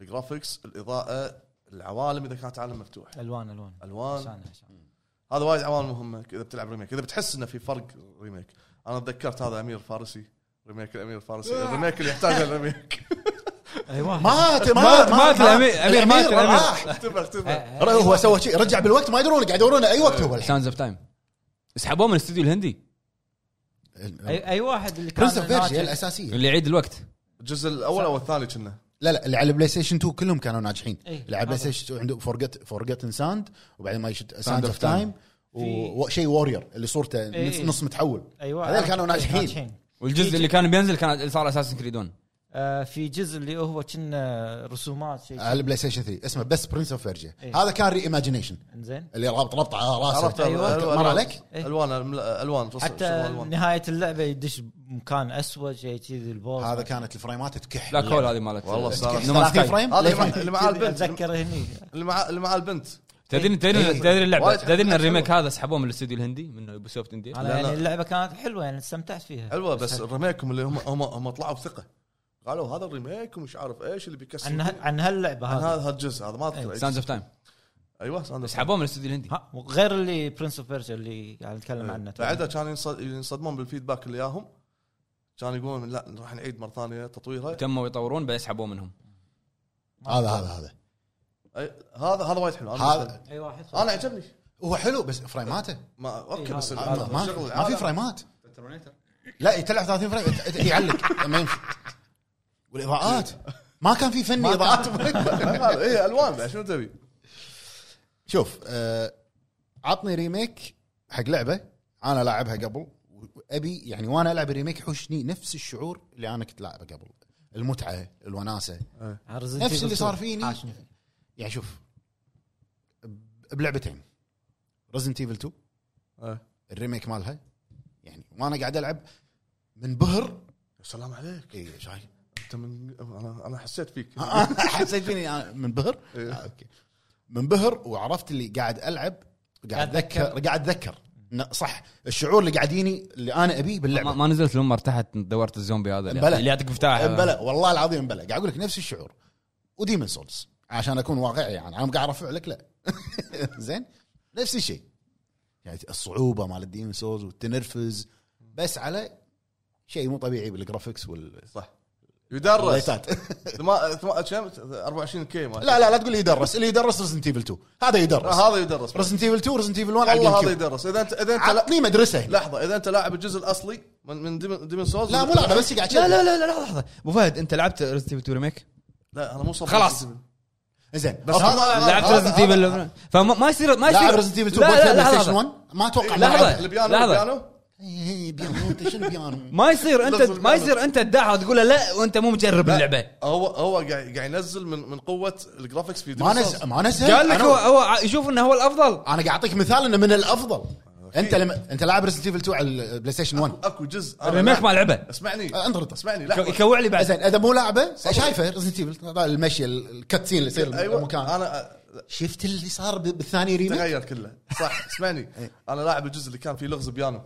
Speaker 4: الجرافكس الاضاءه العوالم اذا كانت عالم مفتوح
Speaker 5: الوان الوان
Speaker 4: الوان
Speaker 5: عشان عشان
Speaker 4: هذا وايد عوامل مهمه اذا بتلعب ريميك اذا بتحس انه في فرق ريميك انا تذكرت هذا امير فارسي ريميك الامير الفارسي الريميك اللي يحتاجه الريميك
Speaker 2: مات
Speaker 1: مات- مات الأمير- أمير
Speaker 2: الأمير
Speaker 1: مات الأمير.
Speaker 2: راح.
Speaker 4: اختبر اختبر
Speaker 2: ر- هو سوى شيء رجع بالوقت ما يدرون قاعد يدورونه اي وقت هو الحين
Speaker 1: ساوندز اوف تايم سحبوه من الاستوديو الهندي
Speaker 5: اي اي واحد اللي كان
Speaker 2: برنس اوف بيرجيا
Speaker 5: ناجح.
Speaker 2: الاساسيه
Speaker 1: اللي يعيد الوقت
Speaker 4: الجزء الاول او الثاني كنا
Speaker 2: لا لا اللي على البلاي ستيشن 2 كلهم كانوا ناجحين
Speaker 5: إيه،
Speaker 2: اللي على البلاي
Speaker 5: هذا.
Speaker 2: ستيشن 2 عنده فورجت فورجتن ساند وبعدين ما يشد
Speaker 1: Sand
Speaker 2: ساند
Speaker 1: of
Speaker 2: اوف تايم
Speaker 5: في-
Speaker 2: وشيء وورير اللي صورته
Speaker 5: إيه.
Speaker 2: نص- نص متحول
Speaker 5: ايوه
Speaker 2: هذول كانوا ناجحين.
Speaker 1: والجزء اللي كان بينزل كان صار اساسن كريد 1
Speaker 5: آه، في جزء اللي هو كنا رسومات شيء
Speaker 2: على البلاي ستيشن 3 اسمه بس برنس اوف بيرجيا
Speaker 5: إيه.
Speaker 2: هذا كان ري ايماجينيشن
Speaker 5: انزين
Speaker 2: اللي رابط ربط على
Speaker 4: عرفت
Speaker 2: راسه
Speaker 5: أيوة.
Speaker 4: ألوان-
Speaker 2: مر عليك؟
Speaker 5: إيه.
Speaker 4: الوان الم- الوان توصل- شغل
Speaker 5: حتى
Speaker 4: الوان
Speaker 5: نهايه اللعبه يدش مكان اسود شيء كذي البوس
Speaker 2: هذا كانت الفريمات تكح
Speaker 1: لا كول هذه مالت
Speaker 4: والله صار.
Speaker 1: No Man's
Speaker 2: 30
Speaker 1: Sky.
Speaker 2: فريم
Speaker 4: هذا
Speaker 2: لا
Speaker 4: اللي
Speaker 2: فريم.
Speaker 4: مع- اللي مع
Speaker 5: كذي
Speaker 4: البنت
Speaker 5: اتذكر هني
Speaker 4: اللي مع اللي مع البنت
Speaker 1: تدري تدري
Speaker 4: إيه.
Speaker 1: تدري اللعبه
Speaker 4: وايد
Speaker 1: تدري ان
Speaker 4: حلوة.
Speaker 1: الريميك هذا سحبوه من الاستوديو الهندي من يوبي سوفت انديا
Speaker 5: انا
Speaker 4: لا،
Speaker 5: يعني
Speaker 4: لا.
Speaker 5: اللعبه كانت حلوه يعني استمتعت فيها
Speaker 4: حلوه بس رميكم اللي هم هم هم طلعوا بثقه قالوا هذا الريميك ومش عارف ايش اللي بيكسر
Speaker 5: عن
Speaker 4: الدنيا.
Speaker 5: ه- عن هاللعبه
Speaker 4: عن
Speaker 5: هذه
Speaker 4: هذا الجزء هذا ما اذكر
Speaker 1: ساوندز
Speaker 4: أي-
Speaker 1: اوف تايم
Speaker 4: ايوه ساند
Speaker 1: سحبوه من الاستوديو الهندي
Speaker 5: ها، غير اللي برنس اوف بيرجيا اللي قاعد
Speaker 2: إيه.
Speaker 5: نتكلم عنه
Speaker 4: بعدها كانوا ينصد- ينصدمون بالفيدباك اللي ياهم كانوا يقولون لا راح نعيد مره ثانيه تطويرها
Speaker 1: تموا يطورون بعدين سحبوه منهم
Speaker 2: هذا هذا هذا
Speaker 4: أي- هذا هذا وايد حلو انا مستانس.
Speaker 2: هذا
Speaker 5: اي واحد خلاص.
Speaker 4: انا عجبني
Speaker 2: هو حلو بس فريماته
Speaker 4: ما اوكي
Speaker 5: إيه،
Speaker 4: بس
Speaker 5: هذا-
Speaker 2: ما
Speaker 4: العالم-
Speaker 2: ما-
Speaker 4: الشغل
Speaker 2: ما في
Speaker 4: العالم-
Speaker 2: فريمات لا تلعب 30 فريم ت- ت- يعلق ما يمشي والاضاءات ما كان في فني اضاءات
Speaker 4: هذا- ايه الوان بعد شنو تبي؟
Speaker 2: شوف آه، عطني ريميك حق لعبه انا لاعبها قبل وابي يعني وانا العب الريميك حوشني نفس الشعور اللي انا كنت لاعبه قبل المتعه الوناسه
Speaker 5: عن Resident
Speaker 2: نفس
Speaker 5: Evil
Speaker 2: اللي صار
Speaker 5: 2.
Speaker 2: فيني.
Speaker 5: عاشني فيه.
Speaker 2: يعني شوف ب- بلعبتين ريزنت ايفل 2
Speaker 4: إيه.
Speaker 2: الريميك مالها يعني وانا قاعد العب منبهر
Speaker 4: السلام عليك
Speaker 2: اي إيه، شايف
Speaker 4: انت من انا انا حسيت فيك
Speaker 2: حسيت فيني أنا منبهر
Speaker 4: إيه.
Speaker 2: آه، اوكي منبهر وعرفت اللي قاعد العب قاعد
Speaker 5: قاعد
Speaker 2: اتذكر قاعد اتذكر إنه صح الشعور اللي قاعد يجيني اللي انا ابيه
Speaker 1: ما,
Speaker 2: باللعبه
Speaker 1: ما نزلت لما ارتحت دورت الزومبي هذا
Speaker 2: بلى.
Speaker 1: اللي- اللي يعطيك مفتاح
Speaker 2: إيه، بلا والله العظيم بلا قاعد اقول لك نفس الشعور وديمن سولز عشان اكون واقعي يعني انا قاعد ارفع لك لا زين نفس الشيء يعني الصعوبه مال الديمن سولز والتنرفز بس على شيء مو طبيعي بالجرافكس وال
Speaker 4: صح يدرس
Speaker 2: واللايتات.
Speaker 4: ثما- ثما- كم 24 كي ما
Speaker 2: لا لا لا تقول لي يدرس اللي يدرس ريزنت ايفل 2 هذا يدرس
Speaker 4: هذا يدرس
Speaker 2: ريزنت ايفل 2 ريزنت ايفل 1 على
Speaker 4: والله
Speaker 2: الجيم
Speaker 4: هذا
Speaker 2: كيوب.
Speaker 4: يدرس اذا انت اذا انت لا
Speaker 2: عطني مدرسه لا,
Speaker 4: لحظه اذا انت لاعب الجزء الاصلي من من ديمن- ديمن سولز
Speaker 2: لا مو لا بس قاعد
Speaker 1: لا لا لا لا لحظه لحظه ابو فهد انت لعبت ريزنت ايفل 2 ريميك؟
Speaker 4: لا انا مو صدق
Speaker 1: خلاص.
Speaker 2: زين
Speaker 4: بس هذا- هذا-
Speaker 1: لعبت ريزنت ايفل فما ما يصير ما يصير
Speaker 2: لاعب ريزنت ايفل 2
Speaker 1: لا، لا،
Speaker 2: بوث بلاي
Speaker 1: لحظة.
Speaker 2: ستيشن 1 ما اتوقع
Speaker 1: لحظة.
Speaker 2: لعبها.
Speaker 4: البيانو
Speaker 1: لحظة.
Speaker 4: البيانو
Speaker 2: إيه، بيانو انت شنو بيانو؟
Speaker 1: ما يصير انت
Speaker 4: لازم- إيه،
Speaker 1: ما يصير انت تداها وتقول له لا وانت مو مجرب اللعبه
Speaker 4: هو هو قاعد قاعد ينزل من من قوه الجرافكس في
Speaker 2: ما
Speaker 4: ديمن سولز.
Speaker 2: نزل ما نزل
Speaker 1: قال لك
Speaker 2: أنا-
Speaker 1: هو هو ع- يشوف انه هو الافضل
Speaker 2: انا قاعد اعطيك مثال انه من الافضل انت لما انت لاعب ريزنت ايفل 2 على البلاي ستيشن 1
Speaker 4: اكو جزء أنا
Speaker 1: الريميك
Speaker 4: لا-
Speaker 1: ما لعبه
Speaker 4: اسمعني
Speaker 2: آه، انطر بس
Speaker 4: اسمعني
Speaker 1: يكو-
Speaker 4: لحظه
Speaker 1: يكوع لي بعد
Speaker 2: زين اذا مو لاعبه شايفه ريزنت ايفل المشي الكاتسين اللي يصير
Speaker 1: أيوة.
Speaker 4: ايوه
Speaker 2: المكان
Speaker 4: انا
Speaker 2: شفت اللي صار ب- بالثاني ريميك
Speaker 4: تغير كله صح اسمعني
Speaker 2: إيه.
Speaker 4: انا لاعب الجزء اللي كان فيه لغز بيانو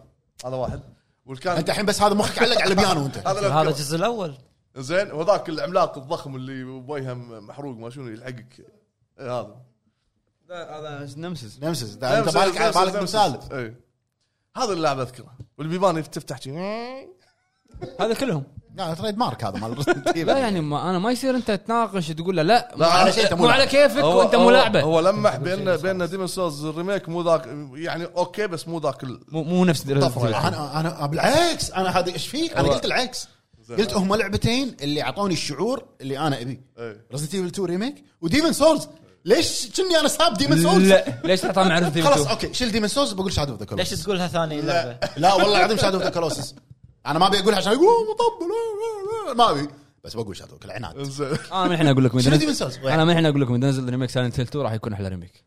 Speaker 4: هذا واحد والكان
Speaker 2: انت الحين بس هذا مخك علق على البيانو انت
Speaker 4: هذا
Speaker 5: هذا
Speaker 4: لعب
Speaker 5: الجزء الاول
Speaker 4: زين وذاك العملاق الضخم اللي بويها محروق ما شنو يلحقك إيه هذا
Speaker 1: هذا نمسز
Speaker 2: نمسس ده انت بالك على بالك مسالب
Speaker 4: اي إيه. هذا اللاعب اذكره والبيبان تفتح شي
Speaker 1: هذا كلهم
Speaker 2: لا تريد مارك هذا مال ريزنت
Speaker 1: لا يعني ما انا ما يصير انت تناقش تقول له لا مو
Speaker 4: على شيء
Speaker 2: أنت مو
Speaker 1: مو على
Speaker 2: لاعب.
Speaker 1: كيفك وانت مو لاعبه
Speaker 4: هو لمح بان بان ديمون سولز الريميك مو ذاك يعني اوكي بس مو ذاك ال-
Speaker 1: مو مو نفس Resident Evil.
Speaker 2: طفرة. انا انا بالعكس انا هذا ايش فيك؟ انا
Speaker 1: هو-
Speaker 2: قلت العكس قلت هم لعبتين اللي اعطوني الشعور اللي انا ابيه
Speaker 4: إيه.
Speaker 2: ريزنت ايفل 2 ريميك وديمن سولز ليش كني انا ساب ديمن سولز؟
Speaker 1: لا ليش تحطها مع ريزنت
Speaker 2: خلاص
Speaker 1: ايفل
Speaker 2: اوكي شيل ديمن سولز بقول شادو اوف ذا
Speaker 5: ليش
Speaker 2: كولوسس
Speaker 5: تقولها ثاني لعبه
Speaker 2: لا والله العظيم شادو اوف ذا كولوسس انا ما ابي اقول عشان يقول "أوه، مطبل أوه، أوه، أوه". ما ابي بس بقول شادو اوف العناد
Speaker 4: زين
Speaker 1: 2؟ انا آه، من الحين اقول لكم إذا
Speaker 2: شنو طيب.
Speaker 1: نزل-
Speaker 2: ديمن سولز؟
Speaker 1: انا من الحين اقول لكم اذا نزل ريميك سايلنت هيل 2 راح يكون احلى ريميك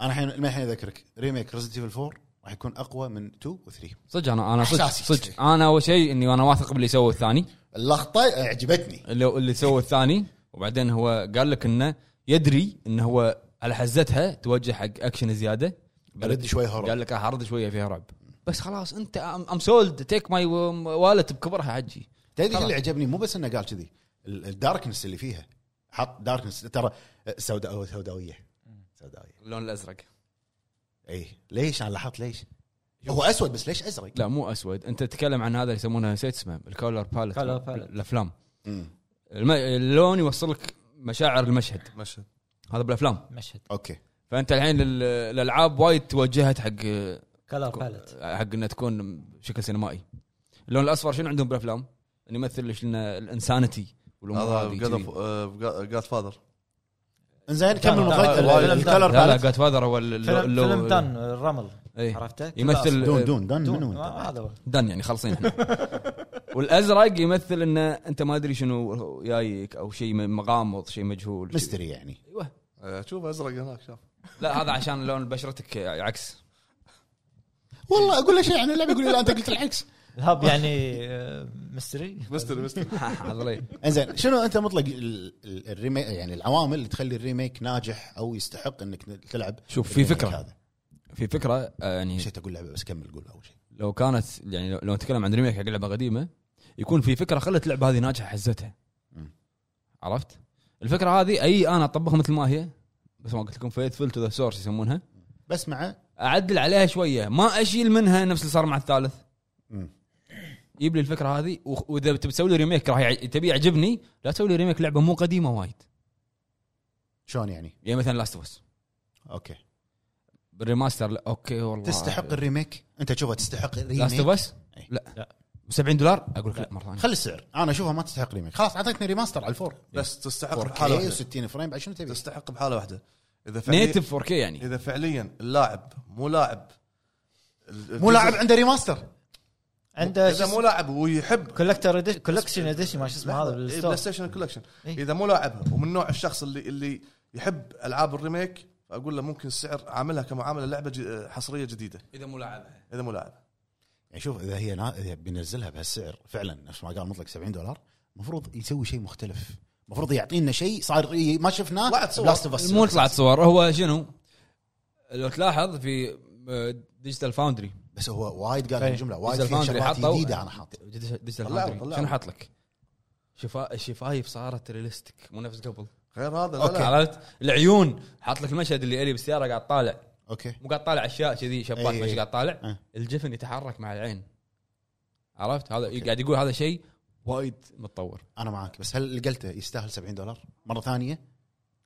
Speaker 2: انا الحين ما الحين اذكرك ريميك ريزنت ايفل 4 راح يكون اقوى من 2 و 3
Speaker 1: صدق انا انا صدق
Speaker 2: إحساسي
Speaker 1: صدق انا اول شيء اني انا واثق باللي سووه الثاني
Speaker 2: اللقطه عجبتني
Speaker 1: اللي اللي سووه الثاني وبعدين هو قال لك انه يدري انه هو على حزتها توجه حق اكشن زياده
Speaker 2: برد شوي هرب.
Speaker 1: قال لك هرد شويه فيها رعب بس خلاص انت ام سولد تيك ماي والت بكبرها حجي
Speaker 2: تدري
Speaker 1: خلاص.
Speaker 2: اللي عجبني مو بس انه قال كذي ال- الداركنس اللي فيها حط داركنس ترى أه، سوداء سوداويه سوداويه
Speaker 1: اللون الازرق
Speaker 2: اي إيه. ليش انا لاحظت ليش هو اسود بس ليش ازرق
Speaker 1: لا مو اسود انت تتكلم عن هذا اللي يسمونه نسيت اسمه الكولر باليت
Speaker 5: Color palette.
Speaker 1: الافلام الم- اللون يوصل لك مشاعر المشهد
Speaker 4: مشهد
Speaker 1: هذا بالافلام
Speaker 5: مشهد
Speaker 2: اوكي
Speaker 1: فانت الحين لل- الالعاب وايد توجهت حق
Speaker 5: كلر باليت
Speaker 1: حق انها تكون شكل سينمائي اللون الاصفر شنو عندهم بالافلام؟ انه يمثل ليش لنا الانسانتي والامور
Speaker 4: هذا آه،
Speaker 1: هذه كذي.
Speaker 4: جاد فاذر
Speaker 2: انزين كمل
Speaker 5: لا،
Speaker 2: مخرج
Speaker 5: لا،
Speaker 2: ال-
Speaker 5: لا،
Speaker 2: الكلر
Speaker 1: لا لا
Speaker 2: باليت
Speaker 1: جاد فاذر هو ال-
Speaker 5: فيلم
Speaker 1: اللو-
Speaker 5: فيلم دان الرمل
Speaker 1: إيه.
Speaker 5: عرفته
Speaker 1: يمثل
Speaker 2: دون دون دون
Speaker 5: دون
Speaker 2: منو
Speaker 5: ما-
Speaker 2: انت؟
Speaker 5: هذا هو
Speaker 1: دن يعني خلصين احنا والازرق يمثل انه انت ما ادري شنو جايك او شيء مغامض شيء مجهول شيء-
Speaker 2: ميستري يعني
Speaker 1: ايوه
Speaker 4: آه، شوف ازرق هناك شاف
Speaker 1: لا هذا عشان لون بشرتك عكس
Speaker 2: والله اقول له شيء عن اللعبه يقول لي لا انت قلت العكس
Speaker 5: الهب يعني آه، مستري
Speaker 4: مستر مستر
Speaker 1: هذا ليه؟
Speaker 2: انزين شنو انت مطلق ال- ال- الريميك يعني العوامل اللي تخلي الريميك ناجح او يستحق انك تلعب
Speaker 1: شوف، في
Speaker 2: الريميك
Speaker 1: فكرة.
Speaker 2: هذا
Speaker 1: في فكره آه، يعني
Speaker 2: نسيت اقول لعبه بس كمل قول اول شيء
Speaker 1: لو كانت يعني لو- لو نتكلم عن ريميك حق لعبه قديمه يكون في فكره خلت اللعبه هذه ناجحه حزتها
Speaker 2: مم.
Speaker 1: عرفت؟ الفكره هذه اي انا اطبقها مثل ما هي بس ما قلت لكم فيتفل تو ذا سورس يسمونها
Speaker 2: بس مع
Speaker 1: اعدل عليها شويه ما اشيل منها نفس اللي صار مع الثالث
Speaker 2: مم.
Speaker 1: جيب لي الفكره هذه و- واذا تبي تسوي لي ريميك راح يع- تبي يعجبني لا تسوي لي ريميك لعبه مو قديمه وايد
Speaker 2: شلون يعني
Speaker 1: يعني مثلا لاست اوف
Speaker 2: اوكي
Speaker 1: بالريماستر لا اوكي والله
Speaker 2: تستحق الريميك انت تشوفها تستحق
Speaker 1: لاست
Speaker 2: الريميك
Speaker 1: اوف
Speaker 2: إي.
Speaker 1: لا
Speaker 5: لا.
Speaker 1: 70 دولار اقول لك لا مره ثانيه
Speaker 2: خلي السعر انا اشوفها ما تستحق ريميك خلاص اعطيتني ريماستر على الفور
Speaker 4: بس تستحق
Speaker 2: 4K
Speaker 4: بحاله واحده
Speaker 2: 60 فريم بعد شنو تبي؟
Speaker 4: تستحق بحاله واحده اذا فعليا
Speaker 1: نيتف 4K يعني
Speaker 4: اذا فعليا اللاعب مو لاعب ال-
Speaker 2: مو لاعب
Speaker 4: الجزء-
Speaker 2: عنده ريماستر
Speaker 5: عنده
Speaker 4: اذا مو لاعب ويحب
Speaker 5: كولكتر كولكشن اديشن ما شو اسمه هذا
Speaker 4: لحظة، إيه، بلاي
Speaker 5: بالستور
Speaker 4: ستيشن كولكشن
Speaker 5: إيه.
Speaker 4: اذا مو لاعبها ومن نوع الشخص اللي اللي يحب العاب الريميك اقول له ممكن السعر عاملها كمعامله لعبه ج- حصريه جديده
Speaker 1: اذا مو لاعبها
Speaker 4: اذا مو لاعب
Speaker 2: يعني شوف اذا هي نا... إذا بينزلها بهالسعر فعلا نفس ما قال مطلق 70 دولار المفروض يسوي شيء مختلف المفروض يعطينا شيء صار ي- ما شفناه إيه.
Speaker 4: طلعت صور.
Speaker 2: بلاست اوف
Speaker 1: مو طلعت صور هو شنو لو تلاحظ في آه، ديجيتال فاوندري
Speaker 2: بس هو وايد قال
Speaker 1: إيه.
Speaker 2: الجمله وايد
Speaker 1: Digital
Speaker 2: فيها
Speaker 1: Foundry
Speaker 2: شغلات
Speaker 1: حطوا-
Speaker 2: جديده انا حاط
Speaker 1: ديجيتال
Speaker 4: طلعوا-
Speaker 1: فاوندري
Speaker 4: طلعوا.
Speaker 1: شنو حاط لك؟ شفا الشفايف صارت ريلستيك مو نفس قبل
Speaker 4: غير هذا لا
Speaker 1: اوكي
Speaker 4: لا
Speaker 1: عرفت العيون حاط لك المشهد اللي الي بالسياره قاعد طالع
Speaker 2: اوكي
Speaker 1: مو قاعد طالع اشياء كذي
Speaker 4: إيه،
Speaker 1: شباك
Speaker 2: أي.
Speaker 1: ماشي قاعد طالع
Speaker 2: أه.
Speaker 1: الجفن يتحرك مع العين عرفت هذا قاعد يقول هذا شيء وايد متطور
Speaker 2: انا معاك بس هل لقيته يستاهل 70 دولار مره ثانيه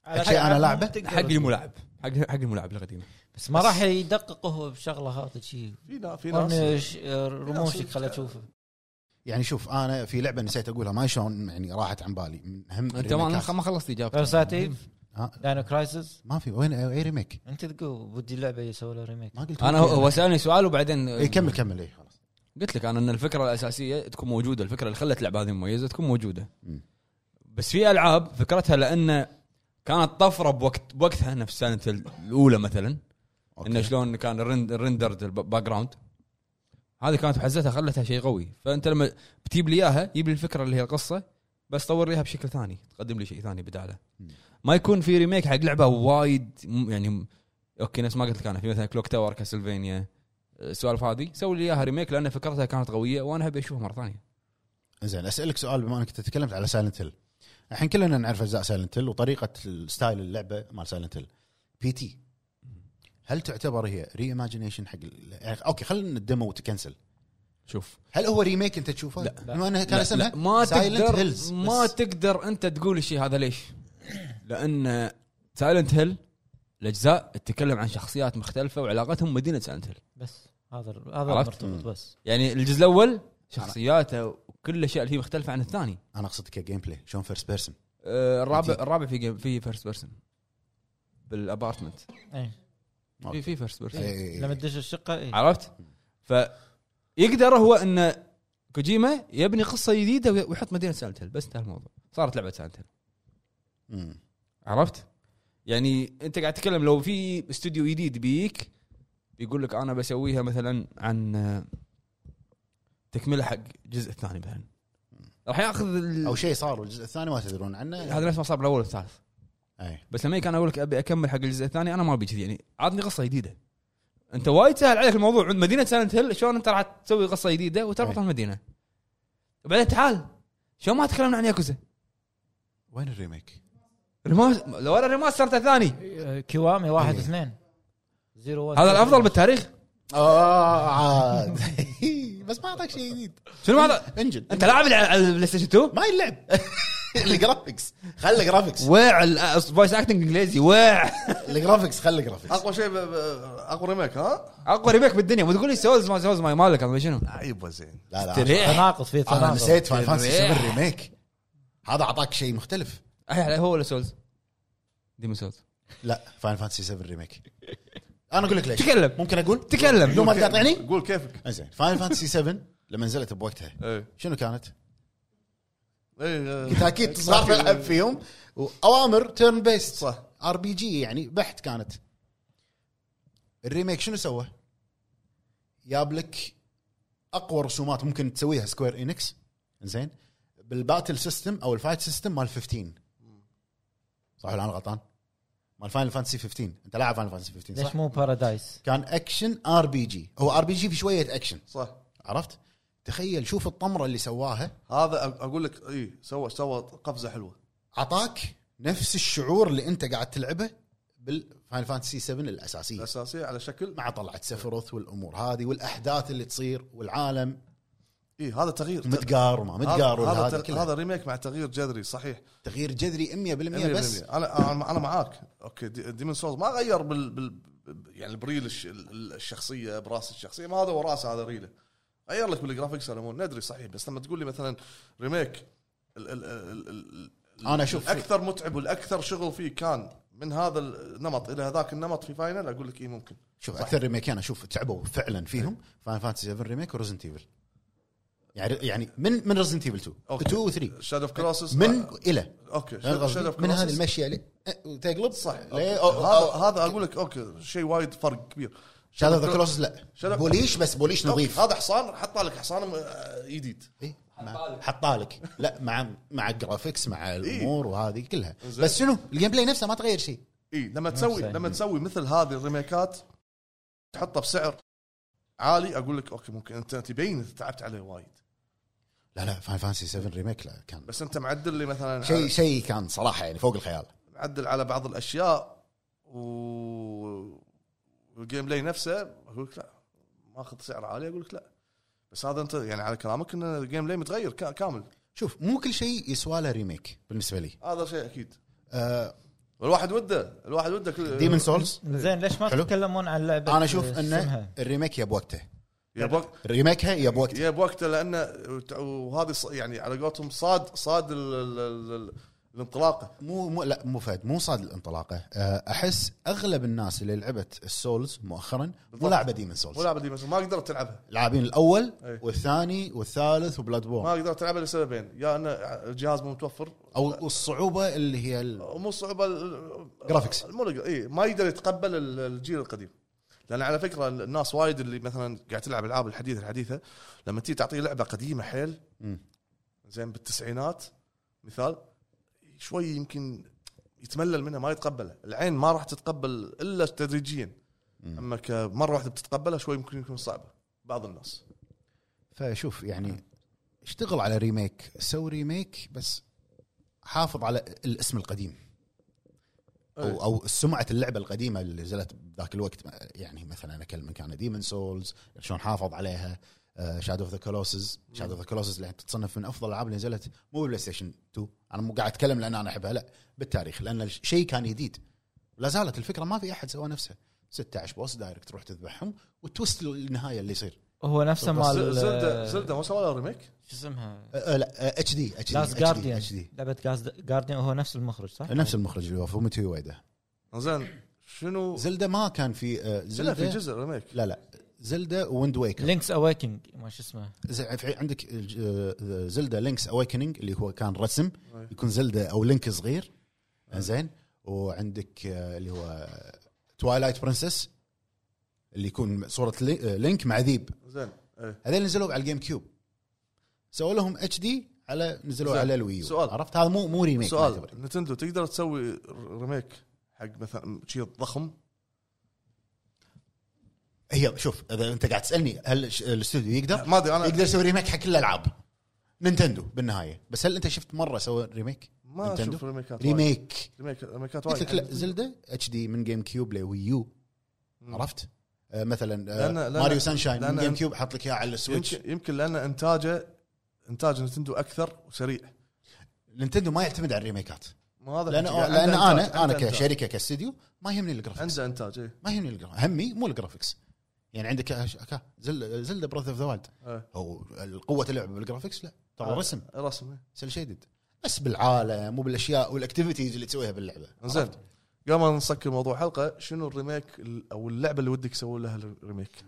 Speaker 5: على
Speaker 2: شيء انا
Speaker 5: حق-
Speaker 2: لاعبه
Speaker 1: حق
Speaker 4: إيه.
Speaker 1: الملاعب حق حق الملاعب القديم
Speaker 5: بس ما راح يدقق هو بشغله هذا شيء
Speaker 4: في نا- في ناس
Speaker 5: آه، رموشك خليني اشوفه
Speaker 2: يعني شوف انا في لعبه نسيت اقولها ما شلون يعني راحت عن بالي من هم
Speaker 1: انت ما
Speaker 2: الريميكات.
Speaker 1: ما خلصت اجابتك
Speaker 5: بيرسات ايف
Speaker 2: ها؟
Speaker 5: داينو كرايسس
Speaker 2: ما في وين اي ريميك
Speaker 5: انت تقول بدي اللعبه يسوي لها ريميك
Speaker 2: ما قلت
Speaker 1: انا هو هو سالني سؤال وبعدين
Speaker 4: إيه،
Speaker 2: اي كمل كمل اي خلاص
Speaker 1: قلت لك انا ان الفكره الاساسيه تكون موجوده الفكره اللي خلت اللعبه هذه مميزه تكون موجوده
Speaker 2: مم.
Speaker 1: بس في العاب فكرتها لان كانت طفره بوقت بوقتها نفس سنه الاولى مثلا
Speaker 2: أوكي.
Speaker 1: انه شلون كان الرند- الرندرد الباك جراوند هذه كانت بحزتها خلتها شيء قوي فانت لما بتجيب لي اياها جيب لي الفكره اللي هي القصه بس طور ليها بشكل ثاني تقدم لي شيء ثاني بداله
Speaker 2: مم.
Speaker 1: ما يكون في ريميك حق لعبه وايد م- يعني م- اوكي نفس ما قلت لك انا في مثلا كلوك تاور كاسلفينيا السوالف آه، هذه سوي لي اياها ريميك لان فكرتها كانت قويه وانا ابي اشوفها مره ثانيه
Speaker 2: زين اسالك سؤال بما انك تتكلمت على سايلنت هيل الحين كلنا نعرف اجزاء سايلنت هيل وطريقه الستايل اللعبه مال سايلنت هيل بي تي هل تعتبر هي ري ايماجينيشن حق ال- يعني اوكي خلينا الديمو وتكنسل
Speaker 1: شوف
Speaker 2: هل هو ريميك انت تشوفه؟
Speaker 1: لا.
Speaker 2: بما انها كان اسمها
Speaker 1: ما
Speaker 2: Silent
Speaker 1: تقدر
Speaker 2: Hills
Speaker 1: ما
Speaker 2: بس.
Speaker 1: تقدر انت تقول الشيء هذا ليش؟ لان سايلنت هيل الاجزاء تتكلم عن شخصيات مختلفه وعلاقتهم مدينه سايلنت هيل
Speaker 5: بس هذا هذا
Speaker 1: عرفت؟
Speaker 5: المرتبط بس
Speaker 1: يعني الجزء الاول شخصياته وكل الاشياء اللي هي مختلفه عن الثاني
Speaker 2: انا اقصد كجيم بلاي شلون فيرست بيرسون
Speaker 1: آه، الرابع
Speaker 2: عجيب.
Speaker 1: الرابع في جيم في فيرست بيرسون بالابارتمنت
Speaker 5: إيه.
Speaker 1: في في فيرست بيرسون
Speaker 2: إيه.
Speaker 5: لما تدش الشقه إيه.
Speaker 1: عرفت؟ فيقدر هو ان كوجيما يبني قصه جديده وي- ويحط مدينه سالت هيل بس انتهى الموضوع صارت لعبه سالت هيل
Speaker 2: إيه.
Speaker 1: عرفت؟ يعني انت قاعد تتكلم لو في استوديو جديد بيك بيقول لك انا بسويها مثلا عن آه، تكمله حق الجزء الثاني مثلا راح ياخذ ال-
Speaker 2: او شيء صار والجزء الثاني ما تدرون عنه
Speaker 1: هذا نفس ما صار بالاول والثالث
Speaker 2: اي
Speaker 1: بس لما كان اقول لك ابي اكمل حق الجزء الثاني انا ما ابي كذي يعني عطني قصه جديده انت وايد سهل عليك الموضوع عند مدينه سايلنت هيل شلون انت راح تسوي قصه جديده وتربط
Speaker 2: أي.
Speaker 1: المدينه وبعدين تعال شلون ما تكلمنا عن ياكوزا
Speaker 2: وين الريميك؟
Speaker 1: ريماس لو انا ريماستر ثاني
Speaker 5: إيه، كيوامي واحد اثنين زيرو واحد
Speaker 1: هذا الافضل بالتاريخ
Speaker 2: اه عاد. بس ما اعطاك شيء جديد
Speaker 1: شنو هذا
Speaker 2: انجن
Speaker 1: انت لاعب على البلاي ستيشن 2
Speaker 2: ما يلعب الجرافكس خلي جرافكس
Speaker 1: ويع الفويس اكتنج آه، انجليزي ويع
Speaker 2: الجرافكس خلي جرافكس
Speaker 4: اقوى شيء ب- ب- اقوى ريميك ها؟
Speaker 1: اقوى ريميك بالدنيا ما تقول لي سولز ما سولز ما مالك انا شنو
Speaker 4: عيب زين
Speaker 2: لا لا
Speaker 1: تريح
Speaker 5: تناقض في
Speaker 2: انا
Speaker 5: تناقض
Speaker 2: نسيت فاين فانسي 7 ريميك هذا اعطاك شيء مختلف
Speaker 1: أي- هو ولا سولز ديمون سولز
Speaker 2: لا فاين فانسي 7 ريميك انا اقول لك ليش
Speaker 1: تكلم.
Speaker 2: ممكن اقول
Speaker 1: تكلم.
Speaker 2: بدون ما تقاطعني
Speaker 4: قول كيفك
Speaker 2: زين فاين فانسي 7 لما نزلت بوقتها
Speaker 1: إيه.
Speaker 4: اي
Speaker 2: شنو كانت؟
Speaker 4: إيه، اي
Speaker 2: تاكيد صغار تلعب فيهم واوامر تيرن بيست صح ار بي جي يعني بحت كانت الريميك شنو سوى؟ جاب لك اقوى رسومات ممكن تسويها سكوير انكس زين بالباتل سيستم او الفايت سيستم مال 15 صح ولا انا غلطان؟ مال فاينل فانتسي 15 انت لاعب فاينل فانتسي 15 صح؟
Speaker 5: ليش مو بارادايس
Speaker 2: كان اكشن ار بي جي هو ار بي جي في شويه اكشن
Speaker 4: صح
Speaker 2: عرفت؟ تخيل شوف الطمره اللي سواها
Speaker 4: هذا أ- اقول لك اي سوى سوى قفزه حلوه
Speaker 2: عطاك نفس الشعور اللي انت قاعد تلعبه بالفاينل فانتسي 7 الاساسيه
Speaker 4: الاساسيه على شكل
Speaker 2: مع طلعت سفروث والامور هذه والاحداث اللي تصير والعالم
Speaker 4: اي إيه، هذا تغيير
Speaker 2: متقار وما متقار
Speaker 4: هذا
Speaker 2: وهذا
Speaker 4: هذا, تغ- هذا
Speaker 2: كله
Speaker 4: ريميك مع تغيير جذري صحيح
Speaker 2: تغيير جذري 100%
Speaker 4: 100%
Speaker 2: بس
Speaker 4: انا انا أنا معاك اوكي دي- ديمون سولز ما غير بال, بال يعني بريل الش- ال- الشخصيه براس الشخصيه ما هذا وراس هذا ريله غير لك بالجرافكس على ندري صحيح بس لما تقول لي مثلا ريميك ال ال ال ال
Speaker 2: انا اشوف
Speaker 4: الاكثر متعب والاكثر شغل فيه كان من هذا النمط الى هذاك النمط في فاينل اقول لك اي ممكن
Speaker 2: شوف اكثر ريميكين اشوف تعبوا فعلا فيهم فاينل فانتسي 7 ريميك وريزنت ايفل يعني يعني من من ريزنت ايفل 2
Speaker 4: أوكي.
Speaker 2: 2 و 3
Speaker 4: شادو اوف كروسس
Speaker 2: من الى
Speaker 4: اوكي
Speaker 2: فاهم
Speaker 4: شادو
Speaker 2: قصدي؟
Speaker 4: اوف
Speaker 2: من هذه المشيه اللي أه، تقلب صح
Speaker 4: هذا هذا اقول لك اوكي شيء وايد فرق كبير
Speaker 2: شادو ذا كلوسس لا
Speaker 4: Shadow-
Speaker 2: بوليش بس بوليش نظيف
Speaker 4: نظيف هذا حصان حط لك حصان آه، جديد
Speaker 2: إيه، مع- حطالك لا مع مع الجرافيكس مع الامور وهذه كلها
Speaker 4: إيه. زين.
Speaker 2: بس شنو الجيم بلاي نفسه ما تغير شيء
Speaker 4: اي إيه، لما تسوي
Speaker 5: نفسه.
Speaker 4: لما تسوي مثل هذه الريميكات تحطه بسعر عالي اقول لك اوكي ممكن انت تبين إنت تعبت عليه وايد
Speaker 2: لا لا فاين فانسي 7 ريميك لا كان
Speaker 4: بس آه. انت معدل لي مثلا
Speaker 2: شيء
Speaker 4: على-
Speaker 2: شيء كان صراحه يعني فوق الخيال
Speaker 4: معدل على بعض الاشياء و والجيم بلاي نفسه اقول لك لا ماخذ سعر عالي اقول لك لا بس هذا انت يعني على كلامك ان الجيم بلاي متغير كا- كامل
Speaker 2: شوف مو كل شيء يسوى له ريميك بالنسبه لي
Speaker 4: هذا شيء اكيد
Speaker 2: آه
Speaker 4: الواحد وده الواحد وده كل
Speaker 2: ديمن سولز
Speaker 5: زين ليش ما
Speaker 2: حلو.
Speaker 5: تتكلمون عن لعبه
Speaker 2: انا اشوف
Speaker 5: اسمها؟
Speaker 2: انه الريميك يا بوقته
Speaker 4: يبغى
Speaker 2: ريميكها يا بوقته
Speaker 4: يا بوقته لانه وهذه ص- يعني على قولتهم صاد صاد ال- ال- ال- ال- الانطلاقه
Speaker 2: مو مو لا مو فهد مو صاد الانطلاقه آه احس اغلب الناس اللي لعبت السولز مؤخرا مو
Speaker 4: بالضبط.
Speaker 2: لاعبه ديمن
Speaker 4: مو إيه.
Speaker 2: سولز
Speaker 4: لعبه دي بس ما قدرت تلعبها
Speaker 2: لاعبين الاول
Speaker 4: أي.
Speaker 2: والثاني والثالث وبلاد بورن
Speaker 4: ما قدرت تلعبها لسببين يا ان الجهاز مو متوفر
Speaker 2: او الصعوبه اللي هي ال-
Speaker 4: ومو الصعوبه ال-
Speaker 2: جرافيكس.
Speaker 4: مو اي ما يقدر يتقبل ال- الجيل القديم لان على فكره الناس وايد اللي مثلا قاعد تلعب العاب الحديثه الحديثه لما تيجي تعطيه لعبه قديمه حيل
Speaker 2: مم.
Speaker 4: زين بالتسعينات مثال شوي يمكن يتملل منها ما يتقبلها العين ما راح تتقبل الا تدريجيا
Speaker 2: مم.
Speaker 4: اما كمره واحده بتتقبلها شوي يمكن يكون صعبه بعض الناس
Speaker 2: فشوف يعني اشتغل على ريميك سوي ريميك بس حافظ على الاسم القديم
Speaker 4: إيه.
Speaker 2: او او سمعه اللعبه القديمه اللي نزلت بذاك الوقت يعني مثلا اكلم كان ديمن سولز شلون حافظ عليها آه، شادو اوف ذا كولوسز شادو اوف ذا كولوسز اللي تتصنف من افضل الالعاب اللي نزلت مو بلاي ستيشن 2 انا مو قاعد اتكلم لان انا احبها لا بالتاريخ لان الشيء كان جديد لا زالت الفكره ما في احد سوى نفسها 16 بوس دايركت تروح تذبحهم وتوست النهايه اللي يصير
Speaker 5: هو نفسه مال آه،
Speaker 4: زلدا زلدا ما سوى لها ريميك
Speaker 5: شو اسمها؟
Speaker 2: أه، لا اتش دي اتش دي
Speaker 5: لاست
Speaker 2: اتش
Speaker 5: جارديان
Speaker 2: دي
Speaker 5: لعبه جارديان هو نفس المخرج صح؟
Speaker 2: أه، نفس المخرج اللي هو فوميتو يويدا
Speaker 4: زين شنو
Speaker 2: زلدا ما كان في أه،
Speaker 4: لا في
Speaker 2: زلدا
Speaker 4: جزء ريميك
Speaker 2: لا لا زلدا ويند ويكر
Speaker 5: لينكس اويكنج ما شو اسمه
Speaker 2: ز- في عندك الج- أه، زلدا لينكس اويكننج اللي هو كان رسم
Speaker 4: أي.
Speaker 2: يكون زلدا او لينك صغير
Speaker 4: أيوه.
Speaker 2: زين وعندك أه، اللي هو توايلايت برنسس اللي يكون صوره لي- أه، لينك مع ذيب
Speaker 4: زين ايه
Speaker 2: هذول نزلوا على الجيم كيوب سووا لهم اتش دي على نزلوا
Speaker 4: زين.
Speaker 2: على الويو
Speaker 4: سؤال.
Speaker 2: عرفت هذا مو مو ريميك ما يعتبر.
Speaker 4: سؤال نتندو تقدر تسوي ريميك حق مثلا شيء ضخم
Speaker 2: هي شوف اذا انت قاعد تسالني هل ش- الاستوديو يقدر؟
Speaker 4: ما ادري انا
Speaker 2: يقدر يسوي ريميك حق كل الالعاب نينتندو بالنهايه بس هل انت شفت مره سوى ريميك؟
Speaker 4: ما
Speaker 2: نينتندو؟
Speaker 4: اشوف ريميكات وايد.
Speaker 2: ريميك
Speaker 4: ريميك ريميكات
Speaker 2: قلت لك لا
Speaker 4: وايد يعني
Speaker 2: زلدا اتش دي من جيم كيوب لوي يو
Speaker 4: مم.
Speaker 2: عرفت؟ آه مثلا آه
Speaker 4: لأن- لأن-
Speaker 2: ماريو سانشاين من
Speaker 4: لأن-
Speaker 2: جيم كيوب حط لك اياه على السويتش
Speaker 4: يمكن, يمكن لان انتاجه انتاج نتندو اكثر وسريع
Speaker 2: نينتندو ما يعتمد على الريميكات
Speaker 4: ما هذا
Speaker 2: لان
Speaker 4: عنده
Speaker 2: لان
Speaker 4: إنتاج،
Speaker 2: انا انا
Speaker 4: عنده إنتاج.
Speaker 2: كشركه كاستديو ما يهمني الجرافيكس
Speaker 4: عنده إيه. انتاج اي
Speaker 2: ما يهمني الجرافيكس همي مو الجرافيكس يعني عندك أش- أكا، زل زلدا براذ اوف ذا وايلد
Speaker 4: إيه.
Speaker 2: او قوه اللعب بالجرافيكس لا ترى
Speaker 4: آه.
Speaker 2: رسم
Speaker 4: رسم إيه.
Speaker 2: سيل شيدد بس بالعالم وبالاشياء والاكتيفيتيز اللي تسويها باللعبه
Speaker 4: زين قبل ما نسكر موضوع الحلقه شنو الريميك ال- او اللعبه اللي ودك تسوي لها الريميك؟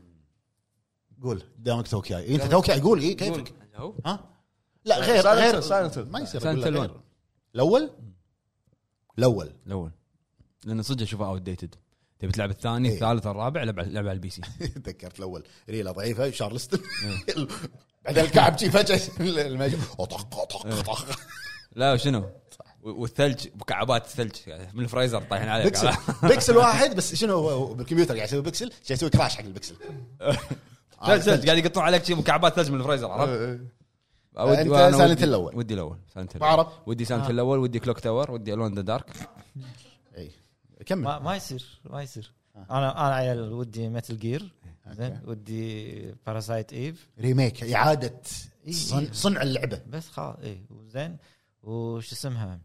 Speaker 2: قول دامك توك ياي انت توك ياي قول آه، اي كيفك
Speaker 1: هو
Speaker 2: ها لا غير
Speaker 4: Silent-
Speaker 2: غير
Speaker 4: Silent Hill.
Speaker 2: ما يصير
Speaker 1: Silent
Speaker 2: أقول
Speaker 1: Hill
Speaker 2: لا غير. الاول الاول
Speaker 1: الاول لان صدق اشوفه اوت ديتد تبي تلعب الثاني
Speaker 2: إيه.
Speaker 1: الثالث الرابع لعب لعب على البي سي
Speaker 2: تذكرت الاول ريلا ضعيفه شارلستون بعدين الكعب شي فجاه المجد طق طق طق
Speaker 1: لا شنو و- والثلج مكعبات الثلج من الفريزر طايحين عليك
Speaker 2: بيكسل بيكسل واحد بس شنو هو- هو بالكمبيوتر قاعد يسوي بيكسل قاعد يسوي كراش حق البيكسل آه،
Speaker 1: ثلج ثلج قاعد يقطون عليك شي مكعبات ثلج من الفريزر عرفت؟
Speaker 2: أنت
Speaker 1: وأنا
Speaker 2: Silent
Speaker 1: ودي-
Speaker 2: Hill الأول.
Speaker 1: ودي الاول سالنت
Speaker 2: ما أعرف.
Speaker 1: ودي سالنت الاول ودي كلوك تاور ودي الون ذا دارك
Speaker 2: إي. إيه. كمل
Speaker 5: ما, ما يصير ما يصير انا انا عيال ودي متل جير زين ودي باراسايت ايف
Speaker 2: ريميك اعاده
Speaker 5: إي.
Speaker 2: صنع- صنع اللعبه
Speaker 5: بس خلاص اي وزين وش اسمها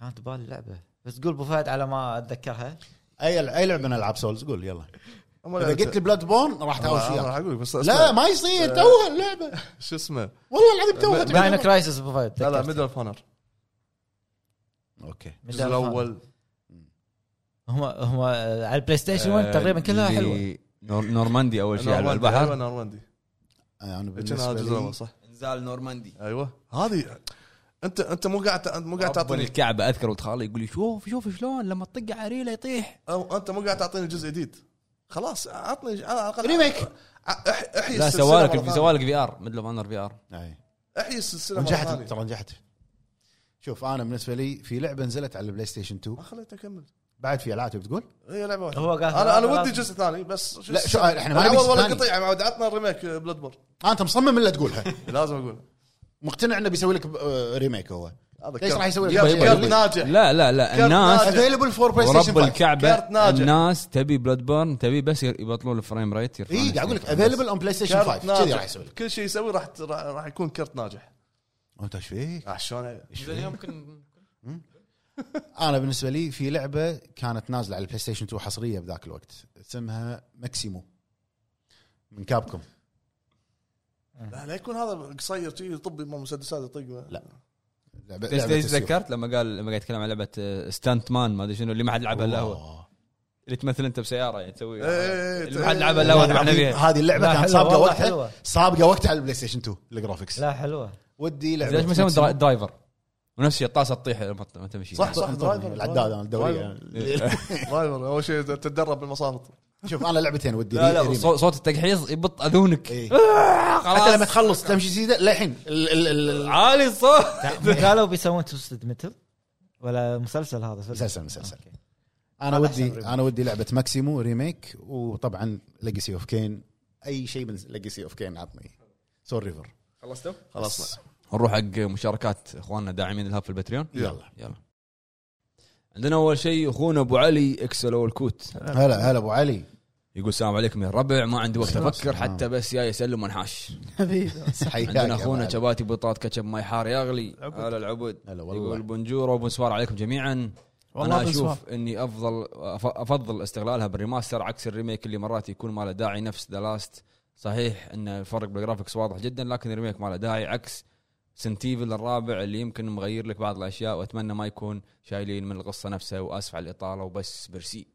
Speaker 5: كانت بالي لعبه بس قول ابو فهد على ما اتذكرها
Speaker 2: اي اي لعبه من العاب سولز قول يلا
Speaker 4: أما
Speaker 2: اذا
Speaker 4: لعبة-
Speaker 2: قلت لي بلاد بورن راح تعاوش
Speaker 4: أنا- أنا
Speaker 2: وياك
Speaker 4: راح اقول لك بس
Speaker 2: لا
Speaker 4: اسمع.
Speaker 2: ما يصير توها اللعبه
Speaker 4: شو اسمه؟
Speaker 2: والله العظيم توها
Speaker 5: داينو
Speaker 2: تقول.
Speaker 5: كرايسس ابو فهد
Speaker 4: لا لا
Speaker 5: تذكرت.
Speaker 4: ميدل اوف هانر
Speaker 2: اوكي
Speaker 5: ميدل
Speaker 4: الجزء
Speaker 5: فان.
Speaker 4: الاول
Speaker 5: هم هم على البلاي ستيشن
Speaker 1: آه،
Speaker 5: 1 تقريبا كلها
Speaker 1: اللي
Speaker 5: حلوه
Speaker 1: نور- نورماندي اول شيء على
Speaker 4: نورماندي،
Speaker 1: البحر
Speaker 4: ايوه نورماندي
Speaker 2: انا
Speaker 4: كان
Speaker 2: بالنسبه
Speaker 4: هذا الجزء
Speaker 2: آه، لي
Speaker 4: الاول صح
Speaker 1: انزال نورماندي
Speaker 4: ايوه هذه انت انت مو قاعد ت- مو قاعد
Speaker 1: تعطيني
Speaker 4: تعطيني
Speaker 1: الكعبه اذكر ولد خالي يقول لي شوف شوف شلون لما تطق على ريله يطيح
Speaker 4: أو انت مو قاعد تعطيني جزء جديد خلاص عطني على الاقل
Speaker 2: ريميك
Speaker 4: أح- احيي
Speaker 1: لا
Speaker 4: السلسلة مرة
Speaker 1: سوالك
Speaker 4: ثانية.
Speaker 1: سوالك في ار ميدل اوف انر في ار
Speaker 2: أي.
Speaker 4: احيي السلسله مرة
Speaker 2: نجحت
Speaker 4: ثانية.
Speaker 2: ترى نجحت شوف انا بالنسبه لي في لعبه نزلت على البلاي ستيشن 2
Speaker 4: ما خليته اكمل
Speaker 2: بعد في العاب تبي تقول؟
Speaker 4: هي لعبه واحده
Speaker 5: هو قال
Speaker 4: انا انا
Speaker 5: لا-
Speaker 4: ودي جزء ثاني بس شو
Speaker 2: لا، شو- إحنا ما نبي
Speaker 4: العوض
Speaker 2: جزء
Speaker 4: ولا
Speaker 2: ثاني.
Speaker 4: قطيع يا معود عطنا الريميك بلاد بور
Speaker 2: انت مصمم الا تقولها
Speaker 4: لازم اقول
Speaker 2: مقتنع انه بيسوي لك آه، ريميك هو
Speaker 4: هذا
Speaker 2: ليش
Speaker 4: كرت-
Speaker 2: راح يسوي لك
Speaker 4: كرت-
Speaker 2: شيء؟
Speaker 4: كرت ناجح
Speaker 1: لا لا لا
Speaker 4: كرت
Speaker 1: الناس
Speaker 4: ناجح.
Speaker 2: افيلبل فور بلاي ستيشن
Speaker 1: ورب
Speaker 2: 5
Speaker 1: الكعبه
Speaker 4: كارت ناجح.
Speaker 1: الناس تبي بلاد بورن تبي بس يبطلون الفريم ريت
Speaker 2: اي
Speaker 4: إيه،
Speaker 2: قاعد اقول لك افيلبل اون بلاي ستيشن 5
Speaker 4: كرت
Speaker 2: كذي راح يسوي
Speaker 4: ناجح
Speaker 2: لك
Speaker 4: كل شيء يسوي راح راح- راح يكون كرت ناجح
Speaker 2: انت ايش فيك؟
Speaker 4: آه، شلون
Speaker 1: يمكن
Speaker 2: انا بالنسبه لي في لعبه كانت نازله على البلاي ستيشن 2 حصريه بذاك الوقت اسمها ماكسيمو من كابكم
Speaker 4: لا لا يكون هذا قصير شيء يطب يمه مسدسات يطق
Speaker 2: لا. لعبه
Speaker 1: ليش
Speaker 2: لعبة
Speaker 1: ليش
Speaker 2: تسيير.
Speaker 1: تذكرت لما قال لما قاعد يتكلم عن لعبه ستانت مان ما ادري شنو اللي ما حد لعبها الا هو
Speaker 2: الله.
Speaker 1: اللي تمثل انت بسياره يعني تسوي
Speaker 4: إيه،
Speaker 1: اللي ما حد
Speaker 4: إيه،
Speaker 1: لعبها الا
Speaker 2: والله
Speaker 1: هو احنا
Speaker 2: العظيم
Speaker 1: فيها
Speaker 2: هذه اللعبه
Speaker 5: لا،
Speaker 2: كانت
Speaker 5: حلوة،
Speaker 2: سابقه
Speaker 5: والله
Speaker 2: وقتها
Speaker 5: حلوة.
Speaker 2: سابقه وقتها على البلاي ستيشن 2 الجرافكس
Speaker 5: لا حلوه
Speaker 2: ودي لعبه
Speaker 1: ليش ما يسوون درا-
Speaker 2: ماكسيمو.
Speaker 1: درايفر ونفس الشيء الطاسه تطيح لما لما تمشي
Speaker 4: صح صح درايفر
Speaker 2: العداد انا الدوريه
Speaker 4: درايفر اول شيء تتدرب بالمصامط
Speaker 2: شوف انا لعبتين ودي
Speaker 1: لا
Speaker 2: لي
Speaker 1: لا
Speaker 2: ريميك.
Speaker 1: صوت- صوت التقحيص يبط اذونك
Speaker 2: إيه. حتى لما
Speaker 1: خلاص
Speaker 2: تخلص تمشي سيده للحين ال- ال- ال-
Speaker 1: عالي الصوت
Speaker 5: قالوا بيسوون توستد متل ولا مسلسل هذا فيلم؟
Speaker 2: مسلسل- مسلسل.
Speaker 5: أوكي.
Speaker 2: انا
Speaker 5: هذا أحسن
Speaker 2: ودي
Speaker 5: ريميك.
Speaker 2: انا ودي لعبه ماكسيمو ريميك وطبعا ليجسي اوف كين اي شيء من ليجسي اوف كين عطني سول ريفر
Speaker 1: خلصتوا؟
Speaker 4: خلاص
Speaker 1: نروح حق مشاركات اخواننا داعمين الهاب في البتريون
Speaker 2: يلا
Speaker 1: يلا عندنا اول شيء اخونا ابو علي اكسلو الكوت
Speaker 2: هلا هلا ابو علي
Speaker 1: يقول السلام عليكم يا الربع ما عندي وقت
Speaker 2: السلام.
Speaker 1: افكر حتى بس يا يسلم وانحاش
Speaker 3: حبيبي
Speaker 2: حياك يا
Speaker 1: عندنا
Speaker 2: أبو
Speaker 1: اخونا
Speaker 2: علي.
Speaker 1: شباتي بطاط كاتشب ماي حار يغلي
Speaker 3: العبد.
Speaker 1: هلا العبد
Speaker 2: هلا
Speaker 1: يقول
Speaker 2: والله
Speaker 1: بونجور وبونسوار عليكم جميعا
Speaker 3: والله
Speaker 1: انا
Speaker 3: بنسوار.
Speaker 1: اشوف اني افضل أف- افضل استغلالها بالريماستر عكس الريميك اللي مرات يكون ما له داعي نفس ذا لاست صحيح ان الفرق بالجرافكس واضح جدا لكن الريميك ما له داعي عكس سنتيفل الرابع اللي يمكن مغير لك بعض الاشياء واتمنى ما يكون شايلين من القصه نفسها واسف على الاطاله وبس برسي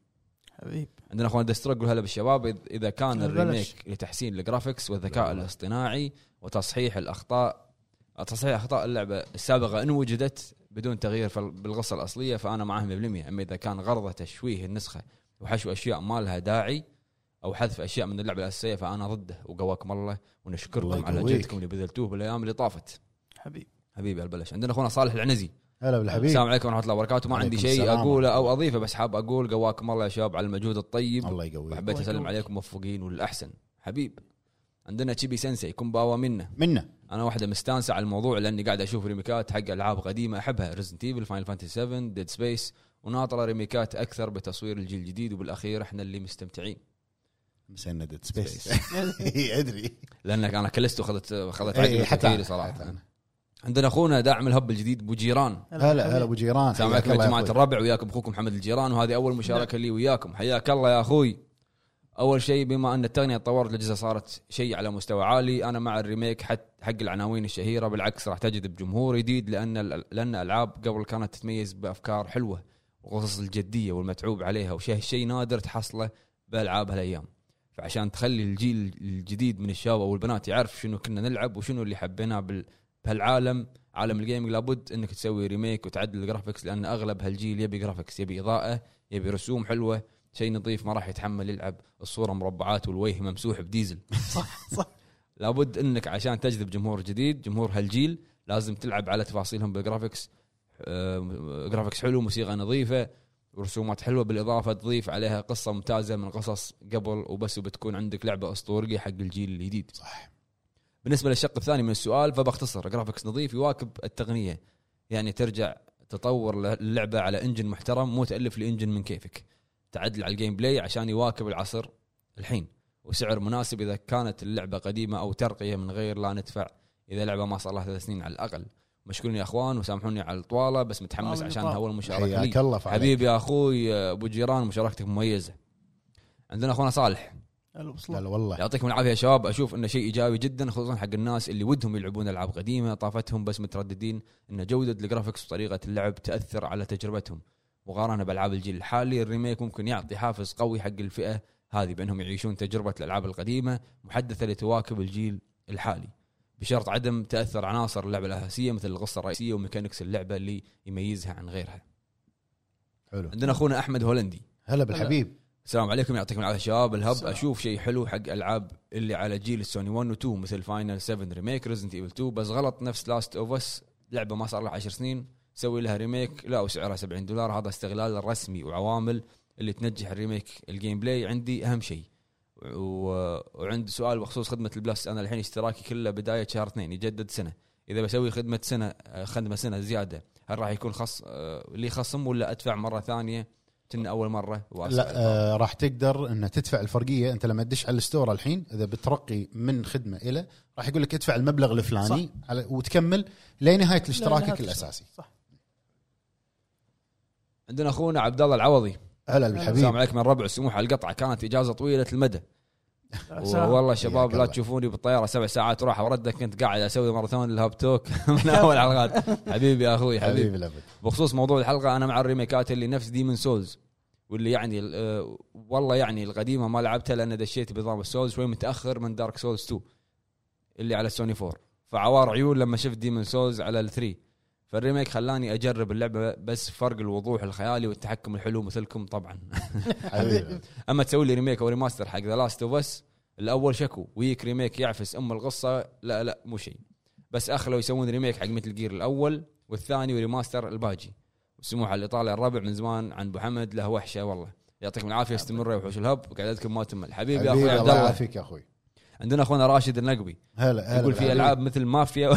Speaker 3: حبيبي
Speaker 1: عندنا اخوان دسترق يقول هلا بالشباب إذ- اذا كان
Speaker 3: بلاش.
Speaker 1: الريميك لتحسين الجرافكس والذكاء الاصطناعي وتصحيح الاخطاء تصحيح اخطاء اللعبه السابقه ان وجدت بدون تغيير فال- بالقصه الاصليه فانا معاه 100% اما اذا كان غرضه تشويه النسخه وحشو اشياء ما لها داعي او حذف اشياء من اللعبه الاساسيه فانا ضده وقواكم الله
Speaker 2: الله
Speaker 1: ونشكركم على
Speaker 2: يقويك.
Speaker 1: جهدكم اللي بذلتوه بالايام اللي طافت
Speaker 3: حبيبي
Speaker 1: حبيبي البلش عندنا اخونا صالح العنزي
Speaker 2: هلا
Speaker 1: السلام
Speaker 2: بالحبيب
Speaker 1: عليكم ورحمه الله وبركاته ما عندي
Speaker 2: عليكم
Speaker 1: شيء
Speaker 2: السلام
Speaker 1: اقوله او اضيفه بس حاب اقول قواكم الله يا شباب على المجهود الطيب
Speaker 2: الله يقويك
Speaker 1: وحبيت
Speaker 3: الله
Speaker 1: اسلم
Speaker 3: يقويك.
Speaker 1: عليكم موفقين وللاحسن حبيب عندنا تشيبي سensei كون باوا منا
Speaker 2: منا
Speaker 1: انا واحده مستانسه على الموضوع لاني قاعد اشوف ريميكات حق العاب قديمه احبها ريزنت ايفل فاينل فانتسي 7 ديد سبيس وناطره ريميكات اكثر بتصوير الجيل الجديد وبالاخير احنا اللي مستمتعين
Speaker 2: مسندة سبيس ادري
Speaker 1: لانك انا كلست وخذت خذت
Speaker 2: إيه،
Speaker 1: عقلي
Speaker 2: حتى
Speaker 1: حتى
Speaker 2: أنا،
Speaker 1: صراحه
Speaker 2: حتى أنا.
Speaker 1: عندنا اخونا داعم الهب الجديد ابو جيران
Speaker 2: هلا هلا ابو جيران
Speaker 1: السلام
Speaker 2: حياك
Speaker 1: عليكم يا
Speaker 2: الله يا
Speaker 1: جماعه
Speaker 2: أخوي.
Speaker 1: الربع وياكم اخوكم محمد الجيران وهذه اول مشاركه لي وياكم حياك الله يا اخوي اول شيء بما ان التقنيه تطورت الاجهزه صارت شيء على مستوى عالي انا مع الريميك حتى حق العناوين الشهيره بالعكس راح تجذب جمهور جديد لان ال- لان العاب قبل كانت تتميز بافكار حلوه وقصص الجديه والمتعوب عليها وشيء شيء نادر تحصله بالعاب هالايام فعشان تخلي الجيل الجديد من الشباب والبنات يعرف شنو كنا نلعب وشنو اللي حبيناه بال- بهالعالم عالم الجيمنج لابد انك تسوي ريميك وتعدل الجرافكس لان اغلب هالجيل يبي جرافكس يبي اضاءه يبي رسوم حلوه شيء نظيف ما راح يتحمل يلعب الصوره مربعات والوجه ممسوح بديزل
Speaker 3: صح صح
Speaker 1: لابد انك عشان تجذب جمهور جديد جمهور هالجيل لازم تلعب على تفاصيلهم بالجرافكس آه، جرافكس حلو موسيقى نظيفه ورسومات حلوه بالاضافه تضيف عليها قصه ممتازه من قصص قبل وبس وبتكون عندك لعبه اسطوريه حق الجيل الجديد
Speaker 2: صح
Speaker 1: بالنسبه للشق الثاني من السؤال فبختصر جرافكس نظيف يواكب التقنيه يعني ترجع تطور اللعبه على انجن محترم مو تالف لي انجن من كيفك تعدل على الجيم بلاي عشان يواكب العصر الحين وسعر مناسب اذا كانت اللعبه قديمه او ترقيه من غير لا ندفع اذا لعبه ما صار لها ثلاث سنين على الاقل مشكورين يا اخوان وسامحوني على الطواله بس متحمس
Speaker 3: طال-
Speaker 1: عشان
Speaker 3: طال.
Speaker 1: اول مشاركه لي
Speaker 2: حياك الله فعلا.
Speaker 1: حبيبي يا اخوي ابو جيران مشاركتك مميزه عندنا اخونا صالح
Speaker 3: هلا
Speaker 2: لا
Speaker 3: بصلاح.
Speaker 2: لا والله
Speaker 1: طيب. يعطيكم العافيه يا شباب اشوف انه شيء ايجابي جدا خصوصا حق الناس اللي ودهم يلعبون العاب قديمه طافتهم بس مترددين ان جوده الجرافكس وطريقه اللعب تاثر على تجربتهم مقارنه بالعاب الجيل الحالي الريميك ممكن يعطي حافز قوي حق الفئه هذه بانهم يعيشون تجربه الالعاب القديمه محدثه لتواكب الجيل الحالي بشرط عدم تاثر عناصر اللعبه الاساسيه مثل القصه الرئيسيه وميكانكس اللعبه اللي يميزها عن غيرها
Speaker 2: حلو
Speaker 1: عندنا اخونا احمد هولندي
Speaker 2: هلا بالحبيب
Speaker 1: السلام عليكم يعطيكم العافيه شباب الهب
Speaker 3: السلام.
Speaker 1: اشوف شيء حلو حق العاب اللي على جيل السوني 1 و 2 مثل فاينل 7 ريميك ريزنت ايفل 2 بس غلط نفس لاست اوف اس لعبه ما صار لها 10 سنين سوي لها ريميك لا وسعرها 70 دولار هذا استغلال رسمي وعوامل اللي تنجح الريميك الجيم بلاي عندي اهم شيء و... وعندي سؤال بخصوص خدمه البلس انا الحين اشتراكي كله بدايه شهر اثنين يجدد سنه اذا بسوي خدمه سنه خدمه سنه زياده هل راح يكون خص آه، لي خصم ولا ادفع مره ثانيه كنا اول مره وأسعى
Speaker 2: لا آه راح تقدر ان تدفع الفرقيه انت لما تدش على الستور الحين اذا بترقي من خدمه الى راح يقول لك ادفع المبلغ الفلاني على وتكمل لنهايه اشتراكك
Speaker 3: نهاية
Speaker 2: الاساسي
Speaker 3: صح
Speaker 1: عندنا اخونا عبد الله العوضي
Speaker 2: هلا
Speaker 1: السلام
Speaker 2: بالحبيب
Speaker 1: عليكم من ربع السموح على القطعه كانت اجازه طويله المدى
Speaker 3: سلام.
Speaker 1: والله شباب
Speaker 2: حياك
Speaker 1: لا
Speaker 2: الله.
Speaker 1: تشوفوني بالطياره سبع ساعات راحه ورده كنت قاعد اسوي ماراثون الهاب توك من اول حلقات حبيبي يا اخوي حبيبي
Speaker 2: حبيبي الابد
Speaker 1: بخصوص موضوع الحلقه انا مع الريميكات اللي نفس ديمن سولز واللي يعني آه، والله يعني القديمه ما لعبتها لان دشيت بنظام السولز شوي متاخر من دارك سولز 2 اللي على سوني 4 فعوار عيون لما شفت ديمن سولز على ال 3 فالريميك خلاني اجرب اللعبه بس فرق الوضوح الخيالي والتحكم الحلو مثلكم طبعا
Speaker 2: حبيبي
Speaker 1: اما تسوي لي ريميك او ريماستر حق ذا لاست اوف اس الاول شكو ويك ريميك يعفس ام القصه لا لا مو شيء بس اخ لو يسوون ريميك حق مثل جير الاول والثاني وريماستر الباجي والسموح على الايطالي الربع من زمان عن ابو حمد له وحشه والله يعطيكم العافيه استمروا يا وحوش الهب وقعدتكم ما تمل حبيبي يا اخوي
Speaker 2: حبيبي
Speaker 1: عبد
Speaker 2: الله
Speaker 1: الله
Speaker 2: يعافيك يا اخوي
Speaker 1: عندنا اخونا راشد النقبي
Speaker 2: هلا هلا
Speaker 1: يقول في
Speaker 2: بالحبيب.
Speaker 1: العاب مثل مافيا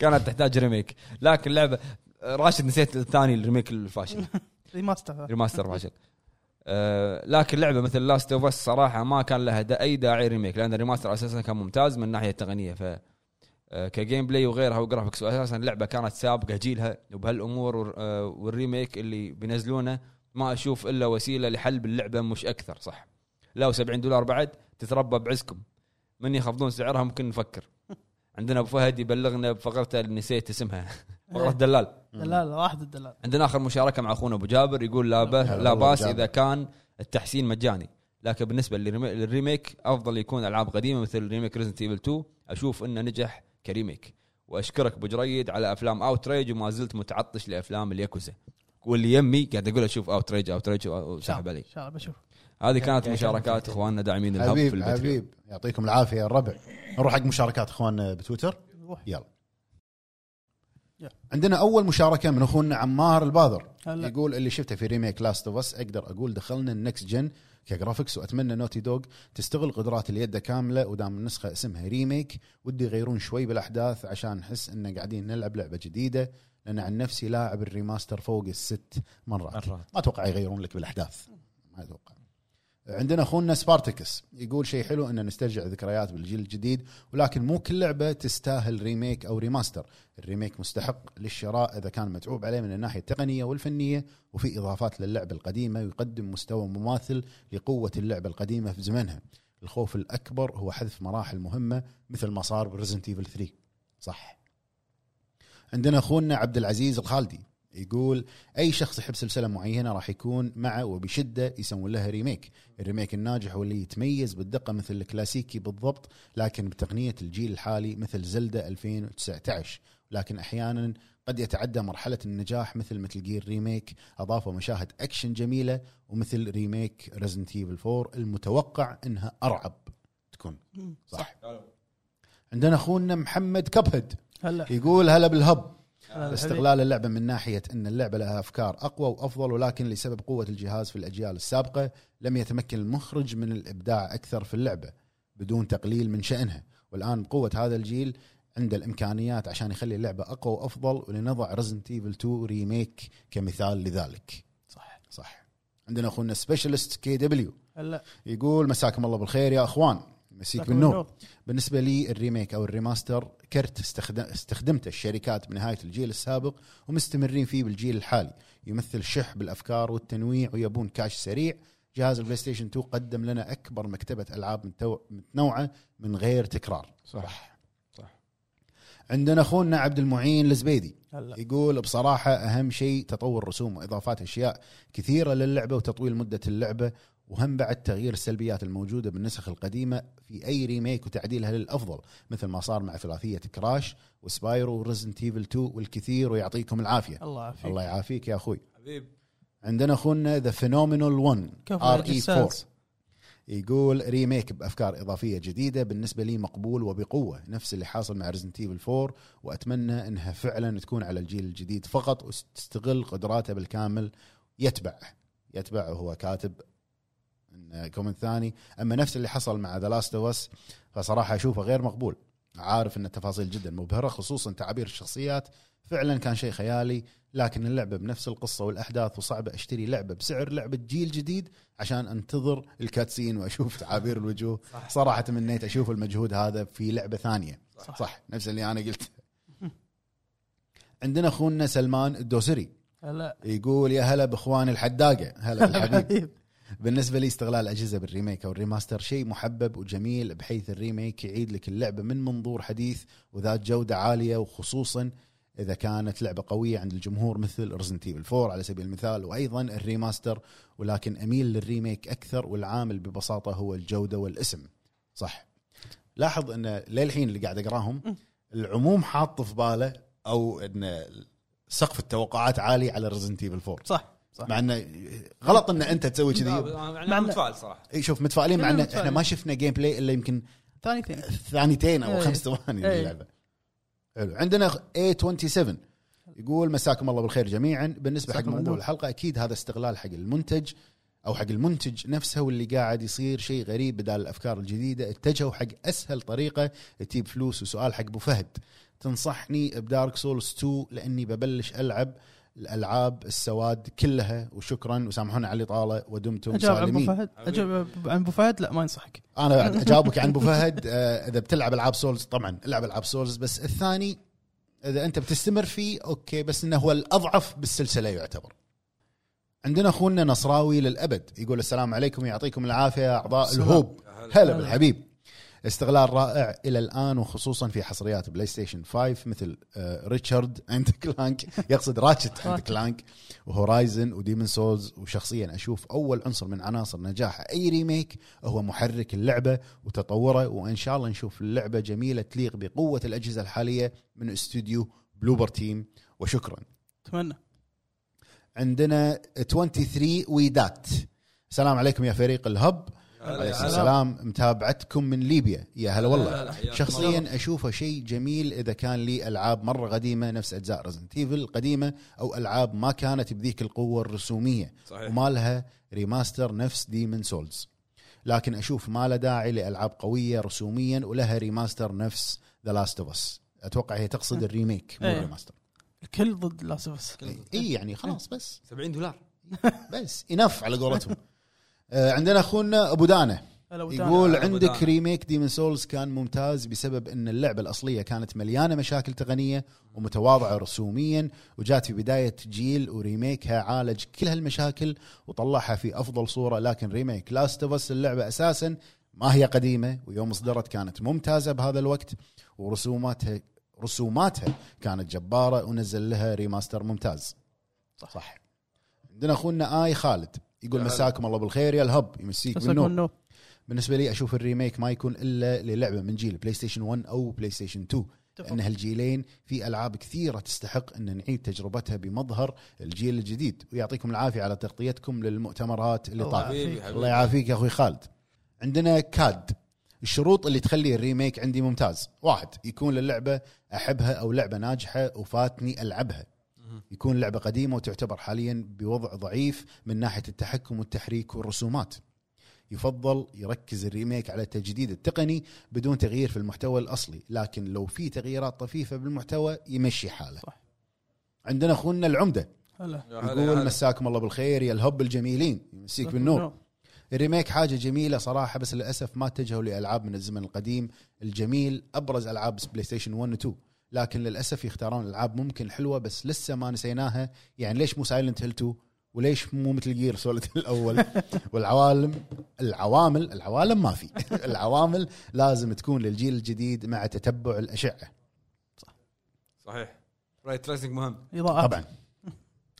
Speaker 1: كانت تحتاج ريميك لكن لعبه راشد نسيت الثاني الريميك الفاشل
Speaker 3: ريماستر
Speaker 1: ريماستر فاشل آه لكن لعبه مثل لاست اوف اس صراحه ما كان لها دا اي داعي ريميك لان الريماستر اساسا كان ممتاز من الناحيه التقنيه ف آه، كجيم بلاي وغيرها وجرافكس واساسا اللعبه كانت سابقه جيلها وبهالامور وال- آه، والريميك اللي بينزلونه ما اشوف الا وسيله لحل باللعبه مش اكثر صح لو 70 دولار بعد تتربى بعزكم من يخفضون سعرها ممكن نفكر عندنا ابو فهد يبلغنا بفقرته اللي نسيت اسمها فقره دلال
Speaker 3: دلال واحد الدلال
Speaker 1: عندنا اخر مشاركه مع اخونا ابو جابر يقول لا به
Speaker 2: هلا
Speaker 1: لا
Speaker 2: والله
Speaker 1: باس
Speaker 2: أبو جابر.
Speaker 1: اذا كان التحسين مجاني لكن بالنسبه للريمي- للريميك افضل يكون العاب قديمه مثل ريميك ريزنت ايفل 2 اشوف انه نجح كريميك واشكرك ابو جريد على افلام اوتريج وما زلت متعطش لافلام الياكوزا واللي يمي قاعد اقول اشوف اوتريج اوتريج وسحب علي
Speaker 3: ان شاء الله بشوف
Speaker 1: هذه كانت مشاركات اخواننا داعمين الهب في
Speaker 2: حبيب
Speaker 1: البتريون
Speaker 2: حبيب يعطيكم العافيه يا الربع نروح حق مشاركات اخوان بتويتر
Speaker 3: نروح
Speaker 2: يلا
Speaker 3: يلا.
Speaker 2: عندنا اول مشاركه من اخونا عمار البادر
Speaker 3: هلا.
Speaker 2: يقول اللي شفته في ريميك لاست اوف اس اقدر اقول دخلنا النكست جن كجرافكس واتمنى نوتي دوغ تستغل قدرات اليد كامله ودام النسخه اسمها ريميك ودي يغيرون شوي بالاحداث عشان نحس ان قاعدين نلعب لعبه جديده لان عن نفسي لاعب الريماستر فوق الست مرات
Speaker 5: مرات
Speaker 2: ما اتوقع يغيرون لك بالاحداث ما اتوقع عندنا اخونا سبارتكس يقول شيء حلو ان نسترجع ذكريات بالجيل الجديد ولكن مو كل لعبه تستاهل ريميك او ريماستر، الريميك مستحق للشراء اذا كان متعوب عليه من الناحيه التقنيه والفنيه وفي اضافات للعبه القديمه ويقدم مستوى مماثل لقوه اللعبه القديمه في زمنها. الخوف الاكبر هو حذف مراحل مهمه مثل ما صار بريزنت ايفل 3. صح. عندنا اخونا عبد العزيز الخالدي يقول اي شخص يحب سلسله معينه راح يكون مع وبشده يسوون لها ريميك الريميك الناجح واللي يتميز بالدقه مثل الكلاسيكي بالضبط لكن بتقنيه الجيل الحالي مثل زلدا 2019 لكن احيانا قد يتعدى مرحله النجاح مثل مثل جير ريميك اضافوا مشاهد اكشن جميله ومثل ريميك ريزنت ايفل 4 المتوقع انها ارعب تكون صح, صح. عندنا اخونا محمد كبهد
Speaker 3: هلا
Speaker 2: يقول هلا بالهب
Speaker 3: هلا
Speaker 2: استغلال اللعبه من ناحيه ان اللعبه لها افكار اقوى وافضل ولكن لسبب قوه الجهاز في الاجيال السابقه لم يتمكن المخرج من الابداع اكثر في اللعبه بدون تقليل من شانها والان بقوه هذا الجيل عنده الامكانيات عشان يخلي اللعبه اقوى وافضل ولنضع رزنت ايفل 2 ريميك كمثال لذلك صح صح عندنا اخونا سبيشالست كي دبليو
Speaker 3: هلا
Speaker 2: يقول مساكم الله بالخير يا اخوان مسيك بالنور بالنسبه لي الريميك او الريماستر كرت استخدم استخدمته الشركات بنهايه الجيل السابق ومستمرين فيه بالجيل الحالي يمثل شح بالافكار والتنويع ويبون كاش سريع جهاز البلاي ستيشن 2 قدم لنا اكبر مكتبه العاب متو- متنوعه من غير تكرار
Speaker 1: صح صح.
Speaker 2: عندنا اخونا عبد المعين الزبيدي
Speaker 3: هلا
Speaker 2: يقول بصراحة أهم شيء تطور رسوم وإضافات أشياء كثيرة للعبة وتطويل مدة اللعبة وهم بعد تغيير السلبيات الموجودة بالنسخ القديمة في أي ريميك وتعديلها للأفضل مثل ما صار مع ثلاثية كراش وسبايرو وريزنت ايفل 2 والكثير ويعطيكم العافية
Speaker 3: الله يعافيك
Speaker 2: الله يعافيك يا أخوي
Speaker 1: حبيب
Speaker 2: عندنا أخونا ذا فينومينال 1
Speaker 3: كفو
Speaker 2: ار اي
Speaker 3: الأجساد.
Speaker 2: 4 E يقول ريميك بافكار اضافيه جديده بالنسبه لي مقبول وبقوه نفس اللي حاصل مع ريزنت ايفل 4 واتمنى انها فعلا تكون على الجيل الجديد فقط وتستغل قدراته بالكامل يتبع يتبع وهو كاتب إن كومنت ثاني اما نفس اللي حصل مع ذا لاست اوف اس فصراحه اشوفه غير مقبول عارف ان التفاصيل جدا مبهره خصوصا تعابير الشخصيات فعلا كان شيء خيالي لكن اللعبه بنفس القصه والاحداث وصعب اشتري لعبه بسعر لعبه جيل جديد عشان انتظر الكاتسين واشوف تعابير الوجوه صح. صراحه تمنيت اشوف المجهود هذا في لعبه ثانيه صح, صح. نفس اللي انا قلت عندنا اخونا سلمان الدوسري
Speaker 3: هلا
Speaker 2: يقول يا هلا باخواني الحداقه هلا بالحبيب
Speaker 3: حبيب
Speaker 2: بالنسبه لي استغلال الاجهزه بالريميك او الريماستر شيء محبب وجميل بحيث الريميك يعيد لك اللعبه من منظور حديث وذات جوده عاليه وخصوصا اذا كانت لعبه قويه عند الجمهور مثل رزنت ايفل 4 على سبيل المثال وايضا الريماستر ولكن اميل للريميك اكثر والعامل ببساطه هو الجوده والاسم صح لاحظ ان للحين اللي قاعد اقراهم العموم حاط في باله او ان سقف التوقعات عالي على رزنت ايفل 4
Speaker 3: صح
Speaker 2: صح. مع انه غلط ان انت تسوي كذي
Speaker 1: انا متفائل صراحه
Speaker 2: اي شوف متفائلين مع ان
Speaker 3: كلنا متفائلين.
Speaker 2: احنا ما شفنا جيم بلاي الا يمكن
Speaker 3: ثاني اثنين
Speaker 2: ثانيتين او
Speaker 3: إيه.
Speaker 2: خمس ثواني من
Speaker 3: إيه.
Speaker 2: اللعبه حلو عندنا A27 يقول مساكم الله بالخير جميعا بالنسبه حق
Speaker 3: مساكم
Speaker 2: موضوع
Speaker 3: النور.
Speaker 2: الحلقه اكيد هذا استغلال حق المنتج او حق المنتج نفسه واللي قاعد يصير شيء غريب بدال الافكار الجديده اتجهوا حق اسهل طريقه تجيب فلوس وسؤال حق ابو فهد تنصحني بدارك سولز 2 لاني ببلش العب الالعاب السواد كلها وشكرا وسامحونا على الاطاله ودمتم
Speaker 3: اجاوب عن ابو
Speaker 2: سالمين
Speaker 3: فهد اجاوب عن ابو فهد لا ما ينصحك
Speaker 2: انا بعد اجاوبك عن ابو فهد آه، اذا بتلعب العاب سولز طبعا العب العاب سولز بس الثاني اذا انت بتستمر فيه اوكي بس انه هو الاضعف بالسلسله يعتبر عندنا اخونا نصراوي للابد يقول السلام عليكم يعطيكم العافيه يا اعضاء الهوب هلا بالحبيب استغلال رائع الى الان وخصوصا في حصريات بلاي ستيشن 5 مثل آه، ريتشارد اند كلانك يقصد راتشت اند كلانك وهورايزن وديمن سولز وشخصيا اشوف اول عنصر من عناصر نجاح اي ريميك هو محرك اللعبه وتطوره وان شاء الله نشوف اللعبه جميله تليق بقوه الاجهزه الحاليه من استوديو بلوبر تيم وشكرا
Speaker 3: اتمنى
Speaker 2: عندنا 23 ويدات السلام عليكم يا فريق الهب عليكم السلام متابعتكم من ليبيا يا هلا
Speaker 1: هلا،
Speaker 2: والله
Speaker 1: هلا، حياكم
Speaker 2: شخصيا اشوفه شيء جميل اذا كان لي العاب مره قديمه نفس اجزاء ريزنت ايفل القديمه او العاب ما كانت بذيك القوه الرسوميه
Speaker 3: إيه.
Speaker 1: صحيح.
Speaker 2: وما لها ريماستر نفس ديمن سولز لكن اشوف ما له داعي لالعاب قويه رسوميا ولها ريماستر نفس ذا لاست اوف اس اتوقع هي تقصد الريميك مو
Speaker 3: إيه.
Speaker 2: الريماستر
Speaker 3: الكل ضد لاست اوف اس
Speaker 2: اي يعني خلاص بس
Speaker 1: 70 دولار
Speaker 2: بس انف على قولتهم آه، عندنا اخونا ابو دانه
Speaker 3: هلا وتعال.
Speaker 2: يقول
Speaker 1: أبو
Speaker 2: عندك
Speaker 1: دانة.
Speaker 2: ريميك ديمن سولز كان ممتاز بسبب ان اللعبه الاصليه كانت مليانه مشاكل تقنيه ومتواضعه رسوميا وجات في بدايه جيل وريميكها عالج كل هالمشاكل وطلعها في افضل صوره لكن ريميك لاست اوف اس اللعبه اساسا ما هي قديمه ويوم اصدرت كانت ممتازه بهذا الوقت ورسوماتها رسوماتها كانت جباره ونزل لها ريماستر ممتاز صح, صح. عندنا اخونا اي خالد يقول
Speaker 4: يا هلا.
Speaker 2: مساكم الله بالخير يا الهب يمسيك
Speaker 3: بس أكون
Speaker 2: بالنور
Speaker 3: نو.
Speaker 2: بالنسبه لي اشوف الريميك ما يكون الا للعبه من جيل بلاي ستيشن 1 او بلاي ستيشن 2 لان هالجيلين في العاب كثيره تستحق ان نعيد تجربتها بمظهر الجيل الجديد ويعطيكم العافيه على تغطيتكم للمؤتمرات اللي
Speaker 3: الله
Speaker 2: طافت
Speaker 3: يعافيك.
Speaker 1: حبيبي
Speaker 2: آه. الله
Speaker 1: حبيبي
Speaker 2: يعافيك يا اخوي خالد عندنا كاد الشروط اللي تخلي الريميك عندي ممتاز واحد يكون للعبه احبها او لعبه ناجحه وفاتني العبها يكون لعبه قديمه وتعتبر حاليا بوضع ضعيف من ناحيه التحكم والتحريك والرسومات يفضل يركز الريميك على التجديد التقني بدون تغيير في المحتوى الاصلي لكن لو في تغييرات طفيفه بالمحتوى يمشي حاله
Speaker 3: صح.
Speaker 2: عندنا اخونا العمده
Speaker 3: هلا
Speaker 1: يا هلا، يا
Speaker 2: يقول
Speaker 1: هلا.
Speaker 2: مساكم الله بالخير يا الهب الجميلين يمسيك بالنور الريميك حاجه جميله صراحه بس للاسف ما اتجهوا لالعاب من الزمن القديم الجميل ابرز العاب بلاي ستيشن 1 و 2 لكن للاسف يختارون العاب ممكن حلوه بس لسه ما نسيناها يعني ليش مو سايلنت هيل 2 وليش مو مثل جير سوليد الاول والعوالم العوامل العوالم ما في العوامل لازم تكون للجيل الجديد مع تتبع الاشعه
Speaker 1: صحيح رايت تريسنج مهم
Speaker 3: اضاءات
Speaker 2: طبعا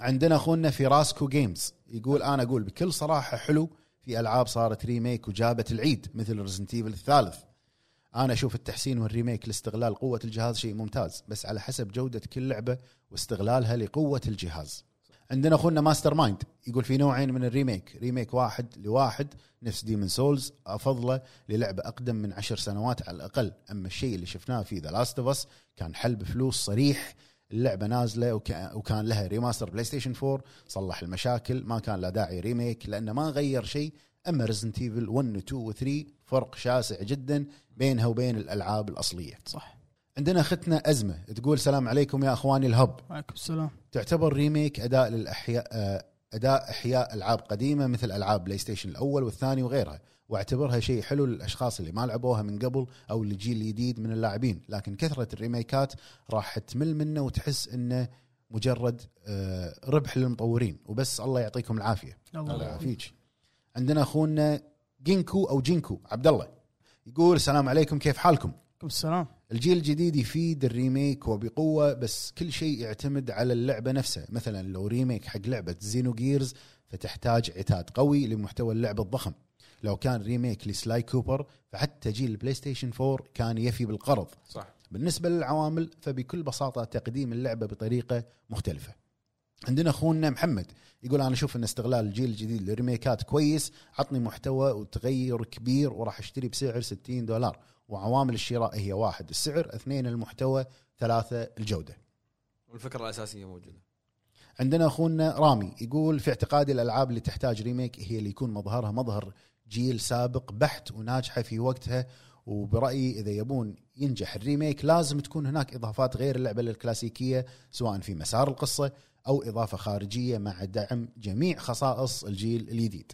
Speaker 2: عندنا اخونا في راسكو جيمز يقول انا اقول بكل صراحه حلو في العاب صارت ريميك وجابت العيد مثل ريزنت ايفل الثالث انا اشوف التحسين والريميك لاستغلال قوه الجهاز شيء ممتاز بس على حسب جوده كل لعبه واستغلالها لقوه الجهاز عندنا اخونا ماستر مايند يقول في نوعين من الريميك ريميك واحد لواحد نفس ديمن سولز افضله للعبه اقدم من عشر سنوات على الاقل اما الشيء اللي شفناه في ذا لاست اوف اس كان حلب فلوس صريح اللعبه نازله وك- وكان لها ريماستر بلاي ستيشن 4 صلح المشاكل ما كان لا داعي ريميك لانه ما غير شيء اما ريزنت ايفل 1 و 2 و 3 فرق شاسع جدا بينها وبين الالعاب الاصليه
Speaker 3: صح
Speaker 2: عندنا اختنا ازمه تقول سلام عليكم يا اخواني الهب
Speaker 3: وعليكم السلام
Speaker 2: تعتبر ريميك اداء للاحياء آه، اداء احياء العاب قديمه مثل العاب بلاي ستيشن الاول والثاني وغيرها واعتبرها شيء حلو للاشخاص اللي ما لعبوها من قبل او الجيل الجديد من اللاعبين لكن كثره الريميكات راح تمل منه وتحس انه مجرد آه، ربح للمطورين وبس الله يعطيكم العافيه الله
Speaker 3: يعافيك.
Speaker 2: يعافيك عندنا اخونا جينكو او جينكو عبد الله يقول السلام عليكم كيف حالكم
Speaker 3: وعليكم السلام
Speaker 2: الجيل الجديد يفيد الريميك وبقوه بس كل شيء يعتمد على اللعبه نفسها مثلا لو ريميك حق لعبه زينو جيرز فتحتاج عتاد قوي لمحتوى اللعبه الضخم لو كان ريميك لسلاي كوبر فحتى جيل البلاي ستيشن 4 كان يفي بالقرض
Speaker 1: صح
Speaker 2: بالنسبه للعوامل فبكل بساطه تقديم اللعبه بطريقه مختلفه عندنا اخونا محمد يقول انا اشوف ان استغلال الجيل الجديد للريميكات كويس عطني محتوى وتغير كبير وراح اشتري بسعر 60 دولار وعوامل الشراء هي واحد السعر اثنين المحتوى ثلاثة الجودة
Speaker 1: والفكره الاساسيه موجوده
Speaker 2: عندنا أخونا رامي يقول في اعتقادي الألعاب اللي تحتاج ريميك هي اللي يكون مظهرها مظهر جيل سابق بحت وناجحة في وقتها وبرأيي إذا يبون ينجح الريميك لازم تكون هناك إضافات غير اللعبة الكلاسيكية سواء في مسار القصة أو إضافة خارجية مع دعم جميع خصائص الجيل الجديد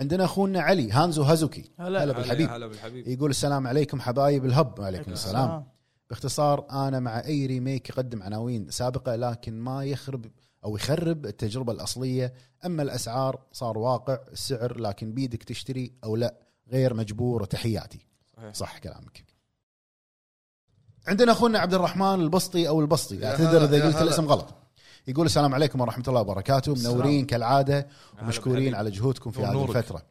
Speaker 2: عندنا أخونا علي هانزو هازوكي
Speaker 3: هلا.
Speaker 2: هلا بالحبيب إيه،
Speaker 1: هلا بالحبيب
Speaker 2: يقول السلام عليكم حبايب الهب وعليكم السلام باختصار انا مع اي ريميك يقدم عناوين سابقه لكن ما يخرب او يخرب التجربه الاصليه اما الاسعار صار واقع السعر لكن بيدك تشتري او لا غير مجبور وتحياتي
Speaker 1: صحيح.
Speaker 2: صح كلامك عندنا اخونا عبد الرحمن البسطي او البسطي
Speaker 4: يا
Speaker 2: اعتذر
Speaker 4: هلا،
Speaker 2: اذا
Speaker 4: يا
Speaker 2: قلت
Speaker 4: هلا.
Speaker 2: الاسم غلط يقول السلام عليكم ورحمه الله وبركاته منورين كالعاده ومشكورين على جهودكم في هذه
Speaker 4: ونورك.
Speaker 2: الفتره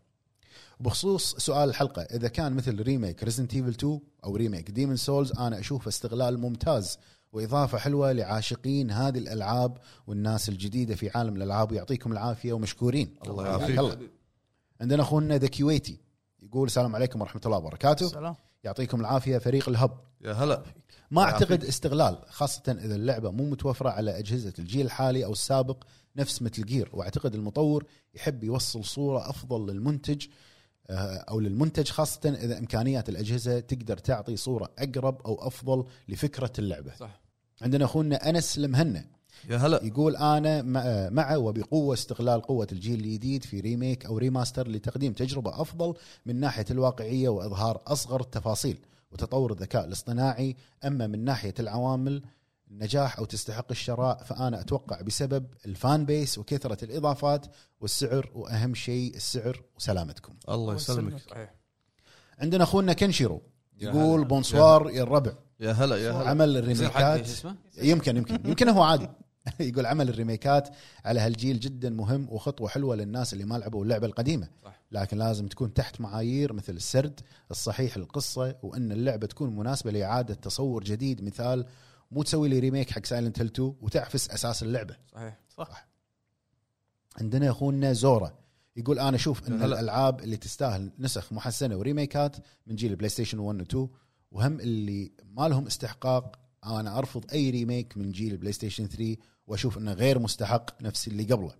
Speaker 2: بخصوص سؤال الحلقه اذا كان مثل ريميك ريزنت ايفل 2 او ريميك ديمن سولز انا اشوف استغلال ممتاز واضافه حلوه لعاشقين هذه الالعاب والناس الجديده في عالم الالعاب ويعطيكم العافيه ومشكورين
Speaker 4: الله يعافيك.
Speaker 2: هلا. عندنا اخونا ذا كويتي يقول السلام عليكم ورحمه الله وبركاته
Speaker 3: السلام
Speaker 2: يعطيكم العافيه فريق الهب
Speaker 4: يا هلا
Speaker 2: ما
Speaker 4: يعافيك.
Speaker 2: اعتقد استغلال خاصه اذا اللعبه مو متوفره على اجهزه الجيل الحالي او السابق نفس مثل جير واعتقد المطور يحب يوصل صوره افضل للمنتج آه، او للمنتج خاصه اذا امكانيات الاجهزه تقدر تعطي صوره اقرب او افضل لفكره اللعبه
Speaker 1: صح.
Speaker 2: عندنا اخونا انس المهنا
Speaker 4: يا هلا
Speaker 2: يقول انا مع- مع وبقوه استغلال قوه الجيل الجديد في ريميك او ريماستر لتقديم تجربه افضل من ناحيه الواقعيه واظهار اصغر التفاصيل وتطور الذكاء الاصطناعي اما من ناحيه العوامل النجاح او تستحق الشراء فانا اتوقع بسبب الفان بيس وكثره الاضافات والسعر واهم شيء السعر وسلامتكم.
Speaker 4: الله يسلمك
Speaker 2: عندنا اخونا كنشيرو
Speaker 1: يا
Speaker 2: يقول
Speaker 1: هلا.
Speaker 2: بونسوار يا الربع
Speaker 4: يا هلا يا هلا
Speaker 2: عمل
Speaker 1: يصير حق شو
Speaker 2: الريميكات
Speaker 1: اسمه؟
Speaker 2: يمكن يمكن يمكن هو عادي يقول عمل الريميكات على هالجيل جدا مهم وخطوه حلوه للناس اللي ما لعبوا اللعبه القديمه
Speaker 1: صح.
Speaker 2: لكن لازم تكون تحت معايير مثل السرد الصحيح للقصه وان اللعبه تكون مناسبه لاعاده تصور جديد مثال مو تسوي لي ريميك حق سايلنت هيل 2 وتعفس اساس اللعبه
Speaker 1: صحيح
Speaker 2: عندنا اخونا زورا يقول انا اشوف ان
Speaker 4: هلا.
Speaker 2: الالعاب اللي تستاهل نسخ محسنه وريميكات من جيل البلاي ستيشن 1 و 2 وهم اللي ما لهم استحقاق انا ارفض اي ريميك من جيل البلاي ستيشن 3 واشوف انه غير مستحق نفس اللي قبله.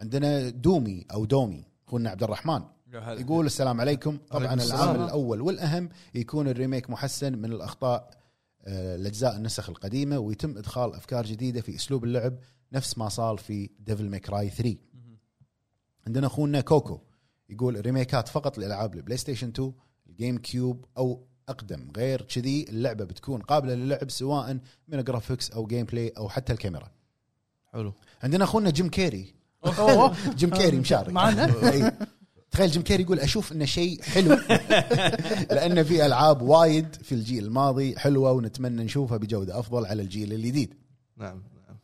Speaker 2: عندنا دومي او دومي اخونا عبد الرحمن يقول السلام عليكم طبعا
Speaker 4: عليكم السلام.
Speaker 2: العامل الاول والاهم يكون الريميك محسن من الاخطاء آه، الاجزاء النسخ القديمه ويتم ادخال افكار جديده في اسلوب اللعب نفس ما صار في ديفل ميكراي 3 عندنا اخونا كوكو يقول الريميكات فقط لالعاب البلاي ستيشن 2 الجيم كيوب او اقدم غير كذي اللعبه بتكون قابله للعب سواء من جرافيكس او جيم بلاي او حتى الكاميرا
Speaker 4: حلو
Speaker 2: عندنا اخونا جيم كيري
Speaker 3: أوه.
Speaker 2: جيم كيري مشارك
Speaker 3: آه، معنا؟
Speaker 2: إي. تخيل جيم كيري يقول اشوف انه شيء حلو لان في العاب وايد في الجيل الماضي حلوه ونتمنى نشوفها بجوده افضل على الجيل الجديد
Speaker 4: نعم نعم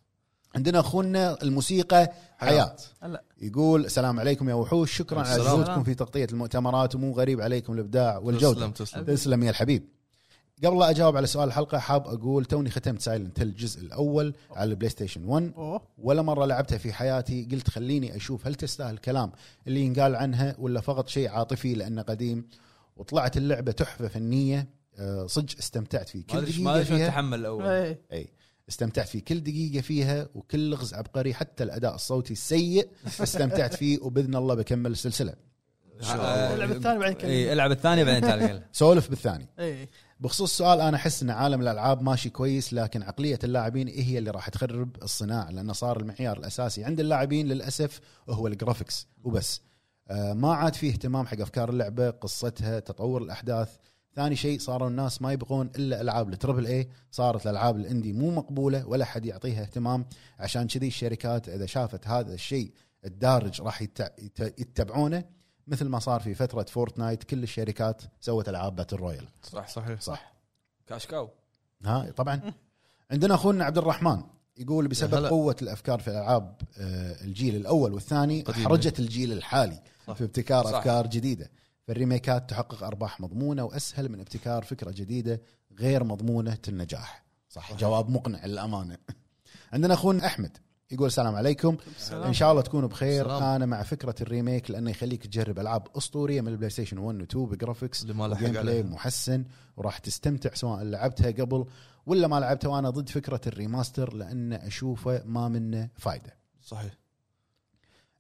Speaker 2: عندنا اخونا الموسيقى حياه
Speaker 3: هلا
Speaker 2: يقول السلام عليكم يا وحوش شكرا على
Speaker 4: السلام.
Speaker 2: جهودكم في تغطيه المؤتمرات ومو غريب عليكم الابداع والجوده
Speaker 4: تسلم تسلم
Speaker 2: تسلم يا الحبيب قبل لا اجاوب على سؤال الحلقه حاب اقول توني ختمت سايلنت هيل الجزء الاول على البلاي ستيشن 1
Speaker 3: اوه
Speaker 2: ولا مره لعبتها في حياتي قلت خليني اشوف هل تستاهل الكلام اللي ينقال عنها ولا فقط شيء عاطفي لانه قديم وطلعت اللعبه تحفه فنيه آه، صدق استمتعت فيه
Speaker 1: ما
Speaker 2: كل
Speaker 1: ادري ما
Speaker 2: دقيقه
Speaker 1: ادري شلون
Speaker 2: فيها
Speaker 1: تحمل الاول
Speaker 3: إيه.
Speaker 2: اي استمتعت في كل دقيقه فيها وكل لغز عبقري حتى الاداء الصوتي السيء استمتعت فيه وباذن الله بكمل السلسله
Speaker 1: آه،
Speaker 3: العب الثاني بعدين كلمني.
Speaker 1: إي، العب الثاني بعدين تعال قل.
Speaker 2: سولف بالثاني
Speaker 3: ايه
Speaker 2: بخصوص سؤال انا احس ان عالم الالعاب ماشي كويس لكن عقليه اللاعبين إيه هي اللي راح تخرب الصناعه لانه صار المعيار الاساسي عند اللاعبين للاسف هو الجرافكس وبس آه، ما عاد فيه اهتمام حق افكار اللعبه قصتها تطور الاحداث ثاني شيء صاروا الناس ما يبغون الا العاب التربل اي صارت الالعاب الاندي مو مقبوله ولا حد يعطيها اهتمام عشان كذي الشركات اذا شافت هذا الشيء الدارج راح يتع- يت- يتبعونه مثل ما صار في فتره فورتنايت كل الشركات سوت العاب باتل رويال
Speaker 4: صح صحيح
Speaker 2: صح
Speaker 1: كاشكاو
Speaker 2: ها طبعا عندنا اخونا عبد الرحمن يقول بسبب
Speaker 4: هلا.
Speaker 2: قوه الافكار في العاب آه، الجيل الاول والثاني
Speaker 4: قديمة.
Speaker 2: احرجت الجيل الحالي
Speaker 4: صح.
Speaker 2: في ابتكار
Speaker 1: صح.
Speaker 2: افكار جديده فالريميكات تحقق ارباح مضمونه واسهل من ابتكار فكره جديده غير مضمونه النجاح صح, صح. جواب مقنع للامانه عندنا اخونا احمد يقول السلام عليكم ان شاء الله تكونوا بخير
Speaker 4: سلام.
Speaker 2: انا مع فكره الريميك لانه يخليك تجرب العاب اسطوريه من البلاي ستيشن 1 و 2 بجرافكس
Speaker 4: اللي ما لحق
Speaker 2: وجيم بلاي
Speaker 4: عليها.
Speaker 2: محسن وراح تستمتع سواء لعبتها قبل ولا ما لعبتها وانا ضد فكره الريماستر لان اشوفه ما منه فايده
Speaker 4: صحيح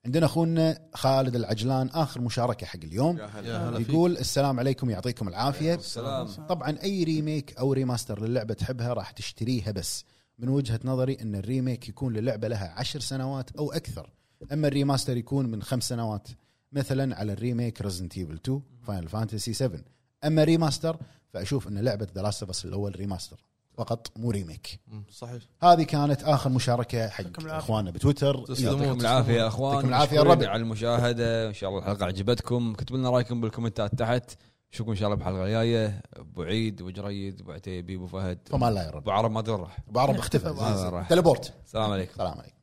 Speaker 2: عندنا اخونا خالد العجلان اخر مشاركه حق اليوم
Speaker 4: يا هلا فيك.
Speaker 2: يقول السلام عليكم يعطيكم العافيه
Speaker 1: السلام
Speaker 2: طبعا اي ريميك او ريماستر للعبه تحبها راح تشتريها بس من وجهه نظري ان الريميك يكون للعبه لها عشر سنوات او اكثر اما الريماستر يكون من خمس سنوات مثلا على الريميك ريزنت ايفل 2 فاينل فانتسي 7 اما ريماستر فاشوف ان لعبه ذا لاست اوف الاول ريماستر فقط مو ريميك
Speaker 4: مم، صحيح
Speaker 2: هذه كانت اخر مشاركه حق
Speaker 3: يعطيكم العافية.
Speaker 2: اخواننا بتويتر
Speaker 4: تسلمون.
Speaker 1: يعطيكم العافيه يا اخوان
Speaker 2: يعطيكم العافية يا
Speaker 1: مشكورين
Speaker 2: الربع.
Speaker 1: على المشاهده ان شاء الله الحلقه عجبتكم كتبوا لنا رايكم بالكومنتات تحت نشوفكم ان شاء الله بالحلقه الجايه ابو عيد ابو جريد ابو عتيبي ابو فهد
Speaker 2: فما لا يا
Speaker 1: ابو
Speaker 2: رب
Speaker 1: عرب ما ادري راح
Speaker 2: ابو عرب
Speaker 1: ما
Speaker 2: اختفى
Speaker 1: راح.
Speaker 2: تليبورت
Speaker 1: السلام عليكم
Speaker 2: السلام عليكم